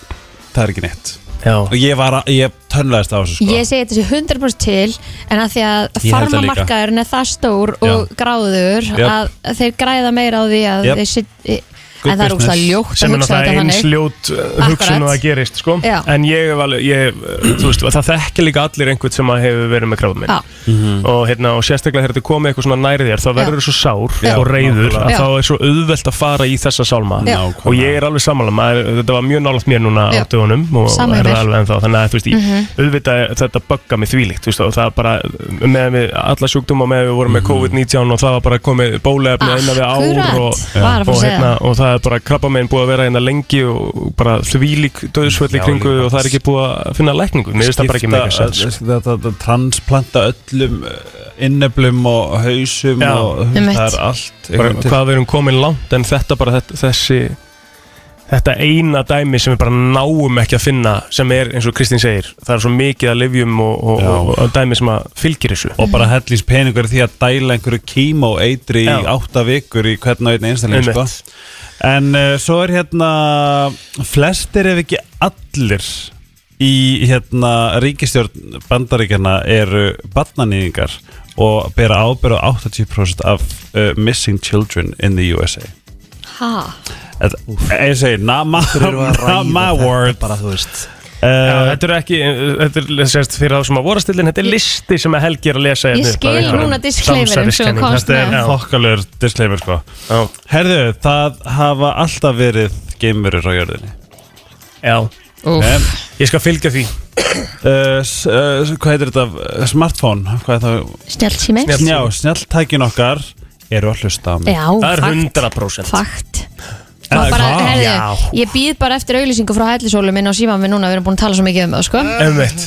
Speaker 8: það er ekki neitt
Speaker 3: já
Speaker 8: og ég var að, ég tönlaðist á þessu sko.
Speaker 4: Ég segi þetta sé 100% til en að því að
Speaker 8: Ég held það líka.
Speaker 4: farmamarkaðurinn er það stór og gráður
Speaker 8: Jep.
Speaker 4: að þeir græða meira á því að
Speaker 8: Jep.
Speaker 4: þeir sit, e- en það er úrslag ljótt
Speaker 3: sem
Speaker 4: að
Speaker 3: er
Speaker 4: hugsa
Speaker 3: náttúrulega
Speaker 4: þetta
Speaker 3: eins
Speaker 4: þannig
Speaker 3: ljót uh, hugsun og
Speaker 4: Akkurat.
Speaker 3: það gerist sko.
Speaker 4: Já.
Speaker 3: en ég hef alveg ég, uh, þú veist, það þekkir líka allir einhvern sem að hefur verið með krafum
Speaker 4: Já.
Speaker 3: og, hérna, og sérstaklega þegar þetta komið eitthvað svona nærið þér þá verður þú svo sár og reyður að
Speaker 4: Já.
Speaker 3: þá er svo auðvelt að fara í þessa sálma
Speaker 4: Já.
Speaker 3: og ég er alveg sammála maður, þetta var mjög nálaft mér núna
Speaker 4: Já.
Speaker 3: á dögunum og
Speaker 4: Sama
Speaker 3: er
Speaker 4: hér. Mhm.
Speaker 3: það alveg ennþá þannig að þú veist, mm auðvitað er þetta bugga mig þvílíkt þú veist, og það bara með við alla sjúkdóma með við vorum með COVID-19 og það var bara komið bólefni innan við ár og,
Speaker 4: Akkurat,
Speaker 3: og,
Speaker 4: var að fara að segja
Speaker 3: hérna, og það er bara krabba meginn búið að vera hérna lengi og bara þvílík döðsvöld í kringu og það er ekki búið að finna lækningu mér finnst það bara ekki mega sko.
Speaker 8: Skipta-
Speaker 3: sens
Speaker 8: að- að- að- að Transplanta öllum eh, inneflum og hausum
Speaker 3: Já.
Speaker 8: og þú veist,
Speaker 4: Einmitt.
Speaker 8: það er allt
Speaker 3: bara,
Speaker 8: einhvern
Speaker 3: hvað við erum komin langt en þetta bara þetta, þessi þetta eina dæmi sem við bara náum ekki að finna sem er eins og Kristín segir það er svo mikið að lifjum og, og,
Speaker 8: Já.
Speaker 3: og, og dæmi sem að fylgir þessu
Speaker 8: og bara hellins peningur því að dæla einhverju kímó eitri í
Speaker 3: Já.
Speaker 8: átta vikur í hvern og einn einstakling sko.
Speaker 3: Einmitt.
Speaker 8: en uh, svo er hérna flestir ef ekki allir í hérna ríkistjórn bandaríkjana eru barnanýðingar og bera ábyrðu 80% af uh, missing children in the USA
Speaker 4: Ha,
Speaker 8: Þetta- ég segi Nama Nama word
Speaker 2: bara þú veist
Speaker 3: Já,
Speaker 8: uh,
Speaker 3: Eh, þetta er ekki, þetta er sérst fyrir þá sem að vorastillin, þetta er listi sem að Helgi er að lesa
Speaker 4: Ég
Speaker 3: hérna upp,
Speaker 4: skil
Speaker 3: það er einhver
Speaker 4: núna disclaimerinn sem þú
Speaker 3: samsæriskenning.
Speaker 4: komst
Speaker 3: Þetta er-
Speaker 4: með.
Speaker 3: já.
Speaker 8: þokkalur disclaimer sko
Speaker 3: Já.
Speaker 8: Herðu, það hafa alltaf verið geimverur á jörðinni
Speaker 3: Já,
Speaker 4: úf,
Speaker 8: um,
Speaker 3: ég skal fylgja því
Speaker 8: uh, s- uh, s- Hvað heitir þetta? Uh, Smartphone Hvað er það?
Speaker 4: snjallt sími
Speaker 3: Snjall-
Speaker 8: Já, snjalltækin okkar eru að hlusta á mig
Speaker 4: Já,
Speaker 3: Það er
Speaker 4: fakt,
Speaker 3: 100%
Speaker 4: fakt
Speaker 8: Eh,
Speaker 4: Það bara,
Speaker 8: hvað?
Speaker 4: herðu, ég býð bara eftir auglýsingu frá hællisólum inn á síma minn núna, við erum búin að tala svo mikið um það, sko
Speaker 3: Einmitt.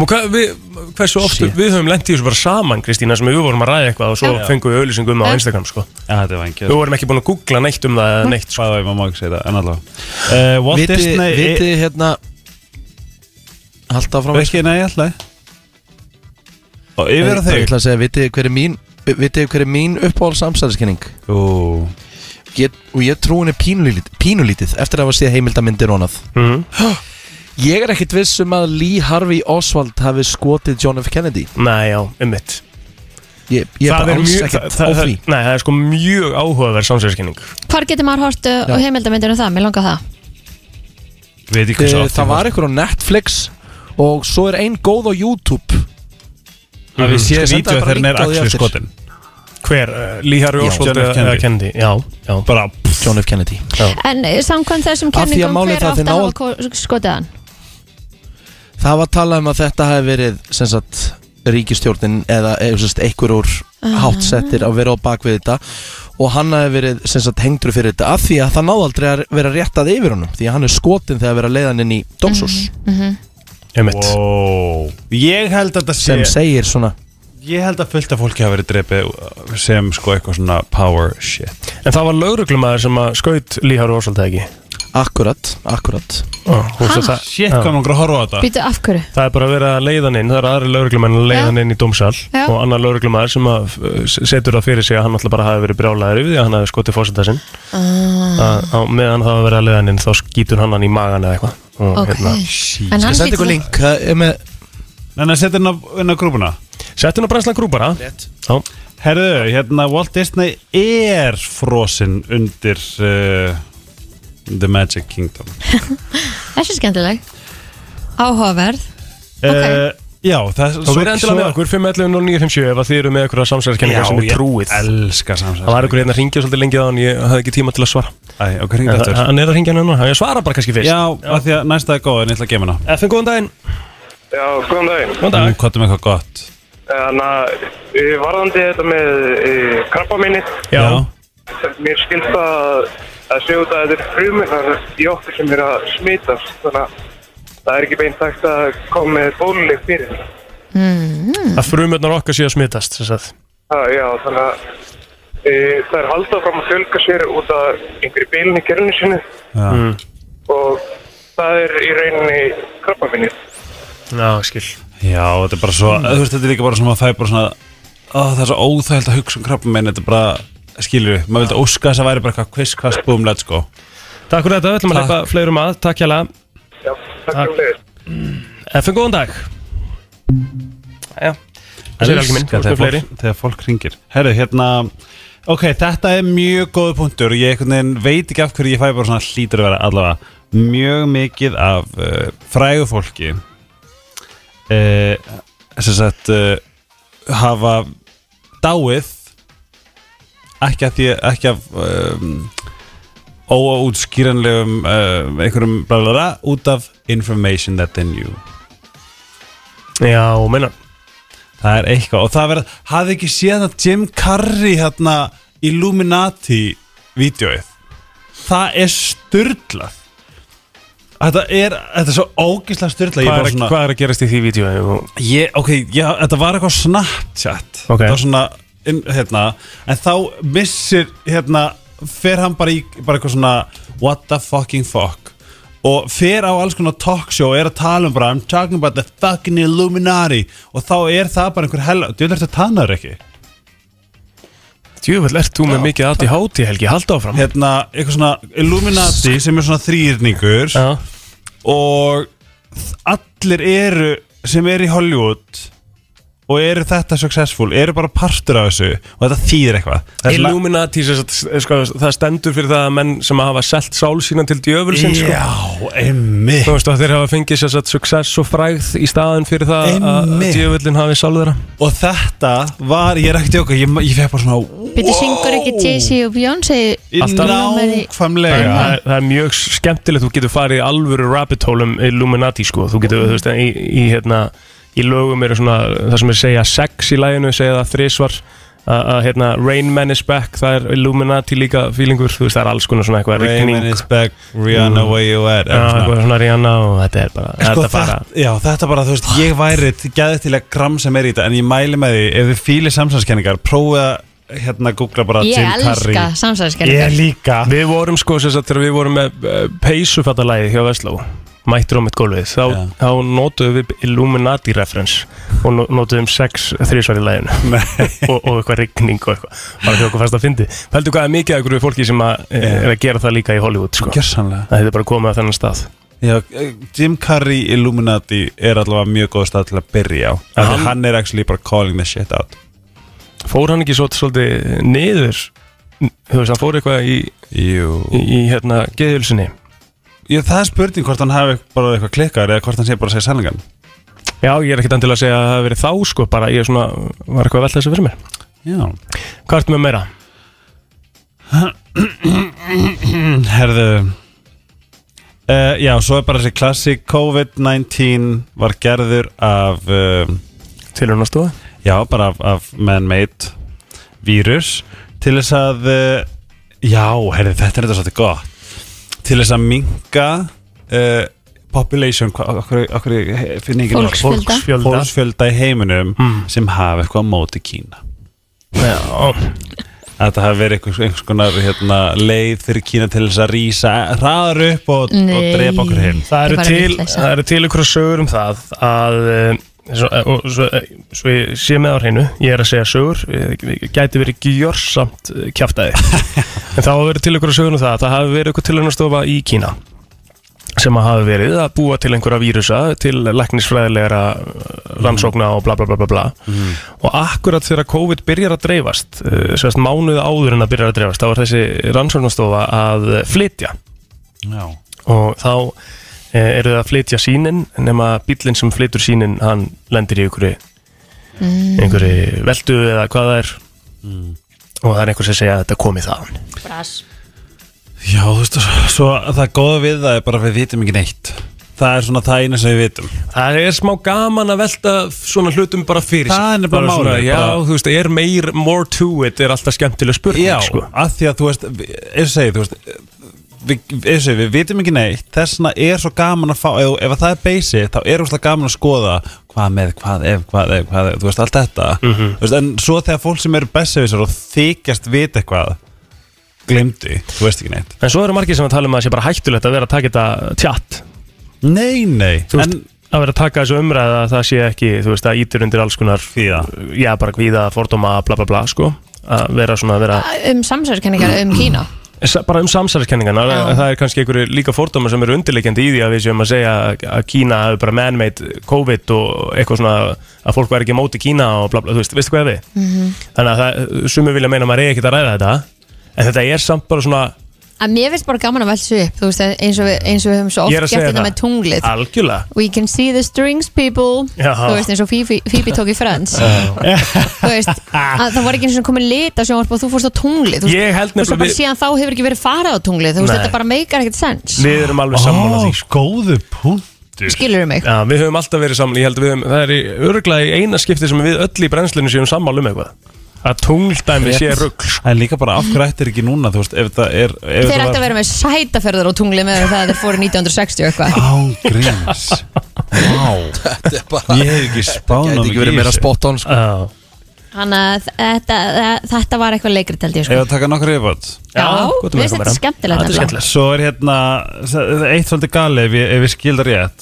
Speaker 3: Og hvað, við, hversu ofta, við höfum lent í þessu bara saman Kristína sem við vorum að ræða eitthvað og svo fengum við auðlýsingum um það á Instagram sko.
Speaker 8: Já, Ah, þetta var engið
Speaker 3: Við vorum ekki búin að googla neitt um það eða neitt sko.
Speaker 8: Bæða við mamma ekki segja það, en allavega uh, Walt
Speaker 2: Viti,
Speaker 8: Disney
Speaker 2: viti hérna Halda fram
Speaker 8: Ekki, nei, alltaf Og yfir að
Speaker 2: Ég
Speaker 8: þig
Speaker 2: ætla að segja, vitið þið hver er mín Vitið þið hver er mín uppáhald samsæðiskenning
Speaker 8: Ú,
Speaker 2: Ég- Og ég trú henni pínulítið, pínulítið Eftir að hafa séð heimildamindir og annað
Speaker 3: Mhm.
Speaker 2: Ég er ekkit viss um að Lee Harvey Oswald hafi skotið John F. Kennedy
Speaker 3: Nei, já, einmitt
Speaker 2: Ég, ég
Speaker 3: Það
Speaker 2: er bara
Speaker 3: er
Speaker 2: alls
Speaker 3: mjög- það-
Speaker 2: ekkit
Speaker 3: það-
Speaker 2: á því
Speaker 3: Nei, það er sko mjög áhugaverð samsæðiskenning
Speaker 4: Hvar getur maður hort uh,
Speaker 2: Já.
Speaker 4: heimildamindir um það? Mér langar það
Speaker 8: veit ég hversu
Speaker 2: Eh,
Speaker 8: oft
Speaker 2: Það var einhver á Netflix Og svo er ein góð á YouTube Mhm.
Speaker 8: Að við séð
Speaker 2: Skal senda
Speaker 8: vídeo
Speaker 2: bara
Speaker 8: þegar hann
Speaker 2: link
Speaker 8: er
Speaker 2: á því
Speaker 8: axlu
Speaker 2: eftir.
Speaker 8: skotin
Speaker 3: Hver, uh, Líhar Jósvold
Speaker 8: John F.
Speaker 3: eða Kendi Já, já
Speaker 8: Bara
Speaker 2: John F. Kennedy
Speaker 4: En uh, samkvæmt þessum
Speaker 2: Af því að
Speaker 4: kenningum,
Speaker 2: málið
Speaker 4: hver
Speaker 2: það að
Speaker 4: átt
Speaker 2: þeir
Speaker 4: að
Speaker 2: ná
Speaker 4: hafa ko- skotið hann?
Speaker 2: Það var talað um að þetta hafi verið sem sagt, ríkistjórnin eða eða, sem sagt, einhver úr hátsettir að vera á bak við þetta og hann hafi verið sem sagt, hengdur fyrir þetta af því að það náði aldrei að vera réttað yfir honum því að hann er skotin þegar að vera leiðan inn í dómsús
Speaker 4: Mhm.
Speaker 3: Einmitt
Speaker 8: Wow. Ég held að þetta sé
Speaker 2: sem segir svona
Speaker 8: Ég held að fullt af fólki hafa verið drepið sem sko eitthvað svona power shit
Speaker 3: En það var lauruglumæður sem að skaut Líhar Jósvold eða ekki
Speaker 2: akkurat, akkurat
Speaker 3: Ó, þú veist að það-
Speaker 8: Shit, hvað maður að horfa á
Speaker 3: Ah.
Speaker 8: þetta
Speaker 4: Býtu af hverju?
Speaker 3: Það er bara að vera að leiða hann inn, það er aðri lauruglumenn að leiða
Speaker 4: Já.
Speaker 3: hann inn í domsal
Speaker 4: Já.
Speaker 3: og annar lauruglumæður sem að uh, s- setur það fyrir sig að hann alltaf bara hafi verið brjálæður yfir því að hann hafi skotið fórseta sinn
Speaker 4: Ah.
Speaker 3: að á meðan það var verið að leiða hann inn þá skýtur hann hann í magan eða eitthvað og hérna,
Speaker 4: Ok En hann
Speaker 2: Ég sendi
Speaker 4: getur
Speaker 2: ykkur
Speaker 4: það
Speaker 2: link það er með
Speaker 8: Þannig að setja hérna inn á grúpuna
Speaker 3: settu hann á brænslan grú bara Já,
Speaker 8: Herðu, hérna Walt Disney er frosinn undir uh, The Magic Kingdom
Speaker 4: Þessi er skemmtileg Áhugaverð
Speaker 8: okay. Uh, Já, það
Speaker 3: þá verið endilega með okkur 511 og 957 ef að þið eru með eitthvað samsæðiskenningar sem er trúið Það
Speaker 8: elska
Speaker 3: var
Speaker 8: samsæðiskenningar
Speaker 3: einhver hérna að ringja svolítið lengi á hann, ég hafði ekki tíma til að svara
Speaker 8: Æ, okkur hringið
Speaker 3: En
Speaker 8: eftir
Speaker 3: Hann er að ringja hann núna, ég svara bara kannski
Speaker 8: Já,
Speaker 3: fyrst
Speaker 8: af því að næsta er góð en ég ætla að gefa hana Um,
Speaker 3: FN, góðan daginn
Speaker 9: Já, góðan daginn.
Speaker 3: Góðan
Speaker 8: Nú,
Speaker 3: dag
Speaker 8: kottum eitthvað gott
Speaker 9: Þannig að eh, varðandi þetta með eh, krabba minni,
Speaker 3: Já,
Speaker 9: mér skilst að, að segja út að þetta er fruminnar í okkur sem er að smitast, þannig að það er ekki beint hægt að koma með bóluleg fyrir þetta.
Speaker 3: að frumöndar okkar sé að smitast sem sagt.
Speaker 9: Já, já, þannig að e, það er haldað fram að fjölga sér út af einhverju bílun í kernu sinu
Speaker 8: Já.
Speaker 3: Mm.
Speaker 9: og það er í rauninni krabbaminnið.
Speaker 3: Já, skil
Speaker 8: Já, þetta er bara svo Þú veist, þetta er líka bara svona að það er bara svona ó, Það er svo óþægilt að hugsa um krabba minn Þetta er bara, skilur við, maður vildi óska þess að væri bara eitthvað Quiz, quiz, boom, let's go
Speaker 3: Takk fyrir þetta, við ætlum að leipa fleirum að Takk hjá
Speaker 9: Já, takk fyrir leiðis.
Speaker 3: FN, góðan dag Já, það segir algjör minn, þú veist með
Speaker 8: Elska þegar
Speaker 3: fleiri
Speaker 8: fólk, þegar fólk ringir Herru, hérna Ok, þetta er mjög góð punktur Ég einhvern veginn veit ekki af hverju ég fæ bara svona hlýtur að vera allavega Mjög mikið af uh, frægu fólki uh, sem sagt uh, hafa dáið ekki af því ekki af um, óútskýranlegum um, einhverjum blablabla út af information that they knew
Speaker 3: Já, minna
Speaker 8: Það er eitthvað og það verð hafði ekki séð að Jim Carrey hérna Illuminati vídeoið Það er styrlað Þetta er, þetta er svo ógislega styrlað
Speaker 3: hvað, er- hvað er að gerast í því vídeo?
Speaker 8: Ég, ok, já, þetta var eitthvað Snapchat
Speaker 3: Ok.
Speaker 8: Það var svona, inn, hérna En þá missir, hérna Fer hann bara í, bara eitthvað svona What the fucking fuck Og fer á alls konar talkshow og er að tala um bara I'm talking about the fucking Illuminati Og þá er það bara einhver hella Þú ert að tana þér ekki
Speaker 3: Djúvel, ert þú með mikið aðt í háti, Helgi, halda áfram
Speaker 8: Hérna, eitthvað svona Illuminati sem er svona þrýrningur
Speaker 3: Já,
Speaker 8: og þ- allir eru sem eru í Hollywood og eru þetta successful eru bara partur af þessu og þetta þýðir eitthvað Þessi la-
Speaker 3: Illuminati, sem sagt, sko, það stendur fyrir það að menn sem hafa selt sál sína til djöfulsinn sko.
Speaker 8: Já, emmi
Speaker 3: Þú veist að þeir hafa fengið sér satt success og frægð í staðin fyrir það að
Speaker 8: Einmitt.
Speaker 3: djöfullin hafi sálu þeirra
Speaker 8: og þetta var, ég er ekkert jóka ég, ég fekk bara svona
Speaker 4: Býtu syngur ekki Jay-Z og Beyoncé
Speaker 3: Alltaf- Það
Speaker 8: nákvæmlega
Speaker 3: er- það er mjög skemmtilegt, þú getur farið í alvöru rabbit hole um Illuminati sko. þú getur, þú veist, í, í, hérna, í lögum eru svona, það sem er segja sex í læginu, segja það þrisvar að að, hérna, Rain Man is back það er Illuminati líka fílingur þú veist, það er alls konar svona eitthvað rigning
Speaker 8: Raymond is back, Rihanna where you at
Speaker 3: Mm. Já,
Speaker 8: eitthvað svona.
Speaker 3: eitthvað svona Rihanna og þetta er bara,
Speaker 8: Sko,
Speaker 3: þetta
Speaker 8: þetta,
Speaker 3: bara
Speaker 8: já, þetta bara, þú veist, ég væri gæðið til að gram sem er í þetta en ég mæli með því, ef þið fíli samsæðskenningar prófið að hérna googla bara
Speaker 4: Ég
Speaker 8: Jim Carrey
Speaker 4: elska
Speaker 8: Ég
Speaker 4: samsæðiskerðingar
Speaker 8: líka
Speaker 3: Við vorum sko sem sagt þegar við vorum með uh, peysufattalæði hjá Vestló mættur á mitt gólfið þá,
Speaker 8: Já.
Speaker 3: þá notuðum við Illuminati reference og no- notuðum sex þrísvar í læginu og, og eitthvað rigning og eitthvað bara því okkur fast að fyndi Pældu hvað er mikið af einhverju fólki sem að, yeah. er að gera það líka í Hollywood sko.
Speaker 8: Gjörsanlega
Speaker 3: Það hefði bara komið á þennan stað
Speaker 8: Já, eh, Jim Carrey Illuminati er allavega mjög góð stað til að byrja á Af því
Speaker 3: Hann-
Speaker 8: Hann er actually bara calling the shit out
Speaker 3: Fór hann ekki svo, svolítið niður Þú veist, hann fór eitthvað í,
Speaker 8: Jú
Speaker 3: í, í hérna, geðhjulsinni
Speaker 8: Ég, það er spurning hvort hann hafi bara eitthvað klikkar eða hvort hann sé bara að segja sannlegan
Speaker 3: Já, ég er ekkert endilega að segja að það hafi verið þá sko, bara ég er svona, var eitthvað að velta þessu fyrir mér
Speaker 8: Já
Speaker 3: Hvað ertu með meira? Mm,
Speaker 8: Herðu uh, Já, svo er bara þessi klassi COVID-19 var gerður af um,
Speaker 3: Tilurinn að stóða?
Speaker 8: Já, bara af, af man-made vírus til þess að uh, Já, herðu, þetta er þetta svolítið gott til þess að minka uh, population hva- okkur, okkur finn ég ekki
Speaker 4: Fólksfjölda.
Speaker 8: orð? fólksfjölda Hmm. fólksfjölda í heiminum sem hafa eitthvað á móti Kína
Speaker 3: Já,
Speaker 8: að þetta hafi verið einhvers, einhvers konar hérna, leið fyrir Kína til þess að rýsa hraðar upp og, og
Speaker 4: Nei.
Speaker 8: drepa okkur hinn
Speaker 3: það eru
Speaker 4: Ég bara
Speaker 3: til,
Speaker 4: vitleysa.
Speaker 3: það eru til einhverja sögur um það að eh, svo, eh, og, svo, eh, svo ég sé með á hreinu ég er að segja sögur, eh, gæti verið gjörsamt eh, kjaftaði en það hafa verið til einhverja sögur um það að það hafi verið einhver tilurinn í Kína sem að hafi verið að búa til einhverja vírusa til læknisfræðilegra eh, rannsókna og bla bla bla bla bla og akkurat þegar COVID byrjar að dreifast eh, sem sagt mánuði áður en að byrjar að dreifast þá var þessi rannsóknastofa að eh, flytja
Speaker 8: Já,
Speaker 3: og þá eh, eru það að flytja sínin nema bílinn sem flytur sínin hann lendir í einhverju einhverju veldu eða hvað það er Mm. og það er einhver sem segja að þetta komi þaðan
Speaker 8: Já þú veist, svo það góða við það er bara að við vitum ekki neitt Það er svona það eina sem við vitum
Speaker 3: Það er smá gaman að velta svona hlutum bara fyrir
Speaker 8: Það er nefnilega
Speaker 3: Bara svona,
Speaker 8: málið,
Speaker 3: Já,
Speaker 8: bara-
Speaker 3: þú veist, er meir more to it er alltaf skemmtileg spurning
Speaker 8: Já,
Speaker 3: sko.
Speaker 8: að því að þú veist við- eins og segi, þú veist við, eins og segi, við vitum ekki neitt þessna er svo gaman að fá ef, ef að það er basic, þá er úrslega gaman að skoða hvað með, hvað ef, hvað ef, hvað ef þú veist, allt þetta
Speaker 3: Mhm.
Speaker 8: þú veist, en svo þegar fólk sem eru bestsefisar og þykjast vita eitthvað glemdi, þú veist ekki neitt
Speaker 3: En svo eru margir sem að tala um að það sé bara hættulegt að vera að taka þetta tjatt
Speaker 8: Nei, nei,
Speaker 3: Þú veist,
Speaker 8: en
Speaker 3: að vera að taka þessu umræða að það sé ekki, þú veist, að ítur undir alls konar
Speaker 8: Kvíða.
Speaker 3: Já, bara kvíða, fordóma, bla bla bla, sko Að vera svona, að vera
Speaker 4: Ah, Um samsæðiskerðingar um Kína
Speaker 3: sa- bara um samsæðiskenningarnar
Speaker 4: Já.
Speaker 3: að það er kannski einhverju líka fordóma sem eru undirleikjandi í því að við séum að segja að Kína hafi bara man-made COVID og eitthvað svona að fólk væri ekki á móti Kína og bla bla, þú veist, veistu hvað er við?
Speaker 4: Mhm.
Speaker 3: Þannig að það, sumir vilja meina að maður er ekkert að ræða þetta en þetta er samt bara svona
Speaker 4: að mér finnst bara gaman að velta þessu upp þú veist, eins og, við, eins og við höfum svo
Speaker 3: Ég er að
Speaker 4: oft gert
Speaker 3: segja
Speaker 4: þetta
Speaker 3: það.
Speaker 4: með tunglið
Speaker 3: algjörlega
Speaker 4: we can see the strings people
Speaker 3: Já.
Speaker 4: þú veist, eins og Phoebe, Phoebe tók í Friends þú veist, að það var ekki eins og komin lit á sjónvarp og þú fórst á tunglið þú veist,
Speaker 3: Ég held
Speaker 4: og svo
Speaker 3: nefnilega
Speaker 4: bara
Speaker 3: við,
Speaker 4: síðan þá hefur ekki verið farað á tunglið þú veist,
Speaker 3: Nei.
Speaker 4: þetta bara meikar ekkert sens
Speaker 3: við erum alveg sammála því sko.
Speaker 8: Ó, góðu punkt sko.
Speaker 4: skilur mig
Speaker 3: Já, við höfum alltaf verið sammála, ég held að við höfum, það er í örglega í eina skipti sem við öll í brennslunum séum sammála um eitthvað að tungldæmi sé sko. rugg
Speaker 8: Það er líka bara af hverju ættir ekki núna Þú veist, ef það er ef
Speaker 4: þeir
Speaker 8: þetta
Speaker 4: ættu að
Speaker 8: var-
Speaker 4: vera með sætaferðar á tunglið með það að þeir fóru 1960 og eitthvað
Speaker 8: Án gríns Vá
Speaker 2: Þetta er bara
Speaker 8: Ég hef ekki spáð
Speaker 2: Gæti
Speaker 8: námið
Speaker 2: ekki verið
Speaker 8: í
Speaker 2: meira
Speaker 8: þessu.
Speaker 2: spot on sko.
Speaker 3: Já,
Speaker 4: þannig að þetta, þa- þetta var eitthvað leikrit held ég
Speaker 8: Ef
Speaker 4: sko.
Speaker 8: að taka nokkur yfirbátt
Speaker 4: já,
Speaker 3: gott
Speaker 4: við
Speaker 3: um
Speaker 4: veist
Speaker 3: eitthvað
Speaker 4: þetta
Speaker 3: meira.
Speaker 4: er skemmtilegt
Speaker 3: Þetta er
Speaker 4: nefnilega.
Speaker 3: skemmtilegt
Speaker 8: Svo er hérna það er eitt svolítið gali ef ég, ef ég skildar rétt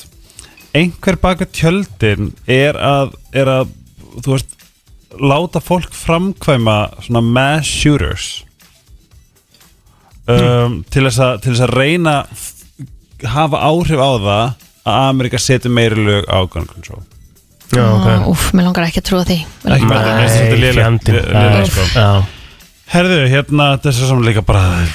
Speaker 8: einhver baka tjöldin er að, er að þú veist láta fólk framkvæma svona mass shooters
Speaker 3: Hmm.
Speaker 8: um, til, þess að, til þess að reyna að f- hafa áhrif á það að Amerika seti meiri lög á gun control
Speaker 3: Já,
Speaker 4: Á, úff, mér langar ekki að trúa því Mér
Speaker 8: Ekki
Speaker 4: langar
Speaker 8: bara-
Speaker 4: ekki.
Speaker 8: mér finnst þetta
Speaker 3: Nei,
Speaker 8: lélegt-
Speaker 3: fjandinn.
Speaker 8: lé- lélegt, sko.
Speaker 3: Já,
Speaker 8: Herðu, hérna, þessi sem líka bara um,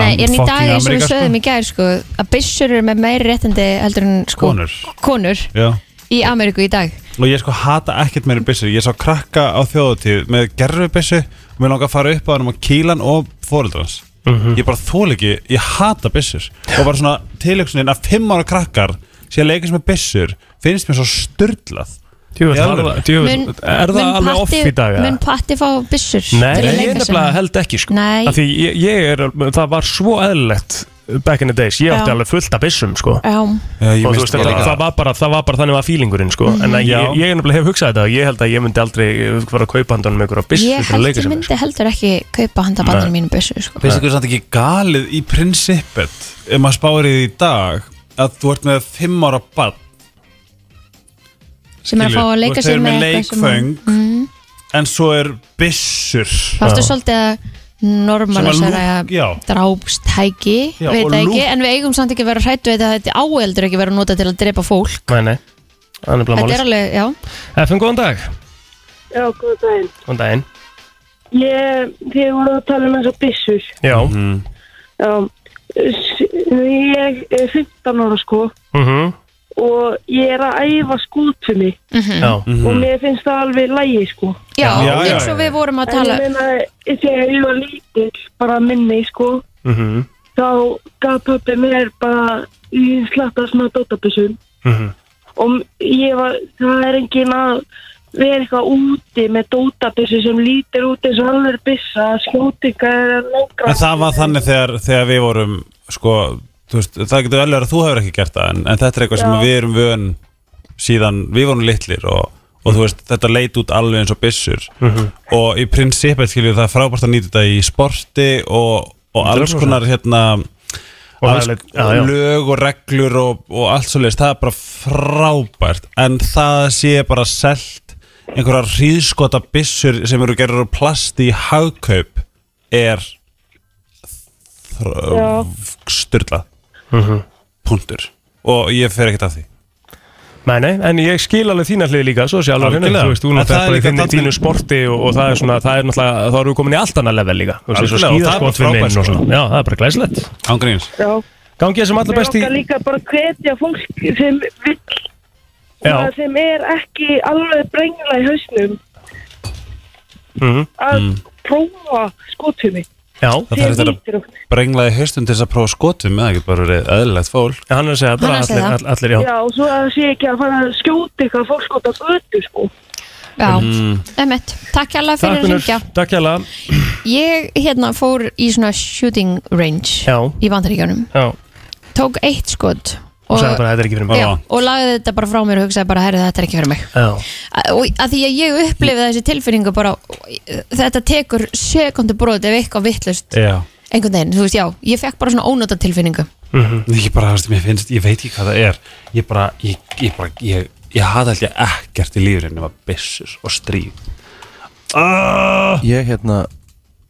Speaker 4: Nei, en í
Speaker 8: fucking
Speaker 4: dag eins og við
Speaker 8: Ameríka, sko.
Speaker 4: sögðum í gær sko, að byssur eru með meiri réttindi heldur en sko,
Speaker 8: Konur.
Speaker 4: konur
Speaker 8: Já
Speaker 4: í Ameríku í dag
Speaker 8: og ég sko hata ekkert meiri byssu ég sá krakka á þjóðutíð með gerfi byssu og mér langar að fara upp á hann á kílan og fóreldrans ég bara þól ekki, ég hata byssur og bara svona tilöksunin að fimm ára krakkar sé að leikast með byssur finnst mér svo styrlað
Speaker 3: Djöfull,
Speaker 8: Í
Speaker 3: var
Speaker 8: alvöru?
Speaker 3: það- djöfull,
Speaker 4: Mun-
Speaker 3: er það
Speaker 4: mun
Speaker 3: alveg off
Speaker 4: Patti-
Speaker 3: í dag? eða?
Speaker 4: Mun patti fá byssur
Speaker 3: Nei,
Speaker 4: til
Speaker 3: ég
Speaker 4: að leika sér
Speaker 3: nefnilega
Speaker 4: með?
Speaker 3: held ekki sko
Speaker 4: Nei.
Speaker 3: Af Því ég, ég er, það var svo eðlilegt back in the days, ég átti
Speaker 4: Já.
Speaker 3: alveg fullt af byssum sko
Speaker 4: Já,
Speaker 8: Já, ég
Speaker 3: Og þú
Speaker 8: missti
Speaker 3: veist, það,
Speaker 8: bara-
Speaker 3: það, var bara, það var bara þannig var feelingurinn sko En
Speaker 4: Mhm.
Speaker 3: að
Speaker 8: Já.
Speaker 3: ég, ég er nefnilega hef hugsað þetta og Ég held að ég myndi aldrei eh, fara að kaupa handanum ykkur á byssu
Speaker 4: ég
Speaker 3: til að
Speaker 4: held
Speaker 3: leika
Speaker 4: ég
Speaker 3: sér með, sko.
Speaker 4: myndi heldur ekki kaupa handa bandinu mínu byssur sko.
Speaker 8: finnst ykkur samt ekki galið í prinsippet um ef maður spáir í því í dag að þú ert með fimm ára bann
Speaker 4: sem er að fá að leika sér með eitthvað sem að- Mhm.
Speaker 8: leikföng en svo er byssur
Speaker 4: Það er aftur svolítið að normalisera
Speaker 8: lúk- já.
Speaker 4: drápstæki
Speaker 8: Já,
Speaker 4: veit
Speaker 8: og
Speaker 4: það ekki,
Speaker 8: lúk-
Speaker 4: en við eigum samt ekki að vera hrættu við þetta að þetta áeldur ekki að vera nota til að drepa fólk
Speaker 3: sko. Nei, nei, það er nefnilega
Speaker 4: Þetta er
Speaker 3: málið
Speaker 4: alveg, já,
Speaker 3: FM, góðan dag
Speaker 9: Já, góð daginn.
Speaker 3: Góðan daginn
Speaker 9: Ég, þið voru að tala um eins og byssur.
Speaker 3: Já,
Speaker 9: Já, s- ég er 15 ára sko
Speaker 3: mhm,
Speaker 9: og ég er að æfa skútunni
Speaker 4: Mhm.
Speaker 3: já
Speaker 9: og
Speaker 8: Mm.
Speaker 9: mér finnst það alveg lægi sko.
Speaker 4: já,
Speaker 8: Já, já,
Speaker 4: eins og
Speaker 8: já.
Speaker 4: við vorum að
Speaker 9: En
Speaker 4: tala
Speaker 9: ég meina, þegar ég var lítill, bara minni sko,
Speaker 3: mhm,
Speaker 9: þá gaf pöppi mér bara í slatta svona dótabissum
Speaker 3: mhm,
Speaker 9: og ég var, það er engin að vera eitthvað úti með dótabissu sem lítir út eins og alveg bissa, skjótinga eða langra.
Speaker 8: En það var þannig þegar, þegar við vorum sko, þú veist, það getur vel verið að þú hefur ekki gert það en, en þetta er eitthvað sem
Speaker 9: Já.
Speaker 8: við erum vön síðan við vorum litlir og, og þú veist, þetta leit út alveg eins og byssur og í prinsipið skiljum við það er frábært að nýta þetta í sporti og, og alls
Speaker 3: 100%.
Speaker 8: konar hérna
Speaker 3: Og
Speaker 8: alls,
Speaker 3: það er- já, já.
Speaker 8: lög og reglur og, og allt svo leist, það er bara frábært en það sé bara selt einhverjar hríðskota byssur sem eru gerður úr plasti í hagkaup er
Speaker 9: Já.
Speaker 8: styrla punktur og ég fer ekkert af því
Speaker 3: Nei, nei, en ég skil alveg þína hlið líka, svo sé alveg henni,
Speaker 8: Algjörlega.
Speaker 3: þú veist, þú
Speaker 8: En það
Speaker 3: náttúrulega
Speaker 8: er
Speaker 3: bara í
Speaker 8: líka
Speaker 3: þinni,
Speaker 8: þannig-
Speaker 3: þínu sporti og, og það er svona, það er náttúrulega, þá eru við komin í allt annað level líka, þú veist, eins og
Speaker 8: Algjörlega, og það er
Speaker 3: skýðaskot
Speaker 8: bara
Speaker 3: við minn
Speaker 8: frábært,
Speaker 3: og
Speaker 8: sko.
Speaker 3: svona, já, það er bara glæslegt.
Speaker 8: ángríns
Speaker 9: Já,
Speaker 3: Gangi þessum allar
Speaker 9: mér
Speaker 3: best í,
Speaker 9: okkar líka bara að hvetja fólk sem vill,
Speaker 3: já,
Speaker 9: það sem er ekki alveg brengla í hausnum
Speaker 3: mhm,
Speaker 9: að prófa skútunni.
Speaker 3: já,
Speaker 8: Mm. það þarf þetta að
Speaker 9: lítir út.
Speaker 8: brengla í haustum til þess að prófa skotum eða ekki bara verið eðlilegt fólk
Speaker 3: hann er að segja,
Speaker 4: Hann er
Speaker 3: bara
Speaker 4: að segja
Speaker 3: allir,
Speaker 4: það.
Speaker 3: all- allir, já.
Speaker 9: Já, og svo að það sé ekki að fara að skjóta eitthvað fólk út af götu sko.
Speaker 4: Já, emmett, takk
Speaker 3: Takk,
Speaker 4: alveg fyrir að
Speaker 3: Unnur.
Speaker 4: ringja
Speaker 3: Takk, Jalla.
Speaker 4: Ég hérna fór í svona shooting range
Speaker 3: Já.
Speaker 4: í bandaríkjunum
Speaker 3: Já,
Speaker 4: Tók eitt skot
Speaker 3: og sagði bara, þetta er ekki fyrir mig.
Speaker 4: já, og lagði þetta bara frá mér og hugsaði bara, herri þetta er ekki fyrir mig
Speaker 3: Já,
Speaker 4: Að- og að því að ég upplifið þessi tilfinningu bara, þetta tekur sekundu brot ef eitthvað vittlust
Speaker 8: já
Speaker 4: einhvern veginn, þú veist, já, ég fekk bara svona ónota tilfinningu
Speaker 8: ég bara, þú veist, mér finnst, ég veit ekki hvað það er ég bara, ég, ég bara ég, ég hata alltaf ekkert í lífurinn nema byssur og stríð
Speaker 2: Ég hérna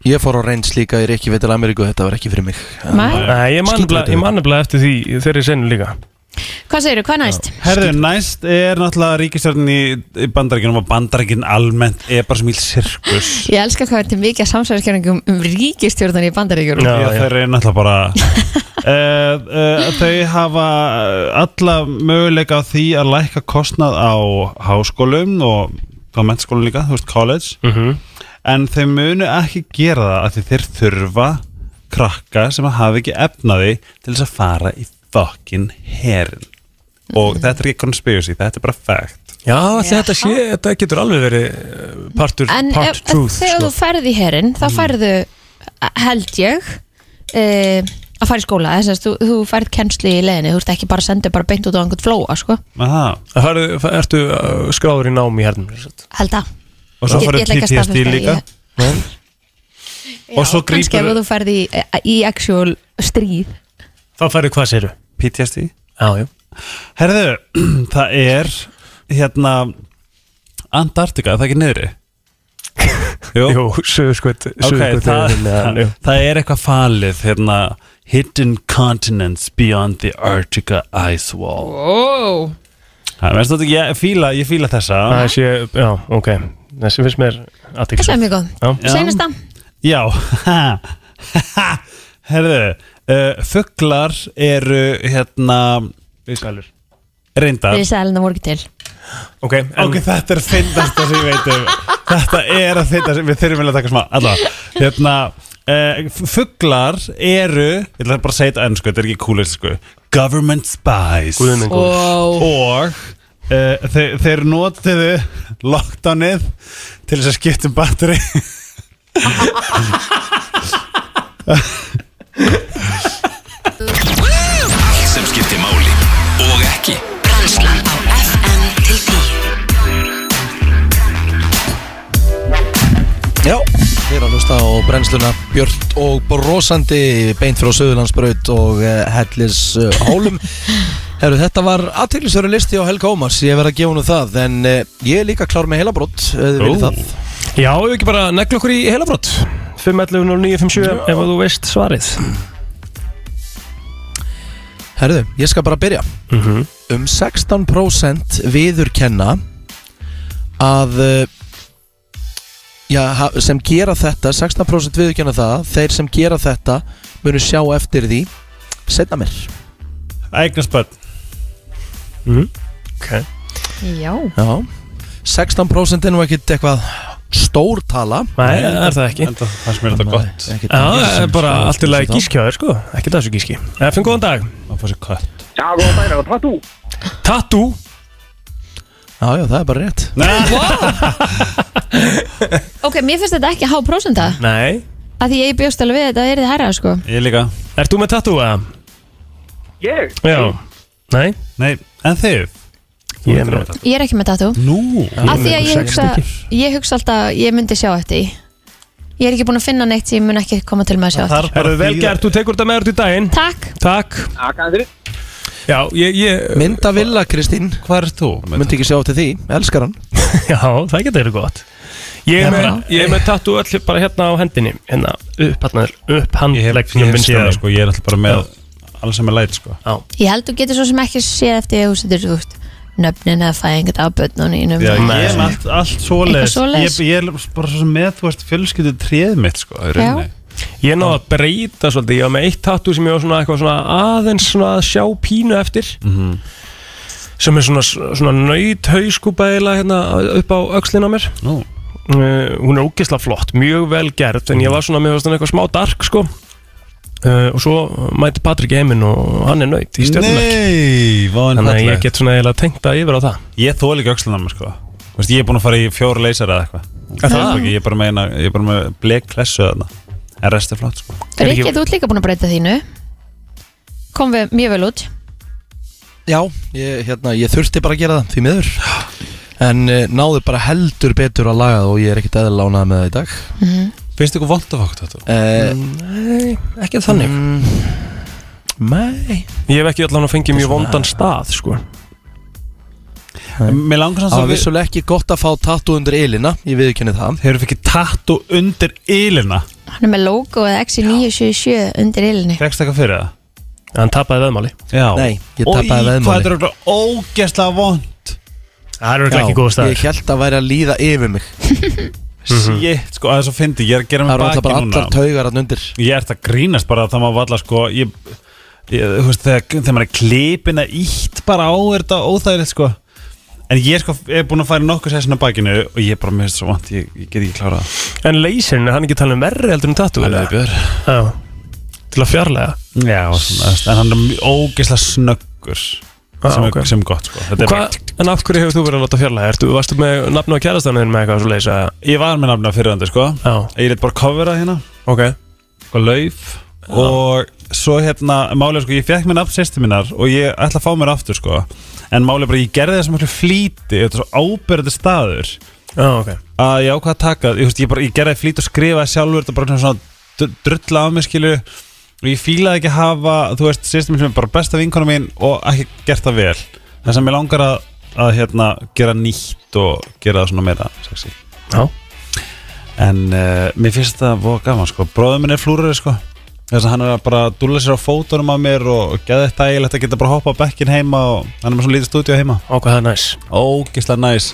Speaker 2: Ég fór á reyns líka í Reykjavík til Ameríku Þetta var ekki fyrir mig
Speaker 4: Nei.
Speaker 3: Nei, ég man nefnilega- ég man nefnilega eftir því í þeirri senu líka
Speaker 4: Hvað segirðu, hvað er næst?
Speaker 8: Herðu, næst er náttúrulega ríkistjörn í, í bandarækjunum og bandarækjun almennt er bara sem íl sirkus
Speaker 4: Ég elska hvað er til mikið að samsverðskjörningum um ríkistjórnum í bandaríkjur
Speaker 8: Já, þeir eru náttúrulega bara uh, uh, Þau hafa eh, alla möguleika á því að lækka kostnað á háskólum og á mennskólum líka, þú veist, college en þau munu ekki gera það að þeir þurfa krakka sem hafa ekki efnaði til þess að fara í fucking herin og þetta er ekki conspiracy, þetta er bara fact
Speaker 3: Já, ætli þetta, sé, þetta getur alveg verið eh, partur,
Speaker 4: En
Speaker 3: part
Speaker 4: ef,
Speaker 3: truth
Speaker 4: þegar
Speaker 3: sko.
Speaker 4: þú ferði í herin
Speaker 8: Mm.
Speaker 4: þá ferðu, eh, held ég e, að fara í skóla þess að þú, þú ferð kennslu í leðinni þú ert ekki bara að senda bara beint út á einhvern flóa sko.
Speaker 8: Aha.
Speaker 3: Farðu, fa- Ertu uh, skráður í nám í hernum
Speaker 4: held að
Speaker 8: og svo
Speaker 4: Ég-
Speaker 8: farið
Speaker 4: ég ætla ekki að
Speaker 8: PTSD
Speaker 4: staðfesta,
Speaker 8: líka
Speaker 4: ég-
Speaker 8: Og svo
Speaker 4: kannski ef
Speaker 8: grípur-
Speaker 4: þú ferði í, eh, í actual stríð
Speaker 3: Þá færðu hvað séru?
Speaker 8: PTSD
Speaker 3: Já, já
Speaker 8: Herðu, það er hérna Antartika, er það ekki niðri? Jú,
Speaker 3: Jú, sögurskvöld
Speaker 8: ok, það,
Speaker 3: hérna.
Speaker 8: það, það er eitthvað falið hérna, Hidden continents beyond the Arctica ice wall
Speaker 4: oh.
Speaker 8: Það er stótt, ég fíla, ég fíla þessa
Speaker 3: Það sé, já, ok Þessi finnst mér
Speaker 4: það er
Speaker 3: aðtíks
Speaker 4: mjög góð
Speaker 8: Já.
Speaker 4: senasta,
Speaker 8: Já, herðu uh, Fuglar eru hérna
Speaker 3: Viðsælur
Speaker 8: reyndar
Speaker 4: við sælina voru ekki til
Speaker 3: Ok, en
Speaker 8: Ok, þetta er fyndasta sem ég veit um Þetta er að fyndast Við þurfum vel að taka smá Alla, hérna uh, Fuglar eru Ég ætla bara að segja þetta enn sko Þetta er ekki kúlist sko Government spies
Speaker 3: Guð minn góður.
Speaker 4: oh.
Speaker 8: Og uh, þeir, þeir notuðu Lockdownið Til þess að skipta um batteri
Speaker 1: Allt sem skiptir máli og ekki
Speaker 11: Brennslan á FM til 10
Speaker 2: Já, við erum að hlusta á brennsluna Björn og brosandi beint frá Söðurlandsbraut og uh, Hellis uh, Hólum Heru, Þetta var aðtýrlisöru listi á Helga Ómars ég verð að gefa nú það, en uh, ég er líka klár með heilabrott, uh, þið viljið það
Speaker 3: Já, ef við ekki bara negla okkur í heilabrott 5.11.09.57 ef að þú veist svarið
Speaker 2: Herðu, ég skal bara byrja
Speaker 3: Mhm.
Speaker 2: Um 16% viðurkenna að uh, já, ha- sem gera þetta 16% viðurkenna það þeir sem gera þetta munu sjá eftir því setna mér
Speaker 8: Ægnarsbönn
Speaker 4: já,
Speaker 2: Já 16% er nú ekkit eitthvað stór tala
Speaker 3: Nei, er það ekki
Speaker 8: Það fannst mér þetta gott
Speaker 2: Ekkit-
Speaker 3: Já, það er bara
Speaker 2: Stór-
Speaker 3: allt í lagi
Speaker 2: stór-
Speaker 3: gískjáður sko Ekki þessu gíski Finn góðan dag
Speaker 8: Það fannst mér gott
Speaker 3: Tattoo
Speaker 2: Já, já, það er bara rétt
Speaker 4: ok, mér finnst þetta ekki há prósenda
Speaker 3: Nei
Speaker 4: að því ég bjóst alveg við þetta er þið herra sko
Speaker 8: Ég líka
Speaker 3: Ert þú með tattoo eða?
Speaker 12: Ég?
Speaker 3: Já Nei
Speaker 8: Nei, en þið
Speaker 3: Ég er með
Speaker 4: ég er ekki með tattoo
Speaker 8: Nú
Speaker 4: Af því að ég hugsa, ég hugsa alltaf að ég myndi sjá eftir því. Ég er ekki búin að finna neitt sem ég mun ekki koma til með að sjá eftir
Speaker 8: Þarf bara
Speaker 3: Erðu
Speaker 8: að
Speaker 3: vel
Speaker 8: þýða-
Speaker 3: gert, þú tekur þetta með þér til daginn
Speaker 4: Takk,
Speaker 3: Takk Já, ég, ég
Speaker 2: Mynda Villa Kristín
Speaker 8: Hvað er þú?
Speaker 2: myndi ekki sjá eftir því, elskar hann
Speaker 3: Já, það getur verið gott Ég er með, ég er með tattoo öll bara hérna á hendinni Hérna, upp hérna, upp
Speaker 8: Ég hef, ég
Speaker 3: handleggnum
Speaker 8: hef séð það
Speaker 3: vinstranum
Speaker 8: sko, ég er alltaf bara með alls sem er læt sko
Speaker 4: ég held þú getur svo sem ekki séð eftir því að þú setur þú veist nöfnin eða fæðingat af börnun í
Speaker 8: Já,
Speaker 4: nöfnum
Speaker 8: ég er með allt, allt svoleiðis
Speaker 4: Eitthvað svoleiðis?
Speaker 8: ég, ég er bara svo sem með, þú veist, fjölskyldu treð mitt sko, í rauninni
Speaker 3: Ég náði að breyta svolítið, ég var með eitt tattoo sem ég var svona eitthvað svona aðeins svona að sjá pínu eftir
Speaker 8: Mhm.
Speaker 3: sem er svona, svona nöyt hauskúpaðila hérna upp á öxlina á mér
Speaker 8: Nú,
Speaker 3: uh, hún er ógeðslega flott, mjög vel gerð en ég var svona, mér var svona eitthvað smá dark sko uh, og svo mæti Patrik í heiminn og hann er nöyt í stjórnverk
Speaker 8: Nei, váðan
Speaker 3: þannig að ég
Speaker 8: fallegt
Speaker 3: get svona eiginlega tengt það yfir á það
Speaker 8: Ég þóli ekki öxlunum sko Þú veist, ég er búin að fara í fjóra leysara eða eitthvað Það er ekki, ég er bara með, eina- ég er bara með blek klessu þarna En rest er flott sko
Speaker 4: Rikki, þú ert líka búin að breyta þínu kom við mjög vel út
Speaker 2: Já, ég, hérna, ég þurfti bara að gera það því miður En uh, náðu bara heldur betur að laga það og ég er ekkit eðla ánað með það í dag
Speaker 3: Mhm.
Speaker 8: Finnst þið eitthvað vond af okkur þetta?
Speaker 2: uh,
Speaker 3: ekki þannig
Speaker 2: Nei
Speaker 3: ég hef ekki allan að fengið mjög vondan stað sko
Speaker 8: Mér langar
Speaker 2: Það
Speaker 8: samt
Speaker 2: var
Speaker 8: að við-
Speaker 2: vissulega ekki gott að fá tattu undir ylina Ég viðkynni það
Speaker 8: Þeir eru fyrir tattu undir ylina
Speaker 4: Hann er með logo eða XI977 undir ilinni
Speaker 8: Fekst eitthvað fyrir það?
Speaker 3: Hann tapaði veðmáli
Speaker 8: Já
Speaker 2: Nei, ég tapaði veðmáli.
Speaker 8: Og í hvað þetta er örugglega ógeðslega vond
Speaker 3: Það eru ekki góð
Speaker 2: ég
Speaker 3: staður
Speaker 2: held að væri að líða yfir mig
Speaker 8: Shit, sko, það er svo fyndi Ég er að gera
Speaker 2: Það
Speaker 8: mig
Speaker 2: eru alltaf
Speaker 8: baki
Speaker 2: bara
Speaker 8: núna
Speaker 2: allar taugar hann undir
Speaker 8: Ég ert að grínast bara að það maður valla sko ég, ég, þú veist, þegar, þegar maður er klipin að ítt bara á er þetta óþægilegt sko En ég sko er búin að færa nokkuð sessin að bakinu og ég er bara með þetta svo vant, ég, ég get ekki klárað það.
Speaker 3: En laserinn, er hann ekki talin um verri heldur en tattoo? eða? Já Til að fjarlæga
Speaker 8: Já, svona, þú veist, en hann er mjög ógeðslega snöggur
Speaker 3: Ah,
Speaker 8: sem,
Speaker 3: ok.
Speaker 8: er, sem er gott sko Þetta er
Speaker 3: Hva, En af hverju hefur þú verið að láta fjarlæga? Ertu, varstu með nafna á kærastaninn með eitthvað svo leysa?
Speaker 8: Bara, ég var með nafna fyrirandi sko
Speaker 3: Já,
Speaker 8: Ég let bara coverað hérna
Speaker 3: ok
Speaker 8: og lauf og svo hérna, málið er sko, ég fekk mér nafn sýstu minnar og ég ætla að fá mér aftur sko en málið er bara, ég gerði það sem miklu flýti þetta er svo ábyrðandi staður
Speaker 3: Já, ok
Speaker 8: að ég ákvað að taka, ég, veist, ég, bara, ég gerði það í flýti og skrifaði sjálfur þetta bara svona dr- drulla af mér skilu og ég fílaði ekki að hafa, þú veist, sýstu minn sem er bara besta vinkona mín og ekki gert það vel þess að mér langar að, að hérna, gera nýtt og gera það svona meira sexy
Speaker 3: Já.
Speaker 8: En uh, mér finnst þetta voða gaman sko Bróður minn er flúrari sko Þess að hann er að bara dúlla sér á fótunum af mér og geða þetta ægilegt að geta bara hoppa á bekkin heima og hann er með svona lítið stúdíu heima
Speaker 3: Á, hvað það er næs
Speaker 8: Ógislega næs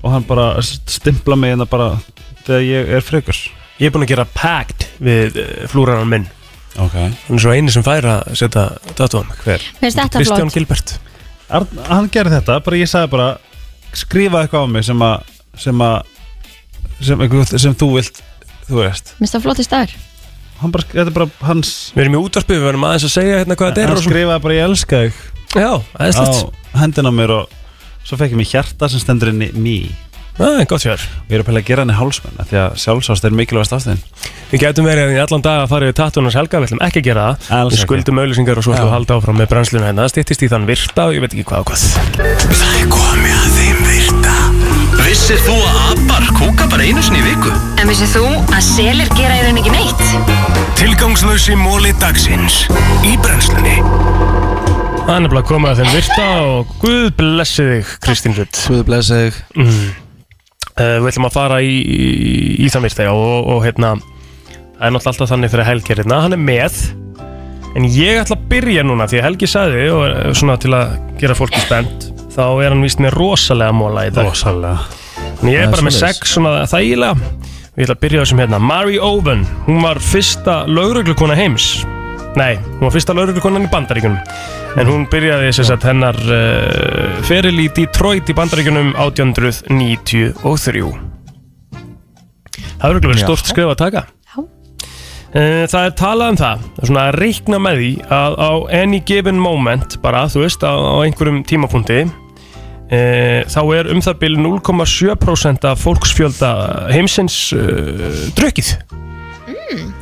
Speaker 8: og hann bara stimpla mig en það bara þegar ég er frekar
Speaker 3: Ég er búinn að gera pact við uh, flúraran minn
Speaker 8: Ok
Speaker 3: Hann er svo eini sem fær að setja tattúan Hver?
Speaker 4: Mér finnst þetta
Speaker 3: Kristján
Speaker 4: flott
Speaker 3: Gilbert
Speaker 8: Arn, Hann gerði þetta, bara ég sagði bara skrifa eitthvað á mig sem að sem að sem, sem, sem þú vilt, þú veist
Speaker 4: Mér finnst það flotti staður
Speaker 8: hann bara, þetta er bara hans
Speaker 3: Við erum í útvarpi, við verðum aðeins að segja hérna hvað þetta er
Speaker 8: hann
Speaker 3: og svona.
Speaker 8: skrifaði bara ég elska þig
Speaker 3: Já, aðeinslegt
Speaker 8: á hendin á mér og svo fekk ég mér hjarta sem stendur inn í mý
Speaker 3: Það er gott fjör
Speaker 8: og ég er að pæla að gera henni hálsmenn af því að sjálfsást er mikilvægast afstæðin
Speaker 3: Við getum verið hérna í allan dag að fara við tattúnars helga Við ætlum ekki að gera það
Speaker 8: Alls
Speaker 3: Við
Speaker 8: ekki.
Speaker 3: skuldum auðlýsingar og svo ætlum við að halda áfram með brennsluna hérna Það stýttist í þann virta og ég veit ekki hvað og hvað
Speaker 1: Það er komið að þeim virta Vissir þú að abar kúka bara einu sinni í viku?
Speaker 9: En vissið þú að selir gera í raun ekki neitt?
Speaker 1: Tilgangslösi móli dagsins Í brennslunni
Speaker 3: Það er nefnilega komið að þeim virta og Guð blessi þig, Kristín Rutt
Speaker 2: Guð blessa þig
Speaker 3: uh, Við ætlum að fara í, í, í þann virta já, og, og hérna Það er náttúrulega alltaf þannig þegar Helgi er hérna Hann er með En ég ætla að byrja núna því að Helgi sagði og eh, svona til að gera fólki spennt þá er hann víst með rosalega móla í dag
Speaker 8: Rósalega
Speaker 3: En ég er
Speaker 2: Það er
Speaker 3: bara með
Speaker 2: svoleiðis.
Speaker 3: sex svona þægilega Við ætla að byrja á þessum hérna Mary Owen, hún var fyrsta lauruglukona heims Nei, hún var fyrsta lauruglukonan í Bandaríkunum En hún byrjaði sem sagt hennar uh, feril í Detroit í Bandaríkunum 1893 Það er örugglega verið stort skrif að taka
Speaker 4: Já.
Speaker 3: Eh, Það er talað um það, svona að reikna með því að á any given moment, bara þú veist, á, á einhverjum tímapunkti e, þá er um það bil 0,7% af fólksfjölda heimsins uh, drukkið.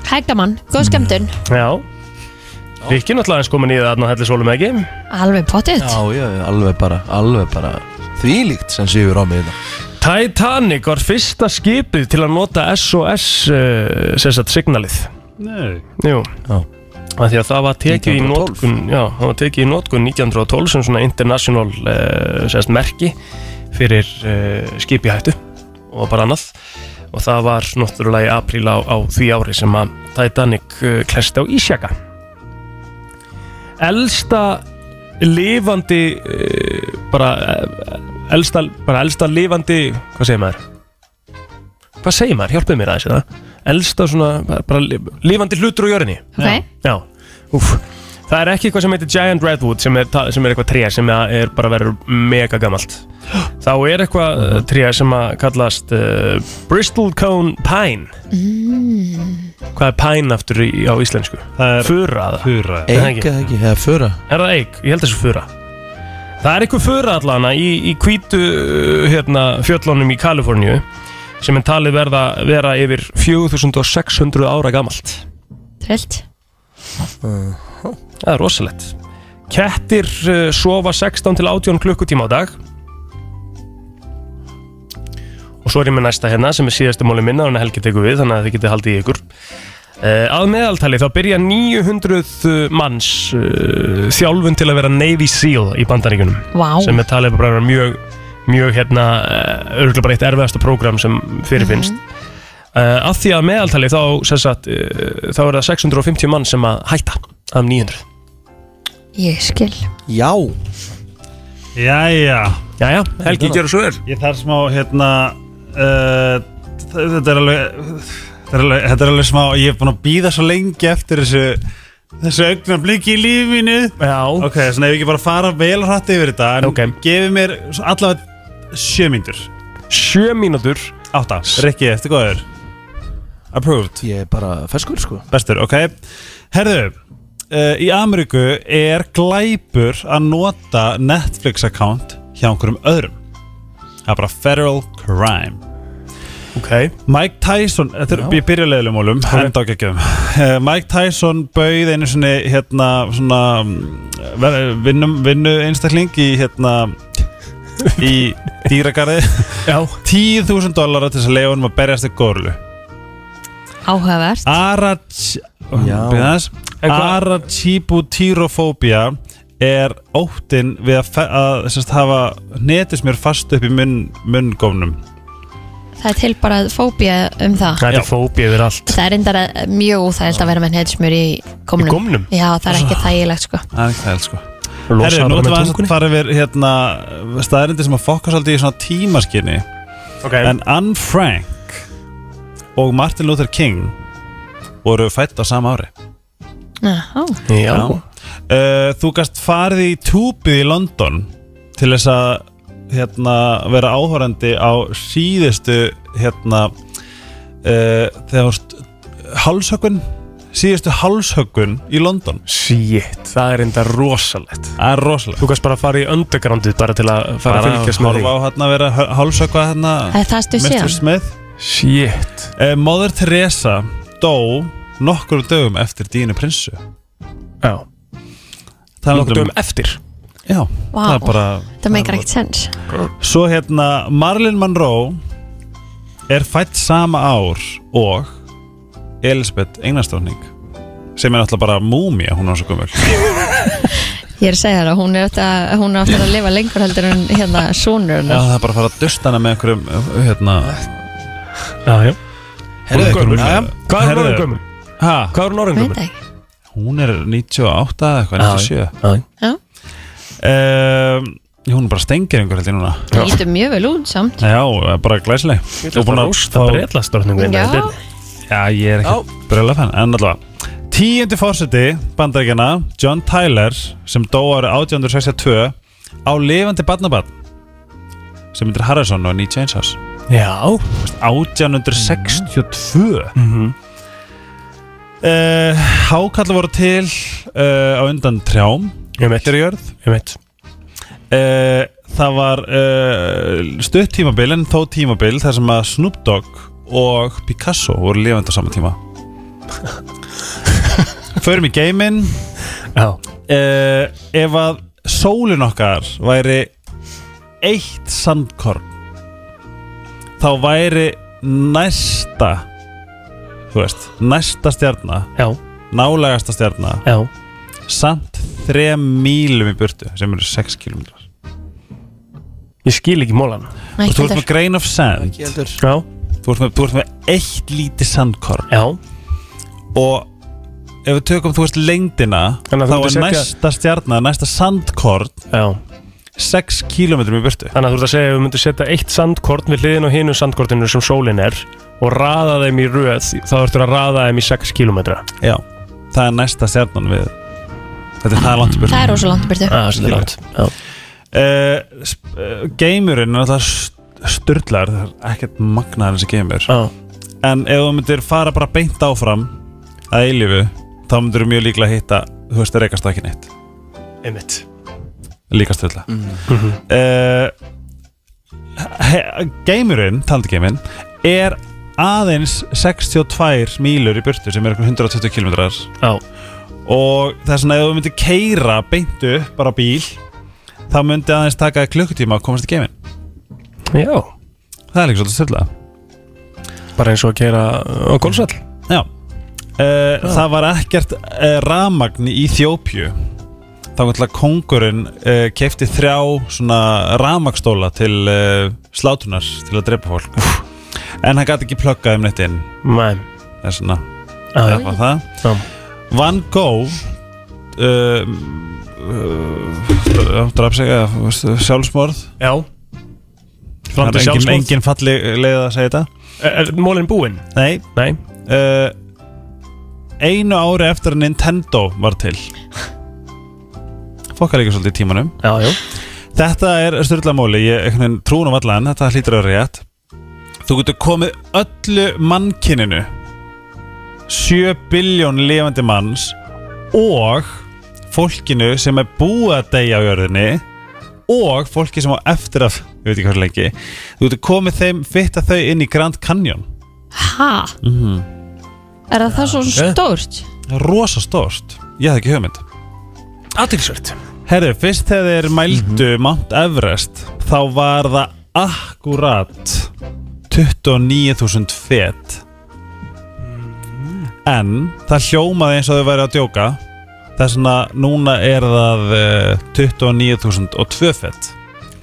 Speaker 4: Hægamann, góð skemmtun
Speaker 3: Já. Rikki náttúrulega eins komin í það að helli sólum ekki.
Speaker 4: Alveg pottitt
Speaker 2: Já, já, já, alveg bara, alveg bara Þvílíkt sem séur á mig þetta
Speaker 3: Titanic var fyrsta skipið til að nota SOS uh, sem sagt signalið.
Speaker 8: Nei
Speaker 3: Jú.
Speaker 2: Já.
Speaker 3: Af Því að það var tekið í
Speaker 2: 1912.
Speaker 3: notkun, já, það var tekið í notkun 1912 sem svona international uh, sérst merki fyrir uh, skipi hættu og bara annað og það var náttúrulega í apríl á, á því ári sem að Titanic uh, klesti á Ísjaka Elsta lifandi uh, bara, uh, elsta, bara elsta lifandi hvað segir maður? Hvað segir maður? Hjálpið mér aðeins það Elsta svona bara, bara lif- lifandi hlutur á jörðinni
Speaker 4: okay.
Speaker 3: Já, úf Það er ekki eitthvað sem heitir Giant Redwood sem er, ta- sem er eitthvað tré sem er bara verður mega gamalt Þá er
Speaker 8: Mhm.
Speaker 3: eitthvað uh, tré sem að kallast uh, Bristol Cone Pine Hvað er pine aftur í, á íslensku?
Speaker 8: Það er
Speaker 3: Fura það
Speaker 8: Fura
Speaker 3: Er það ekki?
Speaker 2: Eika ekki, eða föra
Speaker 3: Er það eik? Ég held þessu fura Það er eitthvað fura allana í, í hvítu uh, hérna, fjöllunum í Kaliforníu sem er talið verða vera yfir 4600 ára gamalt
Speaker 4: Trillt
Speaker 3: Það er rosalegt Kettir uh, sofa 16 til 18 klukkutíma á dag Og svo er ég með næsta hérna sem er síðastu móli minna þannig að Helgi tekur við þannig að þið getið haldið í ykkur uh, Að meðaltali þá byrja 900 manns uh, þjálfun til að vera Navy SEAL í bandaríkunum
Speaker 4: Vá,
Speaker 3: sem er talið bara að vera mjög
Speaker 6: mjög hérna örgulega bara eitt erfiðasta prógram sem fyrirfinnst mm af því að meðaltali þá, sem sagt, uh, þá er það 650 mann sem að hætta af 900
Speaker 4: Ég skil
Speaker 2: Já
Speaker 8: Jæja
Speaker 6: Jæja, Helgi gerur svo vel
Speaker 8: Ég þarf smá hérna uh, þ- Þetta er alveg Þetta er alveg, þetta er alveg smá Ég er búin að býða svo lengi eftir þessu Þessu augna bliki í lífi mínu
Speaker 6: Já
Speaker 8: Ok, svona ef ég ekki bara fara vel hratt yfir þetta En
Speaker 6: Ok.
Speaker 8: gefi mér svo allavega sjö mínútur
Speaker 6: 7 mínútur
Speaker 8: Átta, Rikki, eftir góður Approved
Speaker 2: Ég er bara ferskur sko
Speaker 8: Bestur, ok Herðu, uh, í Ameríku er glæpur að nota Netflix account hjá einhverjum öðrum Það er bara federal crime
Speaker 6: Ok
Speaker 8: Mike Tyson, þetta er ég byrja leðilegum mólum henda á geggjum uh, Mike Tyson bauð einu sinni hérna svona mm, ver- vinnum, vinnu einstakling í hérna í dýragarði
Speaker 6: Já
Speaker 8: 10.000 dollara til þess að leiða honum að berjast í górlu
Speaker 4: Áhugavert
Speaker 8: Arach
Speaker 2: Já.
Speaker 8: Bíðum aðeins.
Speaker 6: En hvað-
Speaker 8: Arachibutyrofóbía er óttinn við að, fe- að sérst, hafa netismjör fast upp í munn, munngófnum
Speaker 4: Það er til bara fóbía um það
Speaker 6: Þetta er fóbið yfir allt
Speaker 4: Það er endara mjög úþægild að vera með neðsmjör í
Speaker 6: Í
Speaker 4: komnum
Speaker 6: gómnum?
Speaker 4: Já, það er
Speaker 8: Ah.
Speaker 4: ekki þægilegt sko
Speaker 8: Það er ekki það, sko
Speaker 6: Losa
Speaker 8: Herri,
Speaker 6: það
Speaker 8: nú ætlum
Speaker 6: með
Speaker 8: við aðeins að
Speaker 6: tungunni
Speaker 8: fara yfir hérna, staðarindir sem að fokka svolítið í svona tímaskinni
Speaker 6: Ok,
Speaker 8: En Anne Frank og Martin Luther King voru fætt á sama ári
Speaker 4: Já,
Speaker 8: Ah.
Speaker 6: já
Speaker 8: uh, Þú gast farið í túpið í London til þess að hérna, vera áhorandi á síðustu hérna, uh, þegar varst hálshökkun síðustu hálshökkun í London
Speaker 6: Shit, það er enda rosalegt
Speaker 8: Það er rosalega
Speaker 6: Þú kannast bara að fara í undergroundið bara til að fara að
Speaker 8: bara að
Speaker 6: fylgjast með
Speaker 8: horfa á hérna að vera hálshökkva hérna
Speaker 4: það er það stuð
Speaker 8: Mr.
Speaker 4: síðan
Speaker 8: Smith
Speaker 6: því Shit
Speaker 8: uh, Mother Teresa dó nokkur dögum eftir Dínu Prinsu
Speaker 6: Já
Speaker 8: Það
Speaker 6: Nokkuð um eftir
Speaker 8: Já,
Speaker 4: Vá.
Speaker 8: það er bara
Speaker 4: Það meikar ekkert
Speaker 8: Ah.
Speaker 4: sens
Speaker 8: Svo hérna Marlon Monroe er fætt sama ár og Elisabeth Einarstóning sem er náttúrulega bara múmia hún er svo gömul
Speaker 4: Ég er að segja það, hún er aftur að, hún er aftur að lifa lengur heldur en hérna sonur
Speaker 8: Já,
Speaker 4: hennar.
Speaker 8: það er bara að fara að dusta hana með einhverjum uh, hérna
Speaker 6: Já, já
Speaker 2: Herðu,
Speaker 6: Gömul.
Speaker 8: já.
Speaker 6: Hvað er hún orðin
Speaker 8: Herðu.
Speaker 6: gömul?
Speaker 8: ha,
Speaker 6: Hvað er hún orðin
Speaker 4: Veit
Speaker 6: gömul?
Speaker 4: ekki
Speaker 8: hún er 98 eða eitthvað, 97
Speaker 4: Já.
Speaker 8: um, hún er bara stengir einhver heldur núna
Speaker 4: Það lítur mjög vel út samt
Speaker 8: Já, bara glæsileg
Speaker 6: Þú búin að rústa brellastörningu
Speaker 4: Já,
Speaker 8: Já, ég er ekki brjóla fenn, en allavega Tíundi fórseti bandaríkjana John Tyler sem dó árið 1862 á lifandi barnabarn sem myndir Harrison og Nietzsche Einsás
Speaker 6: Já
Speaker 8: 1862 mm
Speaker 6: Mhm.
Speaker 8: Hákallar Eh, voru til uh, á undan trjám
Speaker 6: Ég mitt,
Speaker 8: Þetta er jörð
Speaker 6: ég mitt
Speaker 8: uh, Það var uh, stutt tímabil en þó tímabil þar sem að Snoop Dogg og Picasso voru lifandi á sama tíma Förum í geiminn
Speaker 6: Já
Speaker 8: uh, Ef að sólin okkar væri eitt sandkorn þá væri næsta þú veist, næsta stjarna
Speaker 6: Já,
Speaker 8: nálegasta stjarna
Speaker 6: já
Speaker 8: samt þrem mílum í burtu sem eru 6 kilometrar
Speaker 6: Ég skil ekki mólan
Speaker 4: næ,
Speaker 8: og þú ert
Speaker 4: heldur
Speaker 8: með grain of sand
Speaker 2: Ekki heldur
Speaker 6: Já,
Speaker 8: þú ert með, þú ert með eitt lítið sandkorn
Speaker 6: já
Speaker 8: og ef við tökum þú veist lengdina
Speaker 6: Þannig að
Speaker 8: þá
Speaker 6: þú
Speaker 8: er
Speaker 6: myndir setja-
Speaker 8: næsta stjarnar, næsta sandkorn
Speaker 6: Já
Speaker 8: 6 km í burtu
Speaker 6: Þannig að þú ert að segja að við myndum setja eitt sandkorn við hliðin og hinu sandkortinu sem sólin er og raða þeim í röð þá ertu að raða þeim í 6 km
Speaker 8: já, það er næsta stjarnan við þetta er það er langt í burtu
Speaker 4: Það er ósa langt í byrtu
Speaker 6: Já, sem
Speaker 8: er langt. uh, sp- uh, geimurinn er alltaf styrlar það er ekkert magnaðar þessi geimur
Speaker 6: Já,
Speaker 8: en ef þú myndir fara bara beint áfram að eilífu þá myndir þú mjög líklega hitta þú veist, rekast það ekki neitt
Speaker 6: einmitt
Speaker 8: líka stöðla mm. uh, geimurinn, taldgeiminn er aðeins 62 mílur í burtu sem er einhver 120 km
Speaker 6: Já,
Speaker 8: og það er svona ef þú myndir keira beintu bara á bíl þá myndi aðeins taka þér klukkutíma að komast í geiminn
Speaker 6: já
Speaker 8: það er líka svolítið stöðla
Speaker 6: Bara eins og að keira á golfsall
Speaker 8: Eh, Já uh, Það var ekkert uh, ramagn í Þjópju þá ætla kongurinn uh, kefti þrjá svona ramakstóla til uh, slátunar til að drepa fólk en hann gæti ekki pluggað um neitt inn
Speaker 6: Nei.
Speaker 8: þess vegna
Speaker 6: Já, já.
Speaker 8: það var það
Speaker 6: Já.
Speaker 8: Van Gogh uh, uh, drafsega sjálfsmorð
Speaker 6: Já
Speaker 8: það
Speaker 6: Framdi
Speaker 8: er engin,
Speaker 6: sjálfsmorð.
Speaker 8: engin falli leið að segja þetta
Speaker 6: Er, er mólinn búinn?
Speaker 8: Nei,
Speaker 6: Nei
Speaker 8: uh, Einu ári eftir að Nintendo var til Fokkar líka svolítið í tímanum
Speaker 6: Já, já
Speaker 8: Þetta er styrlamóli, ég einhvern veginn trúnum allan Þetta hlýtur að vera rétt Þú getur komið öllu mannkininu 7 biljón lifandi manns og fólkinu sem er búið að deyja á jörðinni og fólki sem á eftir af, ég veit ekki hvað lengi þú getur komið þeim, fitta þau inn í Grand Canyon
Speaker 4: Ha?
Speaker 6: Mhm.
Speaker 4: Er það það svo stórt?
Speaker 8: rosa stórt ég hafði ekki hugmynd
Speaker 6: Aðtilsvöld
Speaker 8: Herru, fyrst þegar þeir mældu
Speaker 6: Mhm.
Speaker 8: Mount Everest þá var það akkurat 29.000 fet
Speaker 6: Mhm.
Speaker 8: en það hljómaði eins og þau væri að djóka þess vegna núna er það eh, 29.002 fet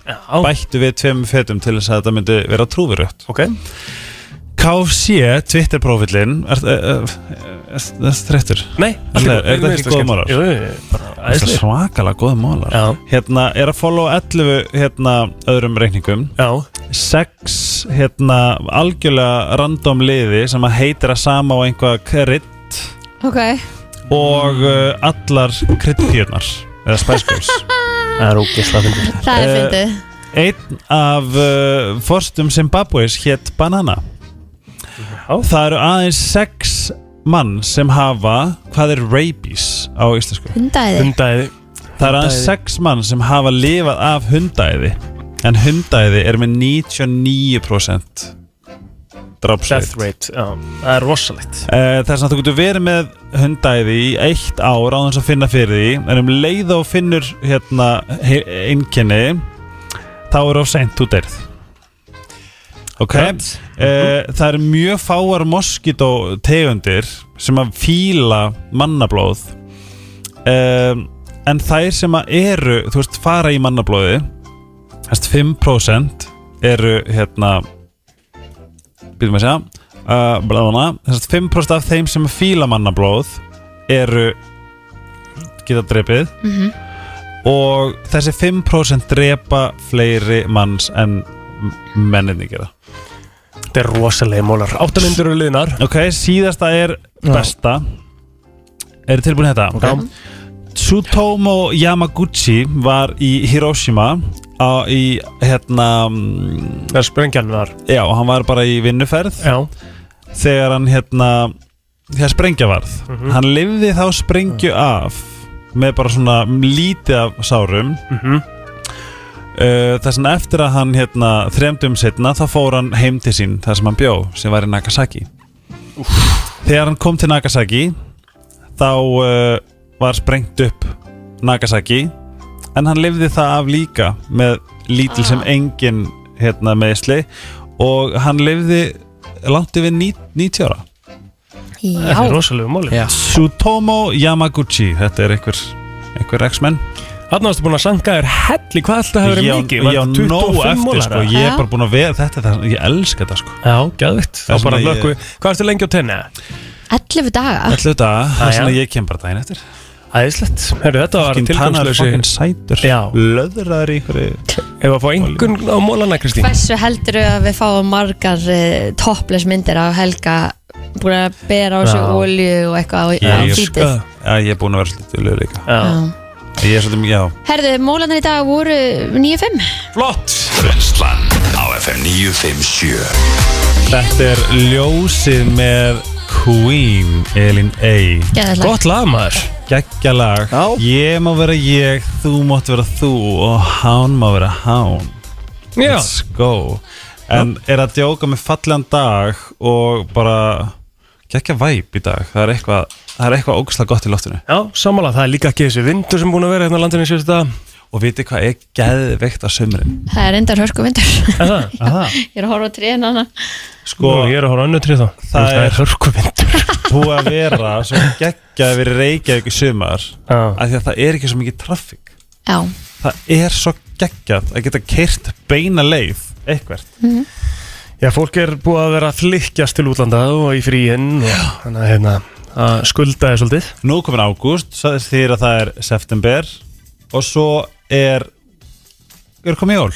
Speaker 6: Já
Speaker 8: bættu við tveim fetum til þess að þetta myndi vera trúverögt
Speaker 6: Ok
Speaker 8: KFC, Twitter-profilinn er það þreyttur?
Speaker 6: Nei
Speaker 8: Er það er það ekki góð málar?
Speaker 6: Jú, jú, jú, bara
Speaker 8: Það er
Speaker 6: æðislegir.
Speaker 8: svakalega góð málar
Speaker 6: Já
Speaker 8: hérna, er að follow 11 hérna, öðrum reikningum
Speaker 6: Já
Speaker 8: 6 hérna, algjörlega random liði sem að heitir að sama á einhvað krydd
Speaker 4: Ok
Speaker 8: og uh, allar kryddpjörnar eða Spice Girls
Speaker 6: Það er ógisla fyndir
Speaker 4: Það er
Speaker 8: Eh,
Speaker 4: fyndið
Speaker 8: Einn af uh, forstum Zimbabweis hétt Banana Það eru aðeins 6 mann sem hafa hvað er rabies á íslensku
Speaker 4: Hundaði
Speaker 6: Hundæði
Speaker 8: Það er aðeins
Speaker 6: Hundæði.
Speaker 8: sex mann sem hafa lifað af hundæði En hundæði er með 99%
Speaker 6: Death
Speaker 8: Drápsveit
Speaker 6: rate Já Það er rosalegt
Speaker 8: Eh, Þess að þú getur verið með hundæði í eitt ár á þess að finna fyrir því En um leið og finnur hérna einkenni Þá er of seint þú deyrð Ok
Speaker 6: Rétt.
Speaker 8: Eh, Það eru mjög fáar moskító tegundir sem að fíla mannablóð um, en þær sem að eru þú veist, fara í mannablóði þess 5% eru hérna býtum að segja uh, blána, þess 5% af þeim sem fíla mannablóð eru geta drepið og þessi 5% drepa fleiri manns en menninni gera
Speaker 6: Þetta er rosalegi mólar Áttamindur eru liðnar
Speaker 8: Ok, síðasta er besta Er þið tilbúin í þetta? Okay. Tsutomu Yamaguchi var í Hiroshima á, í, hérna, mm,
Speaker 6: Það er sprengjan var
Speaker 8: já, hann var bara í vinnuferð
Speaker 6: Já
Speaker 8: þegar hann hérna, þegar sprengja varð hann lifði þá sprengju af með bara svona lítið af sárum
Speaker 6: Mhm.
Speaker 8: uh, þess vegna eftir að hann hérna, þremdum setna þá fór hann heim til sín þar sem hann bjó, sem var í Nagasaki þegar hann kom til Nagasaki þá uh, var sprengt upp Nagasaki en hann lifði það af líka með lítil sem engin hérna, meðsli og hann lifði langt yfir ní- 90 ára
Speaker 4: Já
Speaker 6: Þetta er rosalegi mólar
Speaker 8: Tsutomu Yamaguchi Þetta er einhver, einhver X-Men
Speaker 6: Þarna varstu búin að sanga þér helli Hvað alltaf hefur verið
Speaker 8: Ég
Speaker 6: mikið?
Speaker 8: á- ég á nóg eftir sko Ég er
Speaker 4: Já.
Speaker 8: bara búin að vera þetta er það- Ég elska þetta sko
Speaker 6: Já, gæðvitt Þá
Speaker 8: Það sem
Speaker 6: bara
Speaker 8: að ég-
Speaker 6: hlökkum við Hvað ertu lengi á tenni?
Speaker 4: 11 daga
Speaker 8: Ætlu þetta Ah, Það er
Speaker 6: já.
Speaker 8: svona að ég kem bara daginn eftir
Speaker 6: Æðislegt Herru, þetta var
Speaker 8: Fokkin tannar
Speaker 6: tilgangslösi
Speaker 8: fokkin sætur
Speaker 6: Já.
Speaker 8: Löðraður í einhverju
Speaker 6: Ef að fá einhvern á mólana, Kristín
Speaker 4: Hversu heldur við að við fáum margar uh, topless myndir á Helga búin að bera á sig
Speaker 6: Já.
Speaker 4: olju og eitthvað á, á
Speaker 8: Ég-
Speaker 4: fítið
Speaker 8: Já, ég er búin að vera svolítið löður líka
Speaker 6: Já.
Speaker 4: Já.
Speaker 8: Ég er svolítið mikið, já
Speaker 4: Herðu, mólarnir í dag voru 9.5
Speaker 6: Flott
Speaker 1: Brenslan á FM 957
Speaker 8: Þetta er ljósið með Queen Elin A
Speaker 4: Geðveikt lag.
Speaker 6: Gott lag, maður
Speaker 8: Gekkja lag
Speaker 2: Já.
Speaker 8: Ég má vera ég, þú mátt vera þú og hán má vera hán
Speaker 6: Já,
Speaker 8: Let's go En er að djóka með fallan dag og bara gekkja væp í dag Það er eitthvað, það er eitthvað ógustlega gott í loftinu
Speaker 6: já samanlega, það er líka ekki þessi vindur sem búin að vera hérna á landinni síðust að
Speaker 8: Og og viti hvað er geðveikt að sömurinn
Speaker 4: Það er endar hörku vindur
Speaker 8: Er það? Er það?
Speaker 4: Ég er að horfa á tréna hana
Speaker 8: Sko,
Speaker 6: Nú, ég er að horfa önnu trið þá Það,
Speaker 8: það
Speaker 6: það
Speaker 8: er
Speaker 6: er hörkuvind
Speaker 8: búið að vera svo geggjaði verið Reykjavík í sumar af því að það er ekki svo mikið traffík
Speaker 4: Já,
Speaker 8: það er svo geggjað að geta kert beina leið eitthvert
Speaker 6: Já, fólk er búið að vera að flykkjast til útlanda og í fríinn og þannig að, hérna, að skulda þér svolítið
Speaker 8: Nú komin ágúst, það er því að það er september og svo er er komið jól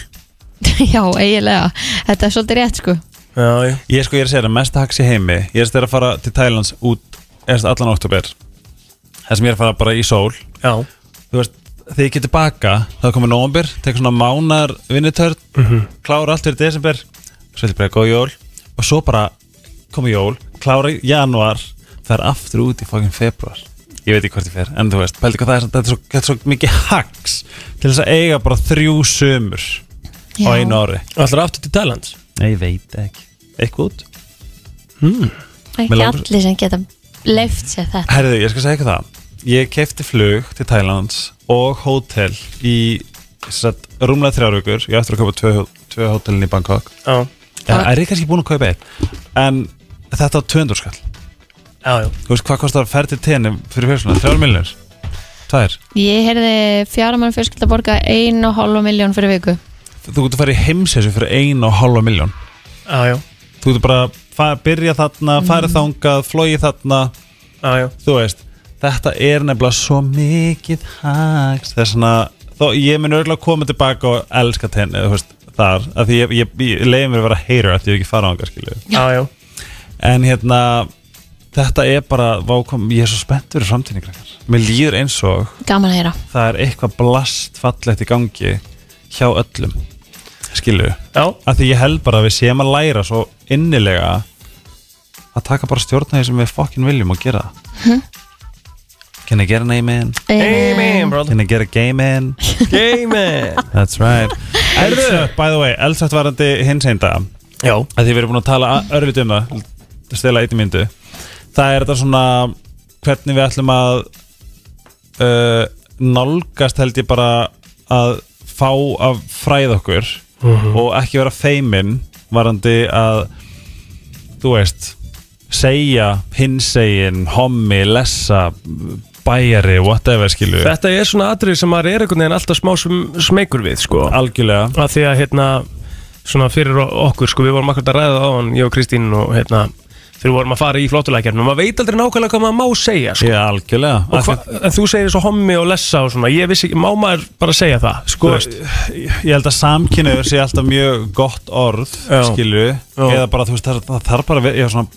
Speaker 4: já, eiginlega Þetta er svolítið rétt sko
Speaker 6: Já, já
Speaker 8: Ég sko, ég er að segja það, mesta haks í heimi Ég er að þeirra að fara til Thailands út er, allan oktober Það sem ég er að fara bara í sól
Speaker 6: Já,
Speaker 8: Þú veist, þegar ég geti baka þá er komið nómbir, tek svona mánar vinnutörn, klára allt fyrir desember svo er þetta bara góð jól og svo bara komið jól klára í januar, fer aftur út í fókin februar, ég veit ekki hvort ég fer en þú veist, pældi hvað það er, samt- þetta er svo, þetta er svo mikið haks til þess að eiga bara þrjú sömur á
Speaker 4: Já.
Speaker 8: einu ári
Speaker 6: allir aftur til Thailand
Speaker 8: Nei, ég veit ekki, eitthvað út
Speaker 4: Það er
Speaker 8: Mig
Speaker 4: ekki
Speaker 8: langar-
Speaker 4: allir sem geta leift sér þetta
Speaker 8: Herðu, ég skal segja ykkur það Ég kefti flug til Thailands og hótel í satt, rúmlega þrjár vikur Ég á eftir að kaupa tvö, tvö hótelin í Bangkok
Speaker 6: Já,
Speaker 8: Já, er ég kannski búin að kaupa einn En þetta á 200 skall
Speaker 6: já, já
Speaker 8: Þú veist hvað kostar að ferð til tenni fyrir fjölsuna? Þrjár miljonir? Tvær?
Speaker 4: Ég heyrði fjáramann fjölskylda borga 1,5 miljón fyrir viku
Speaker 8: Þú getur farið í heimsessu fyrir ein og halva miljón
Speaker 6: Já, já,
Speaker 8: Þú getur bara að byrja þarna, farið þangað, flogið þarna
Speaker 6: já, já
Speaker 8: Þú veist, þetta er nefnilega svo mikið haks Það er svona, þó ég mun örgulega koma tilbaka og elska tenni, þú veist, þar af því ég, ég, ég leiði mér að vera heyra af því ég hef ekki fara á þangað, skilju
Speaker 6: Já, já
Speaker 8: En hérna, þetta er bara, vákom, ég er svo spennt fyrir framtíðinni, krakkar Mér líður eins og
Speaker 4: Gaman að heyra
Speaker 8: það er eitthvað blast fallegt í gangi hjá öllum skilu,
Speaker 6: Já,
Speaker 8: af því ég held bara að við séum að læra svo innilega að taka bara stjórna því sem við fokkin viljum og gera það Can I get an amen?
Speaker 6: amen, brother
Speaker 8: Can I get a game in?
Speaker 6: Amen
Speaker 8: That's right Elsöp, by the way, Elsöp varandi hins einn dag
Speaker 6: Já,
Speaker 8: að því við erum búin að tala örlítið um það stela einni myndu það er þetta svona hvernig við ætlum að uh, nálgast held ég bara að fá að fræða okkur
Speaker 6: Mhm.
Speaker 8: og ekki vera feimin varandi að þú veist segja, hinsegin, hommi, lessa bæjari, whatever skilu
Speaker 6: þetta er svona atrið sem maður er einhvern veginn alltaf smá sm- smeykur við, sko
Speaker 8: algjörlega
Speaker 6: að því að hérna svona fyrir o- okkur sko við vorum akkur að ræða á hann ég og Kristín og hérna þegar við vorum að fara í flottulækjarnum maður veit aldrei nákvæmlega hvað maður má segja sko.
Speaker 8: Já, algjörlega
Speaker 6: og hva, en þú segir svo hommi og lessa og svona ég vissi ekki, má maður bara segja það
Speaker 8: Sko, ég ég held að samkynniður sé alltaf mjög gott orð,
Speaker 6: Já.
Speaker 8: skilju eða bara, þú veist, það, það þarf bara að vera- ég er svona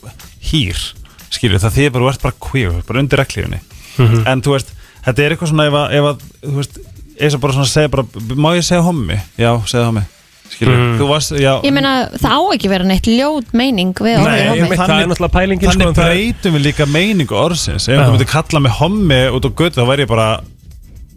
Speaker 8: hýr, skilju, það því bara, þú ert bara queer, bara undir reglífinni
Speaker 6: Mhm.
Speaker 8: en þú veist, þetta er eitthvað svona ef að, ef að þú veist, eins og bara svona segja bara, má ég segja hommi? Já, segja hommi skilju,
Speaker 6: Mhm.
Speaker 8: þú varst, já
Speaker 4: Ég meina, það á ekki vera neitt ljót meining við orðið
Speaker 6: ég
Speaker 4: hommi
Speaker 6: meina- það er náttúrulega pælingin, sko,
Speaker 8: Þannig
Speaker 6: en það er-
Speaker 8: breytum við líka meiningu orðsins Ef
Speaker 6: Já.
Speaker 8: þú myndir kalla mig hommi út á götu þá væri ég bara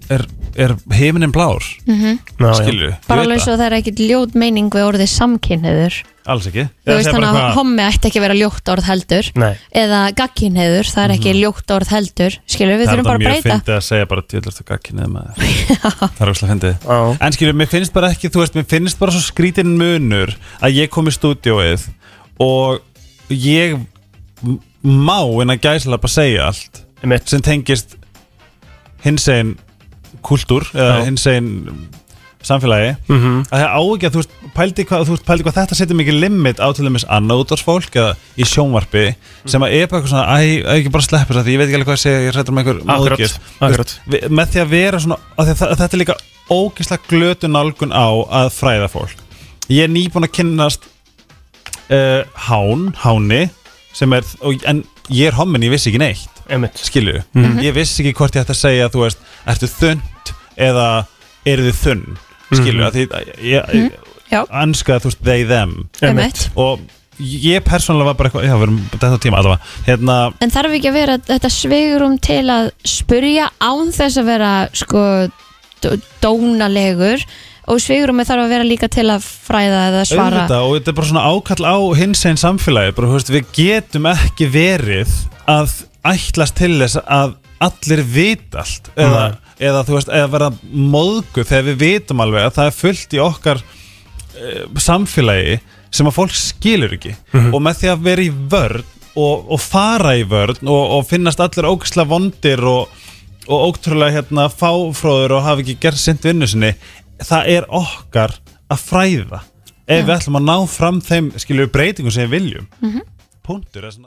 Speaker 8: Er, er heiminin blár?
Speaker 6: Ná, já.
Speaker 8: Skilju, ég
Speaker 4: Bara
Speaker 8: veit
Speaker 4: alveg
Speaker 8: það.
Speaker 4: svo það er ekkit ljót meining við orðið samkynniður
Speaker 8: Alls ekki
Speaker 4: Þú
Speaker 8: Ég
Speaker 4: veist
Speaker 8: segi
Speaker 4: þannig
Speaker 8: bara
Speaker 4: að
Speaker 8: hvað-
Speaker 4: hommi ætti ekki að vera ljótt orð heldur
Speaker 6: Nei.
Speaker 4: Eða gagkynniður, það er ekki ljótt orð heldur Skilur, við
Speaker 8: Mhm. Það er
Speaker 4: þurfum
Speaker 8: þetta
Speaker 4: bara að
Speaker 8: mjög
Speaker 4: breyta
Speaker 8: fyndið að segja bara djöðlust og gagkinnið maður Það er óslega fyndið
Speaker 6: Já.
Speaker 8: En skilur, mér finnst bara ekki, þú veist, mér finnst bara svo skrítinn munur að ég kom í stúdíóið og ég m- má en að gæsla bara segja allt
Speaker 6: Einmitt.
Speaker 8: sem tengist hins einn kultúr eða
Speaker 6: Já.
Speaker 8: hins einn samfélagi
Speaker 6: Mhm.
Speaker 8: að það á ekki að þú veist pældi hvað, þú veist, pældi hvað þetta setur mikið limit á til dæmis annað útvarsfólk eða í sjónvarpi sem að er bara eitthvað svona æ, æ, ekki bara sleppa þess að ég veit ekki alveg hvað að segja ég hrættur um einhver
Speaker 6: Akkurat,
Speaker 8: móðgjöf. Þú
Speaker 6: akkurat.
Speaker 8: veist, við- með því að vera svona að að þetta er líka ógeðslega glötu nálgun á að fræða fólk ég er nýbúin að kynnast uh, hán, háni sem er, og, en ég er hommin ég vissi ekki neitt
Speaker 6: Einmitt.
Speaker 8: skilju, ég vissi ekki hvort ég ætti að segja þú veist, ertu þund eða eru þið þunn skilju, mm -hmm. að því að ég, ég
Speaker 4: Mhm. Já.
Speaker 8: anskaði þú veist, they, them
Speaker 4: Einmitt.
Speaker 8: og ég persónulega var bara eitthvað, já, við erum þetta á tíma allavega, hérna,
Speaker 4: En þarf ekki að vera þetta sveigurum til að spurja án þess að vera sko dó- dónalegur og sveigurum þarf að vera líka til að fræða eða svara
Speaker 8: auðvitað, og þetta er bara svona ákall á hins einn samfélagi, bara, þú veist, við getum ekki verið að ætlast til þess að allir vita allt eða, eða þú veist, eða vera móðgu þegar við vitum alveg að það er fullt í okkar e, samfélagi sem að fólk skilur ekki og með því að vera í vörn og, og fara í vörn og, og finnast allir ógisla vondir og, og ótrúlega hérna fáfróður og hafa ekki gert sint vinnu sinni það er okkar að fræða ef við ætlum að ná fram þeim skilur breytingum sem við viljum punktur er svona